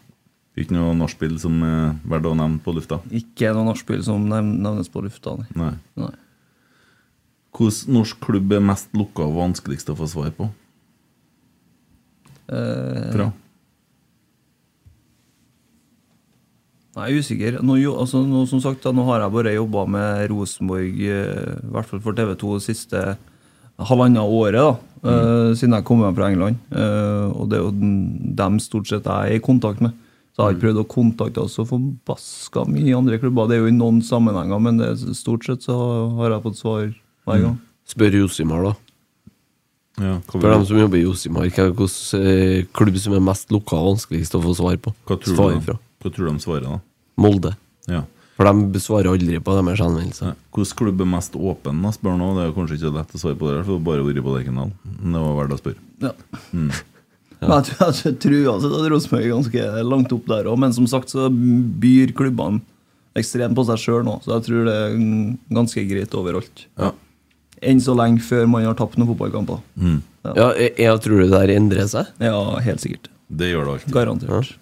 S1: Ikke noe nachspiel som er verdt å nevne på lufta?
S4: Ikke noe nachspiel som nev- nevnes på lufta. Nei.
S1: Nei.
S4: Nei.
S1: Hvilken norsk klubb er mest lukka og vanskeligst å få svar på?
S4: Eh,
S1: Fra?
S4: Nei, jeg er usikker. Nå, jo, altså, nå, som sagt, da, nå har jeg bare jobba med Rosenborg, eh, i hvert fall for TV 2, det siste halvannet året, da, eh, siden jeg kom hjem fra England. Eh, og det er jo den- dem stort sett jeg er i kontakt med. Så jeg har ikke prøvd å kontakte så forbaska mye i andre klubber. Det er jo i noen sammenhenger, men det, er- stort sett så har jeg fått svar hver gang.
S3: Spør Josimar, da.
S1: Ja, hva,
S3: For dem
S1: vil,
S3: som jobber i Josimar, hva- hvilken eh, klubb som er mest lukka og vanskeligst å få svar på?
S1: hva, tror
S3: Svar
S1: du,
S3: fra.
S1: hva tror du de svarer, da?
S3: Molde.
S1: Ja.
S3: For de svarer aldri på deres henvendelser.
S1: Nei. Hvilken klubb er mest åpen? da, spør nå. Det er jo kanskje ikke lett å svare på det, her, for det har bare vært på Lerkendal. Men Det var verdt å spørre.
S4: Ja. <laughs> Men jeg tror, jeg tror altså, at Rosenborg er ganske langt opp der òg, men som sagt så byr klubbene ekstremt på seg sjøl nå, så jeg tror det er mm, ganske greit overalt.
S1: Ja.
S4: Enn så lenge før man har tapt noen fotballkamper.
S1: Mm.
S3: Ja, jeg, jeg tror det der endrer seg.
S4: Ja, helt sikkert.
S1: Det gjør det alltid.
S4: Garantert.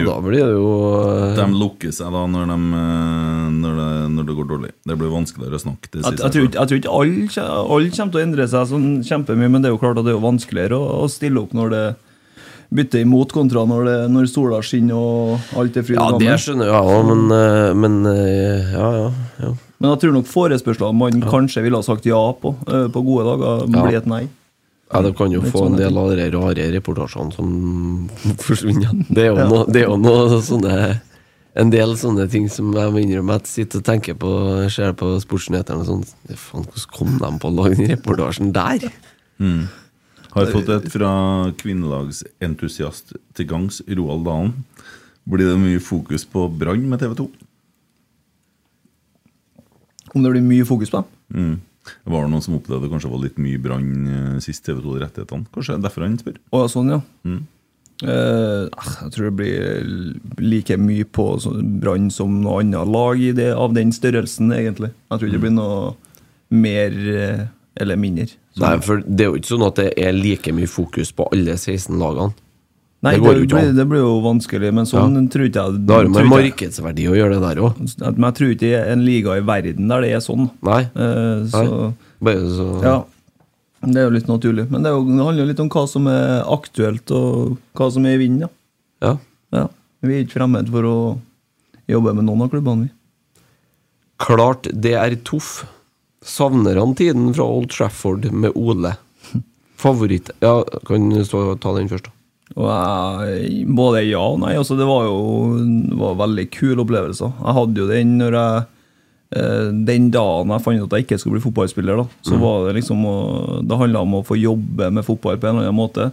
S1: Det er jo-
S3: da blir det jo eh,
S1: De lukker seg da når, de, eh, når, det, når det går dårlig. Det blir vanskeligere å snakke. Det sier
S4: Jeg, jeg,
S1: seg selv.
S4: tror ikke, jeg tror ikke alle, kje- alle kommer til å endre seg sånn kjempemye, men det er jo klart at det er jo vanskeligere å, å stille opp når det bytter imot kontra når, det, når sola skinner og alt er fryd
S3: Ja,
S4: og
S3: det
S4: gammen.
S3: skjønner jeg, ja, men, eh, men eh, Ja, ja. ja.
S4: Men jeg tror nok forespørsler man kanskje ville ha sagt ja på eh, på gode dager,
S3: Ja.
S4: blir et nei.
S3: Ja, De kan jo
S4: Litt
S3: få en
S4: sånne
S3: del
S4: ting.
S3: av de rare reportasjene som <laughs> forsvinner. Det er jo noe, det er jo noe sånne En del sånne ting som jeg må innrømme at jeg sitter og tenker på ser på Sportsnyhetene og sånn Faen, hvordan kom de på å lage den reportasjen der?
S1: Har fått et fra kvinnelagsentusiast til gangs, Roald Dalen. Blir det mye fokus på Brann med TV 2?
S4: Om det blir mye fokus på dem.
S1: Mm. Det var noen som opplevde det kanskje var litt mye Brann eh, sist TV 2 hadde rettighetene. Kanskje det er derfor han spør?
S4: Å ja, sånn, ja.
S3: Mm.
S4: Eh, ah, jeg tror det blir like mye på sånn Brann som noe annet lag i det, av den størrelsen, egentlig. Jeg tror ikke det
S3: Mm.
S4: blir noe mer eh, eller mindre. Så-
S3: Nei, for Det er jo ikke sånn at det er like mye fokus på alle 16 lagene.
S4: Nei,
S3: det
S4: det,
S3: går jo ikke
S4: blir,
S3: an.
S4: det blir jo vanskelig, men sånn tror ikke jeg
S3: Det har jo med
S4: tror ikke jeg-
S3: markedsverdi å gjøre, det der òg.
S4: at- Men jeg tror ikke det er en liga i verden der det er sånn.
S3: Nei.
S4: Eh, så
S3: Bare så
S4: Ja. Det er jo litt naturlig. Men det, er jo, det handler jo litt om hva som er aktuelt, og hva som er i vinden.
S3: Ja.
S4: Ja. Ja. Vi er ikke fremmed for å jobbe med noen av klubbene, vi.
S3: Klart det er Toff. Savner han tiden fra Old Trafford med Ole? Favoritt Ja, kan du stå og ta den først, da?
S4: Og jeg, både ja og nei. Altså, det var jo det var veldig kule opplevelser. Jeg hadde jo den når jeg eh, den dagen jeg fant ut at jeg ikke skulle bli fotballspiller, da, så var det liksom å, det handla om å få jobbe med fotball på en eller annen måte.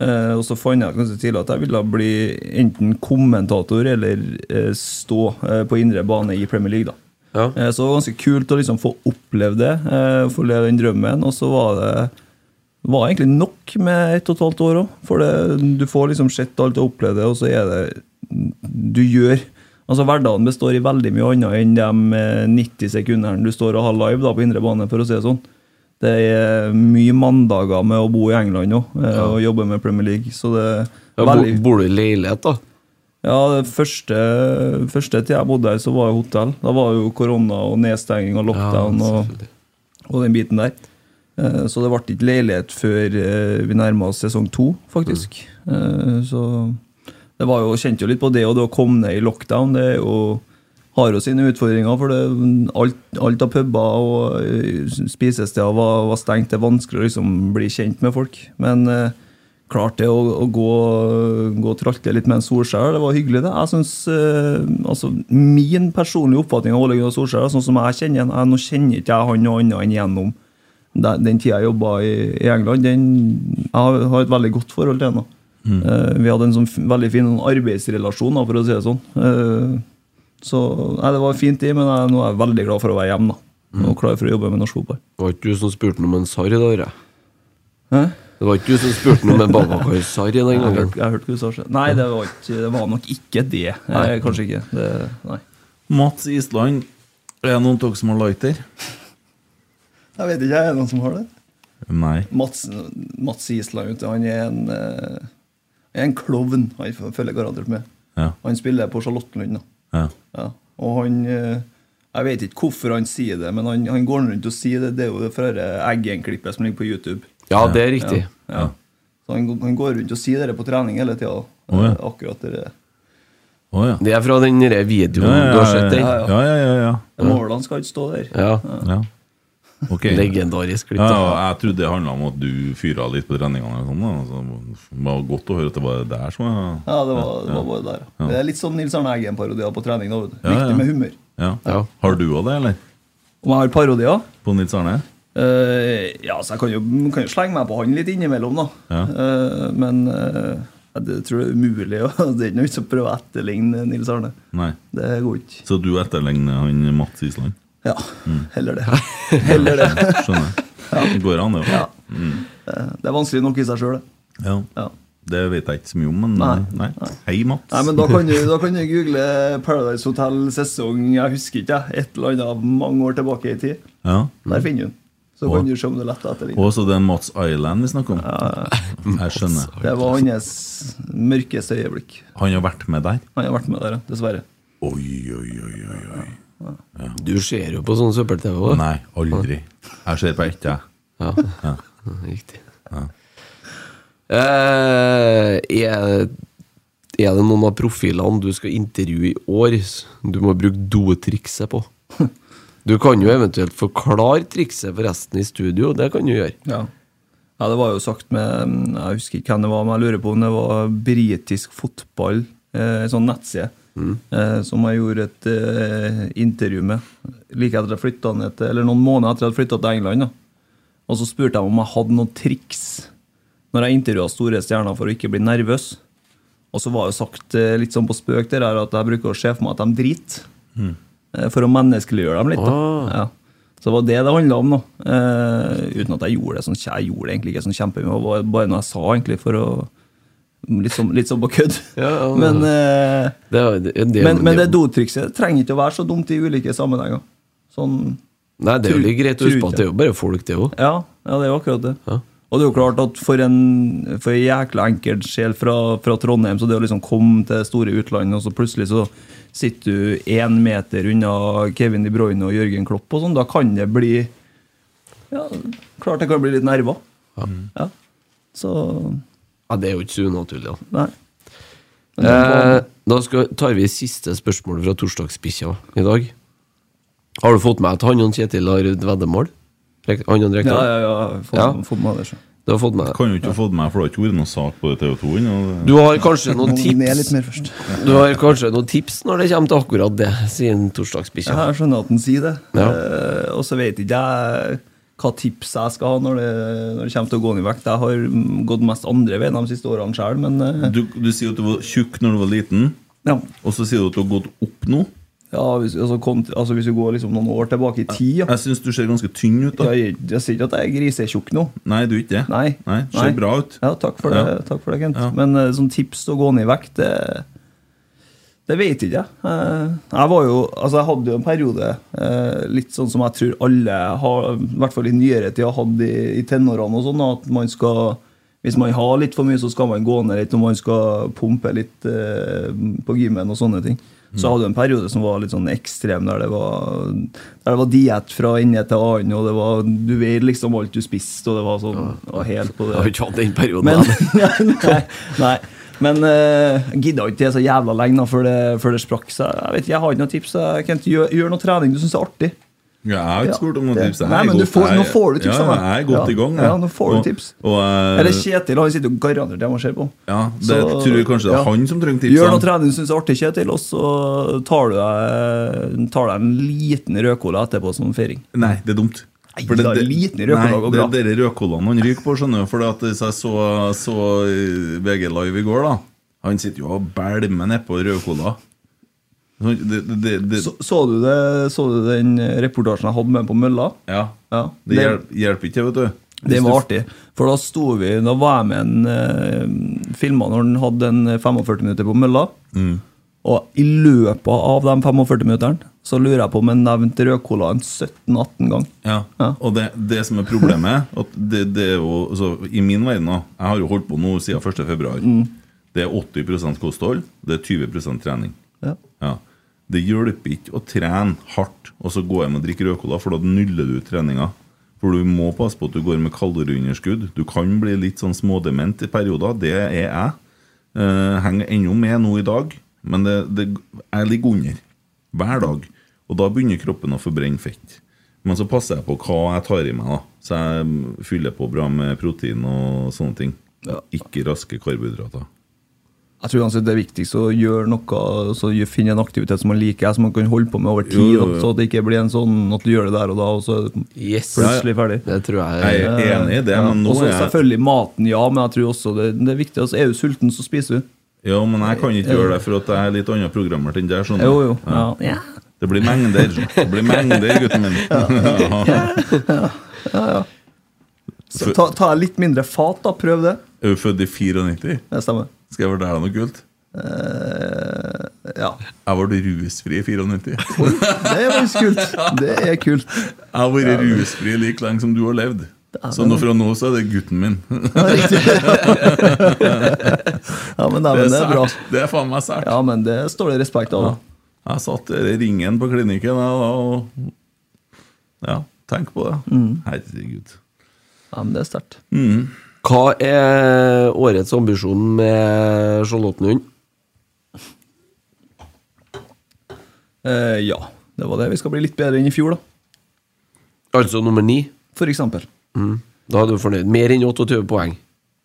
S4: Eh, og så fant jeg ganske tidlig at jeg ville bli enten kommentator eller eh, stå eh, på indre bane i Premier League. da.
S3: Ja.
S4: Eh, Så det var ganske kult å liksom få oppleve det, eh, få leve den drømmen. Og så var det var egentlig nok med ett og et halvt år òg. For det, du får liksom sett alt og opplevd det, og så er det Du gjør. Altså Hverdagen består i veldig mye annet enn de eh, 90 sekundene du står og har live da, på indre bane, for å si det sånn. Det er mye mandager med å bo i England òg, eh, og jobbe med Premier League. Så det
S3: Ja,
S4: er
S3: bo,
S4: veldig
S3: bor du i leilighet, da?
S4: ja, det første, første tid jeg bodde her, så var jeg hotell. Da var jo korona og nedstenging og lockdown og,
S3: selvfølgelig.
S4: og den biten der. Eh, Så det ble ikke leilighet før eh, vi nærma oss sesong to, faktisk. Eh, Så det var jo, kjente jo litt på det, og det å komme ned i lockdown det er jo, har jo sine utfordringer. For det, alt, alt av puber og eh, spisesteder var, var stengt. Det er vanskelig å liksom bli kjent med folk. Men eh, klart det å, å gå, gå og tralte litt med en Solskjær, det var hyggelig, det. Jeg synes, eh, altså, Min personlige oppfatning av Ole Gunnar Solskjær, sånn som jeg kjenner han, jeg- nå kjenner ikke jeg han noe annet enn gjennom den, den tida jeg jobba i, i England, den, jeg har, har et veldig godt forhold til henne. Eh, vi hadde en sånn f- veldig fin sånn arbeidsrelasjon, da, for å si det sånn. Eh, så nei, Det var fint, det, men jeg, nå er jeg veldig glad for å være hjemme da, og klar for å jobbe med norsk fotball.
S3: Det var ikke du som spurte noe om en sarr i dag? jeg. Det var ikke du som spurte noe med Babakar Sarri den
S4: Jeg
S3: gangen.
S4: hørte, jeg hørte hva du sa. sjøl. Nei, det var, ikke, det var nok ikke det. Eh, Kanskje ikke. Det, nei.
S1: Mats Island, er det noen av dere som har lighter?
S4: Jeg vet ikke, er det noen som har det?
S1: Nei.
S4: Mats, Mats Island, han er en, eh, er en klovn. Han følger garantert med.
S1: Ja.
S4: Han spiller på Charlottenlund. da.
S1: ja.
S4: Ja. Og han eh, Jeg vet ikke hvorfor han sier det, men han, han går rundt og sier det. Det er jo det fra det Eggen-klippet som ligger på YouTube.
S3: Ja, det er riktig.
S1: ja.
S4: Så han, han går rundt og sier det på trening hele tida.
S1: Å, ja.
S4: Akkurat det der.
S1: Å ja.
S3: Det er fra den derre videoen
S1: Ja, ja,
S3: du har sett den.
S1: ja, ja, ja, ja, ja.
S4: Målene skal ikke stå der.
S3: Ja.
S1: ja. Ok.
S3: Legendarisk klipp.
S1: Ja,
S3: da.
S1: ja, jeg trodde det handla om at du fyra litt på treningene. Eller sånn, da. Så det var godt å høre at det var der som var
S4: Ja, det var, det var bare der. ja. Det er litt sånn Nils Arne Eggen-parodier på trening. Da, vet du.
S1: Ja, ja.
S4: Viktig med humør.
S1: ja.
S3: Ja.
S1: Har du òg det, eller?
S4: Om jeg har parodier?
S1: På Nils Arne?
S4: Eh, ja, så jeg kan jo, kan jo slenge meg på han litt innimellom, da.
S1: Ja.
S4: Eh, men eh, jeg det tror det er umulig. å- <laughs> det er ikke noe vits å prøve å etterligne Nils Arne.
S1: Nei.
S4: Det går ikke.
S1: Så du etterligner han Mats Island?
S4: Ja,
S1: Mm. <laughs>
S4: heller det. Heller det.
S1: Skjønner jeg. Det går an, det.
S4: Ja.
S1: Ja.
S4: Eh, Det er vanskelig nok i seg sjøl, det.
S1: Ja.
S4: Ja.
S1: Det vet jeg ikke så mye om, men
S4: Nei.
S1: nei. Hei, Mats.
S4: Nei, men da kan, du, da kan du google Paradise Hotel sesong jeg husker ikke, jeg, et eller annet mange år tilbake i tid.
S1: Ja.
S4: Der finner du den. Så
S1: Og-
S4: kan du se om det er lett Mm. å etterligne.
S1: Og så det er Mats Island vi snakker om. Jeg skjønner.
S4: Det var hans mørkeste øyeblikk.
S1: Han har vært med der?
S4: Han har vært med der, ja, dessverre.
S1: Oi, oi, oi, oi, oi.
S3: Du ser jo på sånn søppel-TV òg.
S1: Nei, aldri. Jeg ser på ett, jeg.
S3: Ja. <laughs> Riktig. Eh, er, er det noen av profilene du skal intervjue i år s- du må bruke dotrikset på? Du kan jo eventuelt forklare trikset for resten i studio, det kan du gjøre.
S4: Ja. ja, det var jo sagt med Jeg husker ikke hvem det var, men jeg lurer på om det var britisk fotball, eh, en sånn nettside, eh, som jeg gjorde et eh, intervju med like etter at jeg flyttet ned til, eller noen måneder etter at jeg hadde flytta til England. da. Og så spurte jeg om jeg hadde noen triks når jeg intervjua store stjerner for å ikke bli nervøs. Og så var jo sagt eh, litt sånn på spøk der her at jeg bruker å se for meg at de driter.
S3: Mm.
S4: eh, For å menneskeliggjøre dem litt. da.
S3: Ah.
S4: Ja. Så det var det det handla om, da. Eh, uten at jeg gjorde det sånn Jeg gjorde det egentlig ikke sånn kjempemye, det var bare noe jeg sa, egentlig, for å Litt sånn, litt sånn på kødd.
S3: <laughs> Ja, ja.
S4: Men, eh,
S3: Det, er- det, det,
S4: men, men det dotrikset trenger ikke å være så dumt i ulike sammenhenger. Sånn
S3: Nei, det er jo litt greit å
S4: Tror-
S3: huske på at det er jo bare folk, det òg.
S4: ja, ja, det er jo akkurat det.
S3: Ja.
S4: Og det er jo klart at for en, for en jækla enkel sjel fra, fra Trondheim, så det å liksom komme til det store utlandet, og så plutselig så sitter du én meter unna Kevin De Bruyne og Jørgen Klopp og sånn, da kan det bli Ja, klart det kan bli litt nerver. Ja. Så
S3: Ja, det er jo ikke så unaturlig, da.
S4: Nei. Men det
S3: Eh,
S4: var-
S3: da skal, tar vi siste spørsmål fra torsdagsbikkja i dag. Har du fått med at han og Kjetil har et veddemål? Rek- Han og
S4: ja,
S3: Rekdal?
S4: ja, ja. Få,
S3: Ja.
S4: få med det, så.
S3: Du har fått med det.
S1: Kan jo ikke ha fått meg, for det har ikke vært noe sak på TV 2 ennå. det-
S3: Du har kanskje noen
S4: Må ned litt
S3: tips
S4: mer først.
S3: Du har kanskje noen tips når det kommer til akkurat det, siden torsdagsbikkja.
S4: Ja, jeg skjønner at han sier det.
S3: Ja.
S4: Eh, og så vet ikke jeg hva tips jeg skal ha når det, når det kommer til å gå ned i vekt. Jeg har mm, gått mest andre veien de siste årene sjøl, men eh,
S1: Du, du sier at du var tjukk når du var liten,
S4: ja.
S1: og så sier du at du har gått opp nå.
S4: ja hvis, altså, kont, altså, hvis vi går liksom noen år tilbake i tid ja.
S1: Jeg syns du ser ganske tynn ut. da
S4: jeg, jeg sier ikke at jeg er grisetjukk nå.
S1: Nei, du er ikke det.
S4: Nei.
S1: Nei, Ser bra ut.
S4: Ja, takk for det,
S1: Ja.
S4: takk for det Kent.
S1: Ja.
S4: Men eh, sånn tips til å gå ned i vekt, det, det vet ikke jeg. Eh, jeg var jo, altså jeg hadde jo en periode, eh, litt sånn som jeg tror alle har, i hvert fall i nyere tid, har hatt i, i tenårene og sånn, at man skal, hvis man har litt for mye, så skal man gå ned litt, og man skal pumpe litt eh, på gymmen og sånne ting.
S1: Mm.
S4: Så jeg hadde jo en periode som var litt sånn ekstrem, der det var, der det var diett fra ende til annen, og det var, du veide liksom alt du spiste, og det var sånn, og helt på det.
S3: Jeg har ikke hatt den perioden.
S4: Men, <laughs>
S3: jeg.
S4: nei, nei. Men uh, gidda ikke det så jævla lenge da, før det, før det sprakk. Så jeg vet ikke, jeg har ikke noe tips. så Jeg kan ikke gjøre, gjøre noe trening du syns er artig.
S1: Ja, jeg har
S4: Ja,
S1: ikke spurt om noen
S4: det-
S1: tips. Jeg
S4: Nei,
S1: er
S4: men du
S1: godt-
S4: får- nå
S1: jeg-
S4: får du tips
S1: ja,
S4: av meg.
S1: Jeg er godt
S4: Ja,
S1: i gang. jeg.
S4: ja, nå får du
S1: Og-
S4: tips.
S1: Og, eh,
S4: Eller Kjetil, han sitter jo garantert hjemme og ser på.
S1: ja, det
S4: Så-
S1: tror jeg kanskje det er
S4: ja.
S1: han som trenger
S4: Gjør noe
S1: tipsene.
S4: trening du syns er artig, Kjetil, og så tar du deg tar deg en liten rødcola etterpå som feiring.
S1: Nei, det er dumt.
S4: Nei, da er liten i rødkola går bra.
S1: det er dere rødkolene han ryker på, skjønner du. For at hvis jeg så, så eh, VG Live i går, da Han sitter jo og belmer nedpå rødkola. Det, det, det, det,
S4: Så, så, du det, så du den reportasjen jeg hadde med på mølla?
S1: ja.
S4: Ja.
S1: det hjelper, hjelper ikke, vet du.
S4: Det var artig. For da sto vi, da var jeg med en eh, filma når han hadde en eh, 45 minutter på mølla. Og i løpet av de 45 minuttene så lurer jeg på om jeg nevnte rødcola en 17-18 gang.
S1: Ja. Og det, det som er problemet <laughs> at det, det er jo, altså, I min verden da, Jeg har jo holdt på nå siden 1. februar
S4: Mm.
S1: Det er 80 kosthold, det er 20 trening.
S4: Ja.
S1: Ja. Det hjelper ikke å trene hardt og så gå hjem og drikke rødcola, for da nuller du ut treninga. For du må passe på at du går med kaloriunderskudd. Du kan bli litt sånn smådement i perioder. Det er jeg. Eh, henger ennå med nå i dag, men det, det, jeg ligger under hver dag. Og da begynner kroppen å forbrenne fett. Men så passer jeg på hva jeg tar i meg, da. Så jeg fyller på bra med protein og sånne ting.
S4: Ja.
S1: Ikke raske karbohydrater.
S4: Jeg tror uansett det er viktigst å gjøre noe, så gjør- finne en aktivitet som man liker, som man kan holde på med over tid,
S1: Jo, jo, jo.
S4: da, så det ikke blir en sånn at du gjør det der og da, og så er det
S3: Yes.
S4: plutselig ferdig.
S3: Det tror jeg
S1: Jeg er enig i det, men nå
S4: Eh, og så
S1: er jeg
S4: selvfølgelig maten, ja, men jeg tror også det, det er viktig. Altså, er du sulten, så spiser du.
S1: Ja, men jeg kan ikke gjøre det, for at jeg er litt annet programmert enn deg. skjønner du?
S4: Eh, Jo, jo. Mm. Ja.
S1: Det blir mengder. Det blir mengder, gutten min. <laughs> Ja.
S4: Så ta, ta litt mindre fat, da. Prøv det.
S1: Er du født i 94?
S4: Det stemmer.
S1: Skal jeg fortelle deg noe kult?
S4: Eh, ja.
S1: Jeg ble rusfri i 94.
S4: Det er faktisk kult. Det er kult.
S1: <laughs> Jeg har vært rusfri like lenge som du har levd. Så nå fra nå så er det gutten min. <laughs>
S4: Ja, riktig. ja, men, nei, men det er bra.
S1: sært. Det er faen meg sært.
S4: Ja, men det står det respekt av. da.
S1: Jeg satt der i ringen på klinikken jeg, da, og Ja, tenk på det.
S4: Mm.
S1: Herregud.
S4: Ja, men det er sterkt.
S3: Hva er årets ambisjon med Charlottenhund?
S4: Eh, ja, det var det. Vi skal bli litt bedre enn i fjor, da.
S3: Altså nummer ni?
S4: For eksempel.
S3: Mm. Da er du fornøyd. Mer enn 28 poeng.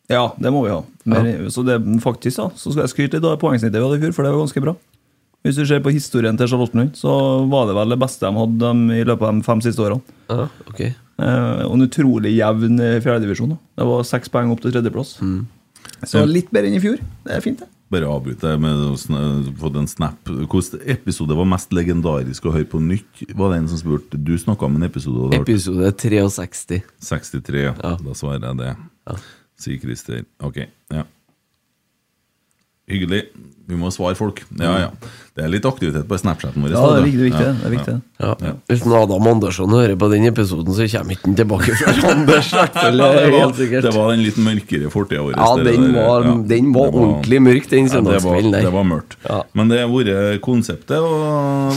S4: Ja, det må vi ha. Mer, Så det, faktisk da, så skal jeg skryte litt av poengsnittet vi hadde i fjor, for det var ganske bra. Hvis du ser på historien til Charlottenlund, så var det vel det beste de hadde dem i løpet av de fem siste årene.
S3: Ja, ok.
S4: Eh, og en utrolig jevn eh, fjerdedivisjon. da. Det var seks poeng opp til tredjeplass. Så litt bedre enn i fjor. Det er fint, det.
S1: Bare avbryte med å sn- få en snap. Hvilken episode var mest legendarisk å høre på nytt? Var det en som spurte? Du snakka om en episode. og det var
S3: Episode 63.
S1: 63.
S3: Ja.
S1: Da svarer jeg det.
S3: Ja.
S1: Sier Christer. Ok. Ja. Hyggelig. Vi må svare folk. Ja, ja. Det er litt aktivitet på Snapchaten vår.
S4: Ja, det er viktig. Det er viktig, det. Det er viktig. det.
S3: Ja. Hvis nå Adam Andersson hører på den episoden, så kommer ikke han tilbake før Anders. i hvert fall,
S1: Ja, det, var,
S3: helt sikkert.
S1: det var den litt mørkere fortida vår.
S3: Ja,
S1: det
S3: den
S1: der,
S3: var- den var
S1: Det
S3: ordentlig
S1: Ja,
S3: mørk, den
S1: det var-
S3: søndagskvelden der.
S1: Det var mørkt.
S3: Ja.
S1: Men det har vært konseptet å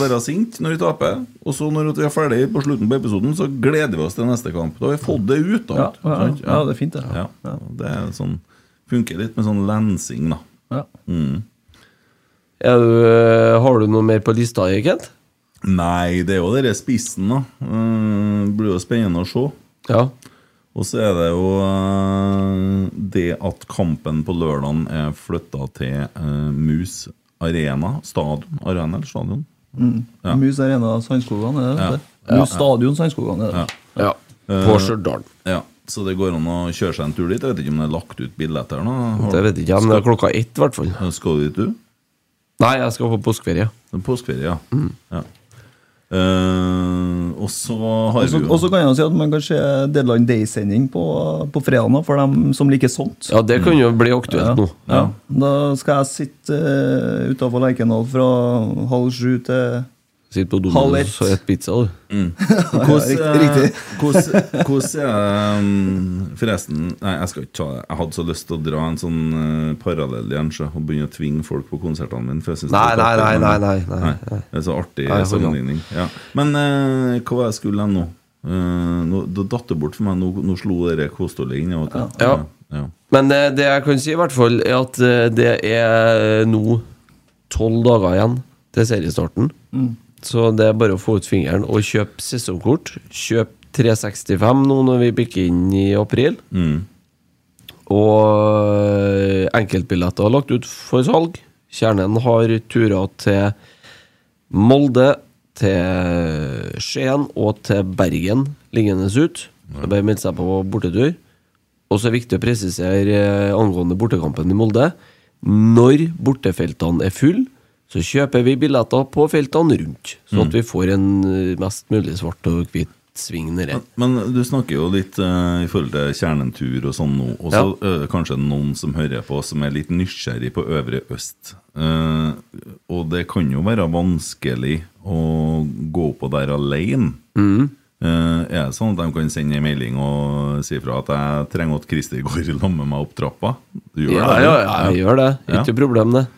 S1: være sint når vi taper. Og så når vi er ferdig på slutten på episoden, så gleder vi oss til neste kamp. Da har vi fått det ut.
S4: Ja,
S1: alt,
S4: ja,
S1: sant?
S4: ja, det er fint, det.
S1: Sånn, Ja. Det er sånn, funker litt med sånn lensing, da.
S4: Ja.
S3: Er du, eh, har du noe mer på lista, Kent?
S1: Nei, det er jo denne spissen, da. Eh, Det blir jo spennende å se.
S3: Ja.
S1: Og så er det jo eh, det at kampen på lørdagen er flytta til eh, Mus Arena. Stadion. Arena eller stadion? Ja.
S4: Mus Arena Sandskogan, er det
S1: Ja.
S4: det? Mus Stadion Sandskogan, er det
S1: Ja.
S4: det?
S3: ja. På Stjørdal.
S1: ja. Så det går an å kjøre seg en tur dit. Jeg vet ikke om det er lagt ut billetter nå. Har-
S3: Det vet jeg ikke, men det er klokka ett, i hvert fall.
S1: Eh, Skal du dit, du?
S3: Nei, jeg skal på påskeferie.
S1: Det er påskeferie, ja.
S3: Mm.
S1: ja. Eh, og så har
S4: Og så-
S1: vi
S4: Og så kan jeg jo si at man kan se Deadline Day-sending på, på fredagen, da, for dem som liker sånt.
S3: Ja, det kan jo bli aktuelt nå.
S4: Ja. Da skal jeg sitte uh, utafor Lerkendal fra halv sju til
S3: Sitt på
S4: Halv ett.
S3: Domino's og et pizza, du.
S1: Hvordan
S4: Ja,
S1: eh,
S4: riktig,
S3: <laughs>
S1: hvordan- hvordan er det um, Forresten, nei, jeg skal ikke ta det. Jeg hadde så lyst til å dra en sånn eh, parallell i Ensjø og begynne å tvinge folk på konsertene mine. For jeg synes det
S3: Nei,
S1: er litt
S3: nei,
S1: artig,
S3: nei,
S1: men-
S3: nei, nei, nei.
S1: Det er så artig
S3: Nei, jeg får
S1: sammenligning. Ja. Men eh, hva var det jeg skulle hen nå? Eh, nå det datt det bort for meg. Nå, nå slo det der kostholdet inn. jeg vet du.
S3: Ja.
S1: ja.
S3: Men eh, det jeg kan si i hvert fall er at eh, det er eh, nå tolv dager igjen til seriestarten. Så det er bare å få ut fingeren og kjøpe sesongkort. Kjøp 365 nå når vi bikker inn i april.
S1: Mm.
S3: Og eh, enkeltbilletter er lagt ut for salg. Kjernen har turer til Molde, til Skien og til Bergen liggende ut. Det er bare å melde seg på bortetur. Og så er det viktig å presisere eh, angående bortekampen i Molde. Når bortefeltene er full, så kjøper vi billetter på feltene rundt. Sånn at vi får en eh, mest mulig svart og hvit rettsving nedi.
S1: Men du snakker jo litt eh, i forhold til kjernentur og sånn nå. Og så er det kanskje noen som hører på, som er litt nysgjerrig på Øvre Øst. Eh, og det kan jo være vanskelig å gå på der alene.
S3: Mm.
S1: Eh, er det sånn at de kan sende en melding og si fra at jeg trenger at Christer går i lag med meg opp trappa? Du gjør
S3: Ja,
S1: det?
S3: ja,
S1: du?
S3: ja, jeg gjør det.
S1: Ja. Eh.
S3: Ikke problem, det.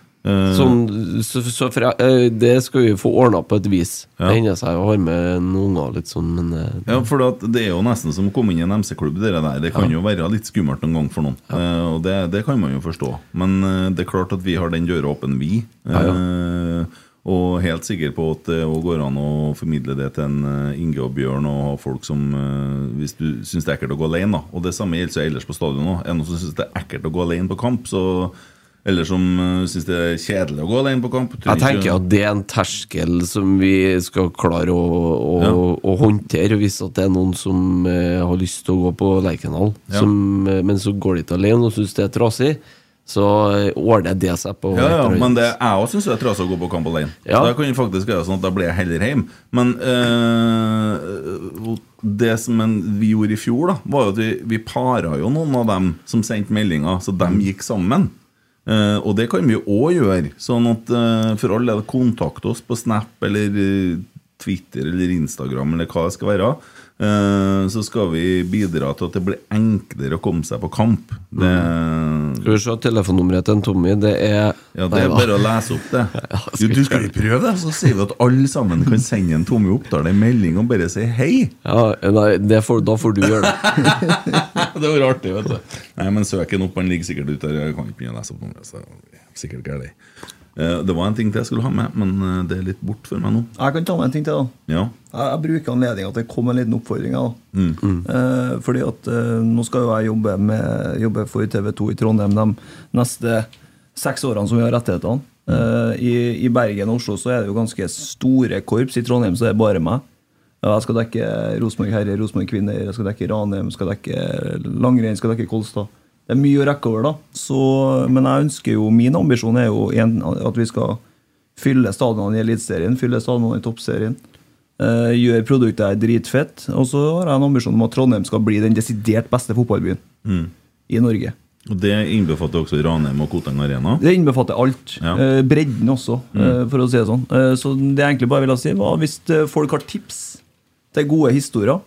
S3: Sånn, så, så fra, eh, det skal vi få ordna på et vis.
S1: Ja.
S3: Det hender seg å ha med noen unger litt sånn, men eh,
S1: Ja, for at det er jo nesten som å komme inn i en MC-klubb. Det der Det kan jo være litt skummelt noen gang for noen. Eh, og det, det kan man jo forstå. Men eh, det er klart at vi har den døra åpen, vi. Eh, og helt sikker på at det også går an å formidle det til en eh, Inge og Bjørn og ha folk som eh, Hvis du syns det er ekkelt å gå alene, da. Og det samme gjelder jo ellers på stadion òg. Er det noen som syns det er ekkelt å gå alene på kamp, så eller som uh, syns det er kjedelig å gå alene på kamp.
S3: Jeg tenker at det er en terskel som vi skal klare å, å, å håndtere, hvis at det er noen som eh, har lyst til å gå på Lerkendal,
S1: Ja.
S3: som, eh, men så går de ikke alene og syns det er trasig, så eh, ordner det seg på
S1: Ja, ja,
S3: et eller annet
S1: men det,
S3: vis.
S1: jeg òg syns det er trasig å gå på kamp alene.
S3: Ja.
S1: Da kan det faktisk være sånn at da blir jeg heller hjemme. Men eh, det som en, vi gjorde i fjor, da var jo at vi, vi para jo noen av dem som sendte meldinger, så de gikk sammen. Eh, og det kan vi jo òg gjøre. Sånn at eh, for all del, kontakt oss på Snap eller eh, Twitter eller Instagram eller hva det skal være. eh, så skal vi bidra til at det blir enklere å komme seg på kamp. Det,
S3: Skal vi se telefonnummeret til en Tommy, det er
S1: ja, det er
S3: Nei,
S1: bare
S3: da.
S1: å lese
S3: <laughs>
S1: opp det.
S3: skal
S1: Jo, du
S3: vi
S1: skal vi prøve det, så sier vi at alle sammen kan sende en Tommy Oppdal en melding og bare si hei.
S3: ja, nei, det får, Da får du gjøre det.
S1: Det var artig, vet du. Nei, men søk den opp, han ligger sikkert ute der. Jeg kan ikke begynne å lese opp nummeret, så det er sikkert gærlig. Eh, Det var en ting til jeg skulle ha med, men eh, det er litt bort for meg nå.
S4: Jeg kan ta med en ting til. da
S1: Ja,
S4: Jeg, jeg bruker anledninga til å komme med en liten oppfordring. Da. Eh, fordi at eh, nå skal jo jeg jobbe, med, jobbe for TV 2 i Trondheim de neste seks årene som vi har rettighetene. Eh, i, I Bergen og Oslo så er det jo ganske store korps. I Trondheim så er det bare meg. Ja, Jeg skal dekke Rosenborg herrer, Rosenborg kvinner, jeg skal dekke Ranheim, skal dekke langrenn, skal dekke Kolstad. Det er mye å rekke over, da. Så, men jeg ønsker jo, min ambisjon er jo en, at vi skal fylle stadionene i Eliteserien, fylle stadionene i Toppserien. Eh, gjør produktet her dritfett. Og så har jeg en ambisjon om at Trondheim skal bli den desidert beste fotballbyen i Norge.
S1: og Det innbefatter også Ranheim og Koteng Arena.
S4: Det innbefatter alt.
S1: Ja.
S4: Eh, bredden også, eh, for å si det sånn. Eh, så det jeg egentlig bare ville si, var hvis eh, folk har tips til gode historier,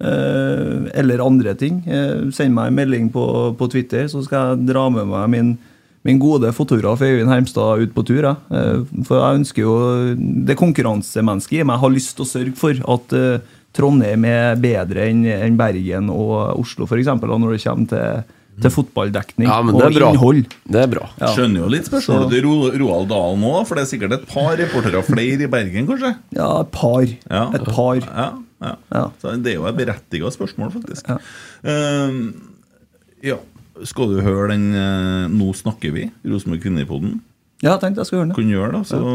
S4: eh, eller andre ting, eh, send meg en melding på, på Twitter, så skal jeg dra med meg min, min gode fotograf Øyvind Hermstad ut på tur. jeg. Eh, for jeg ønsker jo Det konkurransemennesket i meg har lyst til å sørge for at eh, Trondheim er bedre enn enn Bergen og Oslo, f.eks., når det kommer til, til fotballdekning
S3: Ja, men
S4: og
S3: det er bra.
S4: innhold.
S3: Det er bra.
S4: Ja.
S1: Skjønner jo litt spørsmålet til Ro- Roald Dahl nå, for det er sikkert et par reportere flere i Bergen, kanskje?
S4: Ja, et par.
S1: Ja.
S4: Et par.
S1: Ja, ja.
S4: Ja.
S1: Så det er jo et berettiget spørsmål, faktisk. Ehm, ja. Skal du høre den eh, 'Nå snakker vi', Rosenborg Kvinnepodden?
S4: Ja, jeg tenkte jeg skulle høre den.
S1: Kan gjøre det, så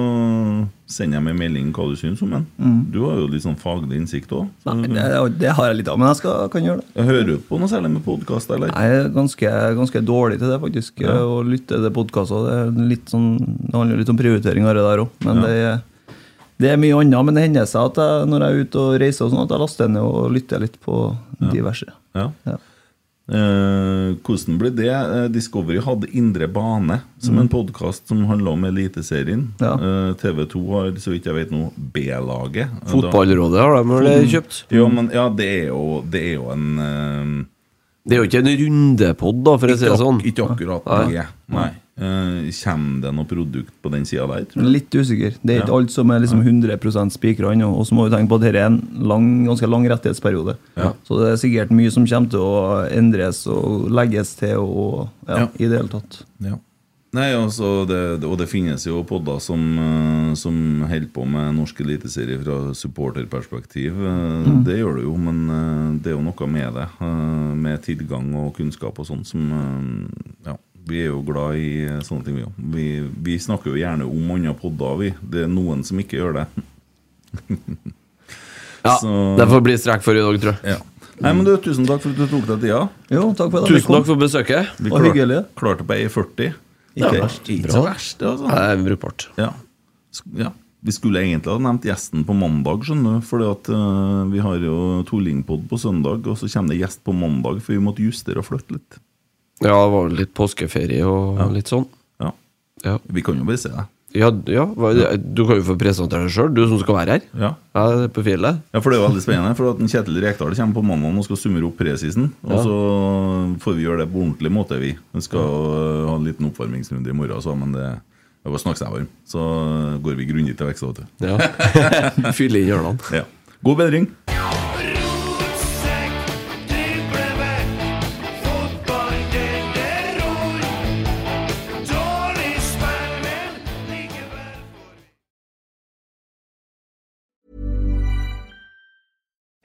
S1: sender jeg meg melding hva du syns om den. Du har jo litt sånn faglig innsikt òg.
S4: Mm. Nei, det, det har jeg litt av, men jeg skal, kan gjøre det.
S1: Hører du på noe særlig med podkast, eller?
S4: Jeg er ganske, ganske dårlig til det, faktisk.
S1: Ja.
S4: Å lytte til podkaster. Det, er litt sånn, det handler jo litt om prioritering av det der òg. Men det, er- det er mye annet. Men det hender seg at jeg, når jeg er ute og reiser, og sånn, at jeg laster ned og lytter litt på diverse.
S1: Ja.
S4: Ja.
S1: Eh, hvordan ble det? Eh, Discovery hadde Indre bane som en podkast som handla om Eliteserien. Ehm,
S4: Mm. Ja.
S1: TV 2 har, så vidt jeg vet nå, B-laget. Eh, da-
S3: Fotballrådet har de vel kjøpt?
S1: Jo, men ja, det er jo, det er jo en eh,
S3: Det er jo ikke en rundepod, da, for å si det
S1: ak-
S3: sånn.
S1: Ikke akkurat det. Nei. Eh, kommer det noe produkt på den sida der, tror du?
S4: Litt usikker. Det er
S1: Ja.
S4: ikke alt som er liksom 100 spikra ennå. Og så må vi tenke på at dette er en lang, ganske lang rettighetsperiode. Så det er sikkert mye som kommer til å endres og legges til og ja,
S1: Ja.
S4: i det hele tatt.
S1: Ja. Nei, altså, det, og det finnes jo podder som, eh, som holder på med norsk eliteserie fra supporterperspektiv. Eh, Det gjør det jo, men eh, det er jo noe med det. eh, Med tilgang og kunnskap og sånn som eh, Ja, vi er jo glad i eh, sånne ting, vi òg. Vi, vi snakker jo gjerne om andre podder, vi. Det er noen som ikke gjør det.
S3: Ja,
S1: så-
S3: Det får bli strekk for i dag, tror jeg.
S1: Ja. Nei, men du, Tusen takk for at du tok deg tida.
S4: Jo, takk for det.
S3: Tusen takk for besøket.
S1: Vi
S4: Og hyggelig.
S1: klarte på 1,40.
S4: Ikke
S1: Det er
S4: verst. sånn.
S1: Ikke så verst, det, altså.
S3: Det er brukbart.
S1: Ja. Sk- ja. Vi skulle egentlig ha nevnt gjesten på mandag, skjønner du. For vi har jo Torlingpod på søndag, og så kommer det gjest på mandag, for vi måtte justere og flytte litt.
S3: Ja, det var vel litt påskeferie og litt sånn.
S1: Ja.
S3: Ja.
S1: Vi kan jo bare se det.
S3: Ja, ja, hva- du kan jo få presentere deg sjøl, du som skal være her.
S1: Ja.
S3: Ja, på fjellet.
S1: Ja, for det er jo veldig spennende. For at en Kjetil Rekdal kommer på mandag og skal summere opp presisen. Og så får vi gjøre det på ordentlig måte, vi. Vi skal øh, ha en liten oppvarmingsrunde i morgen, så, men det det var snakk seg varm. Så øh, går vi grundig til vekst. vet du. <laughs>
S3: Ja. Fylle inn hjørnene.
S1: Ja. God bedring!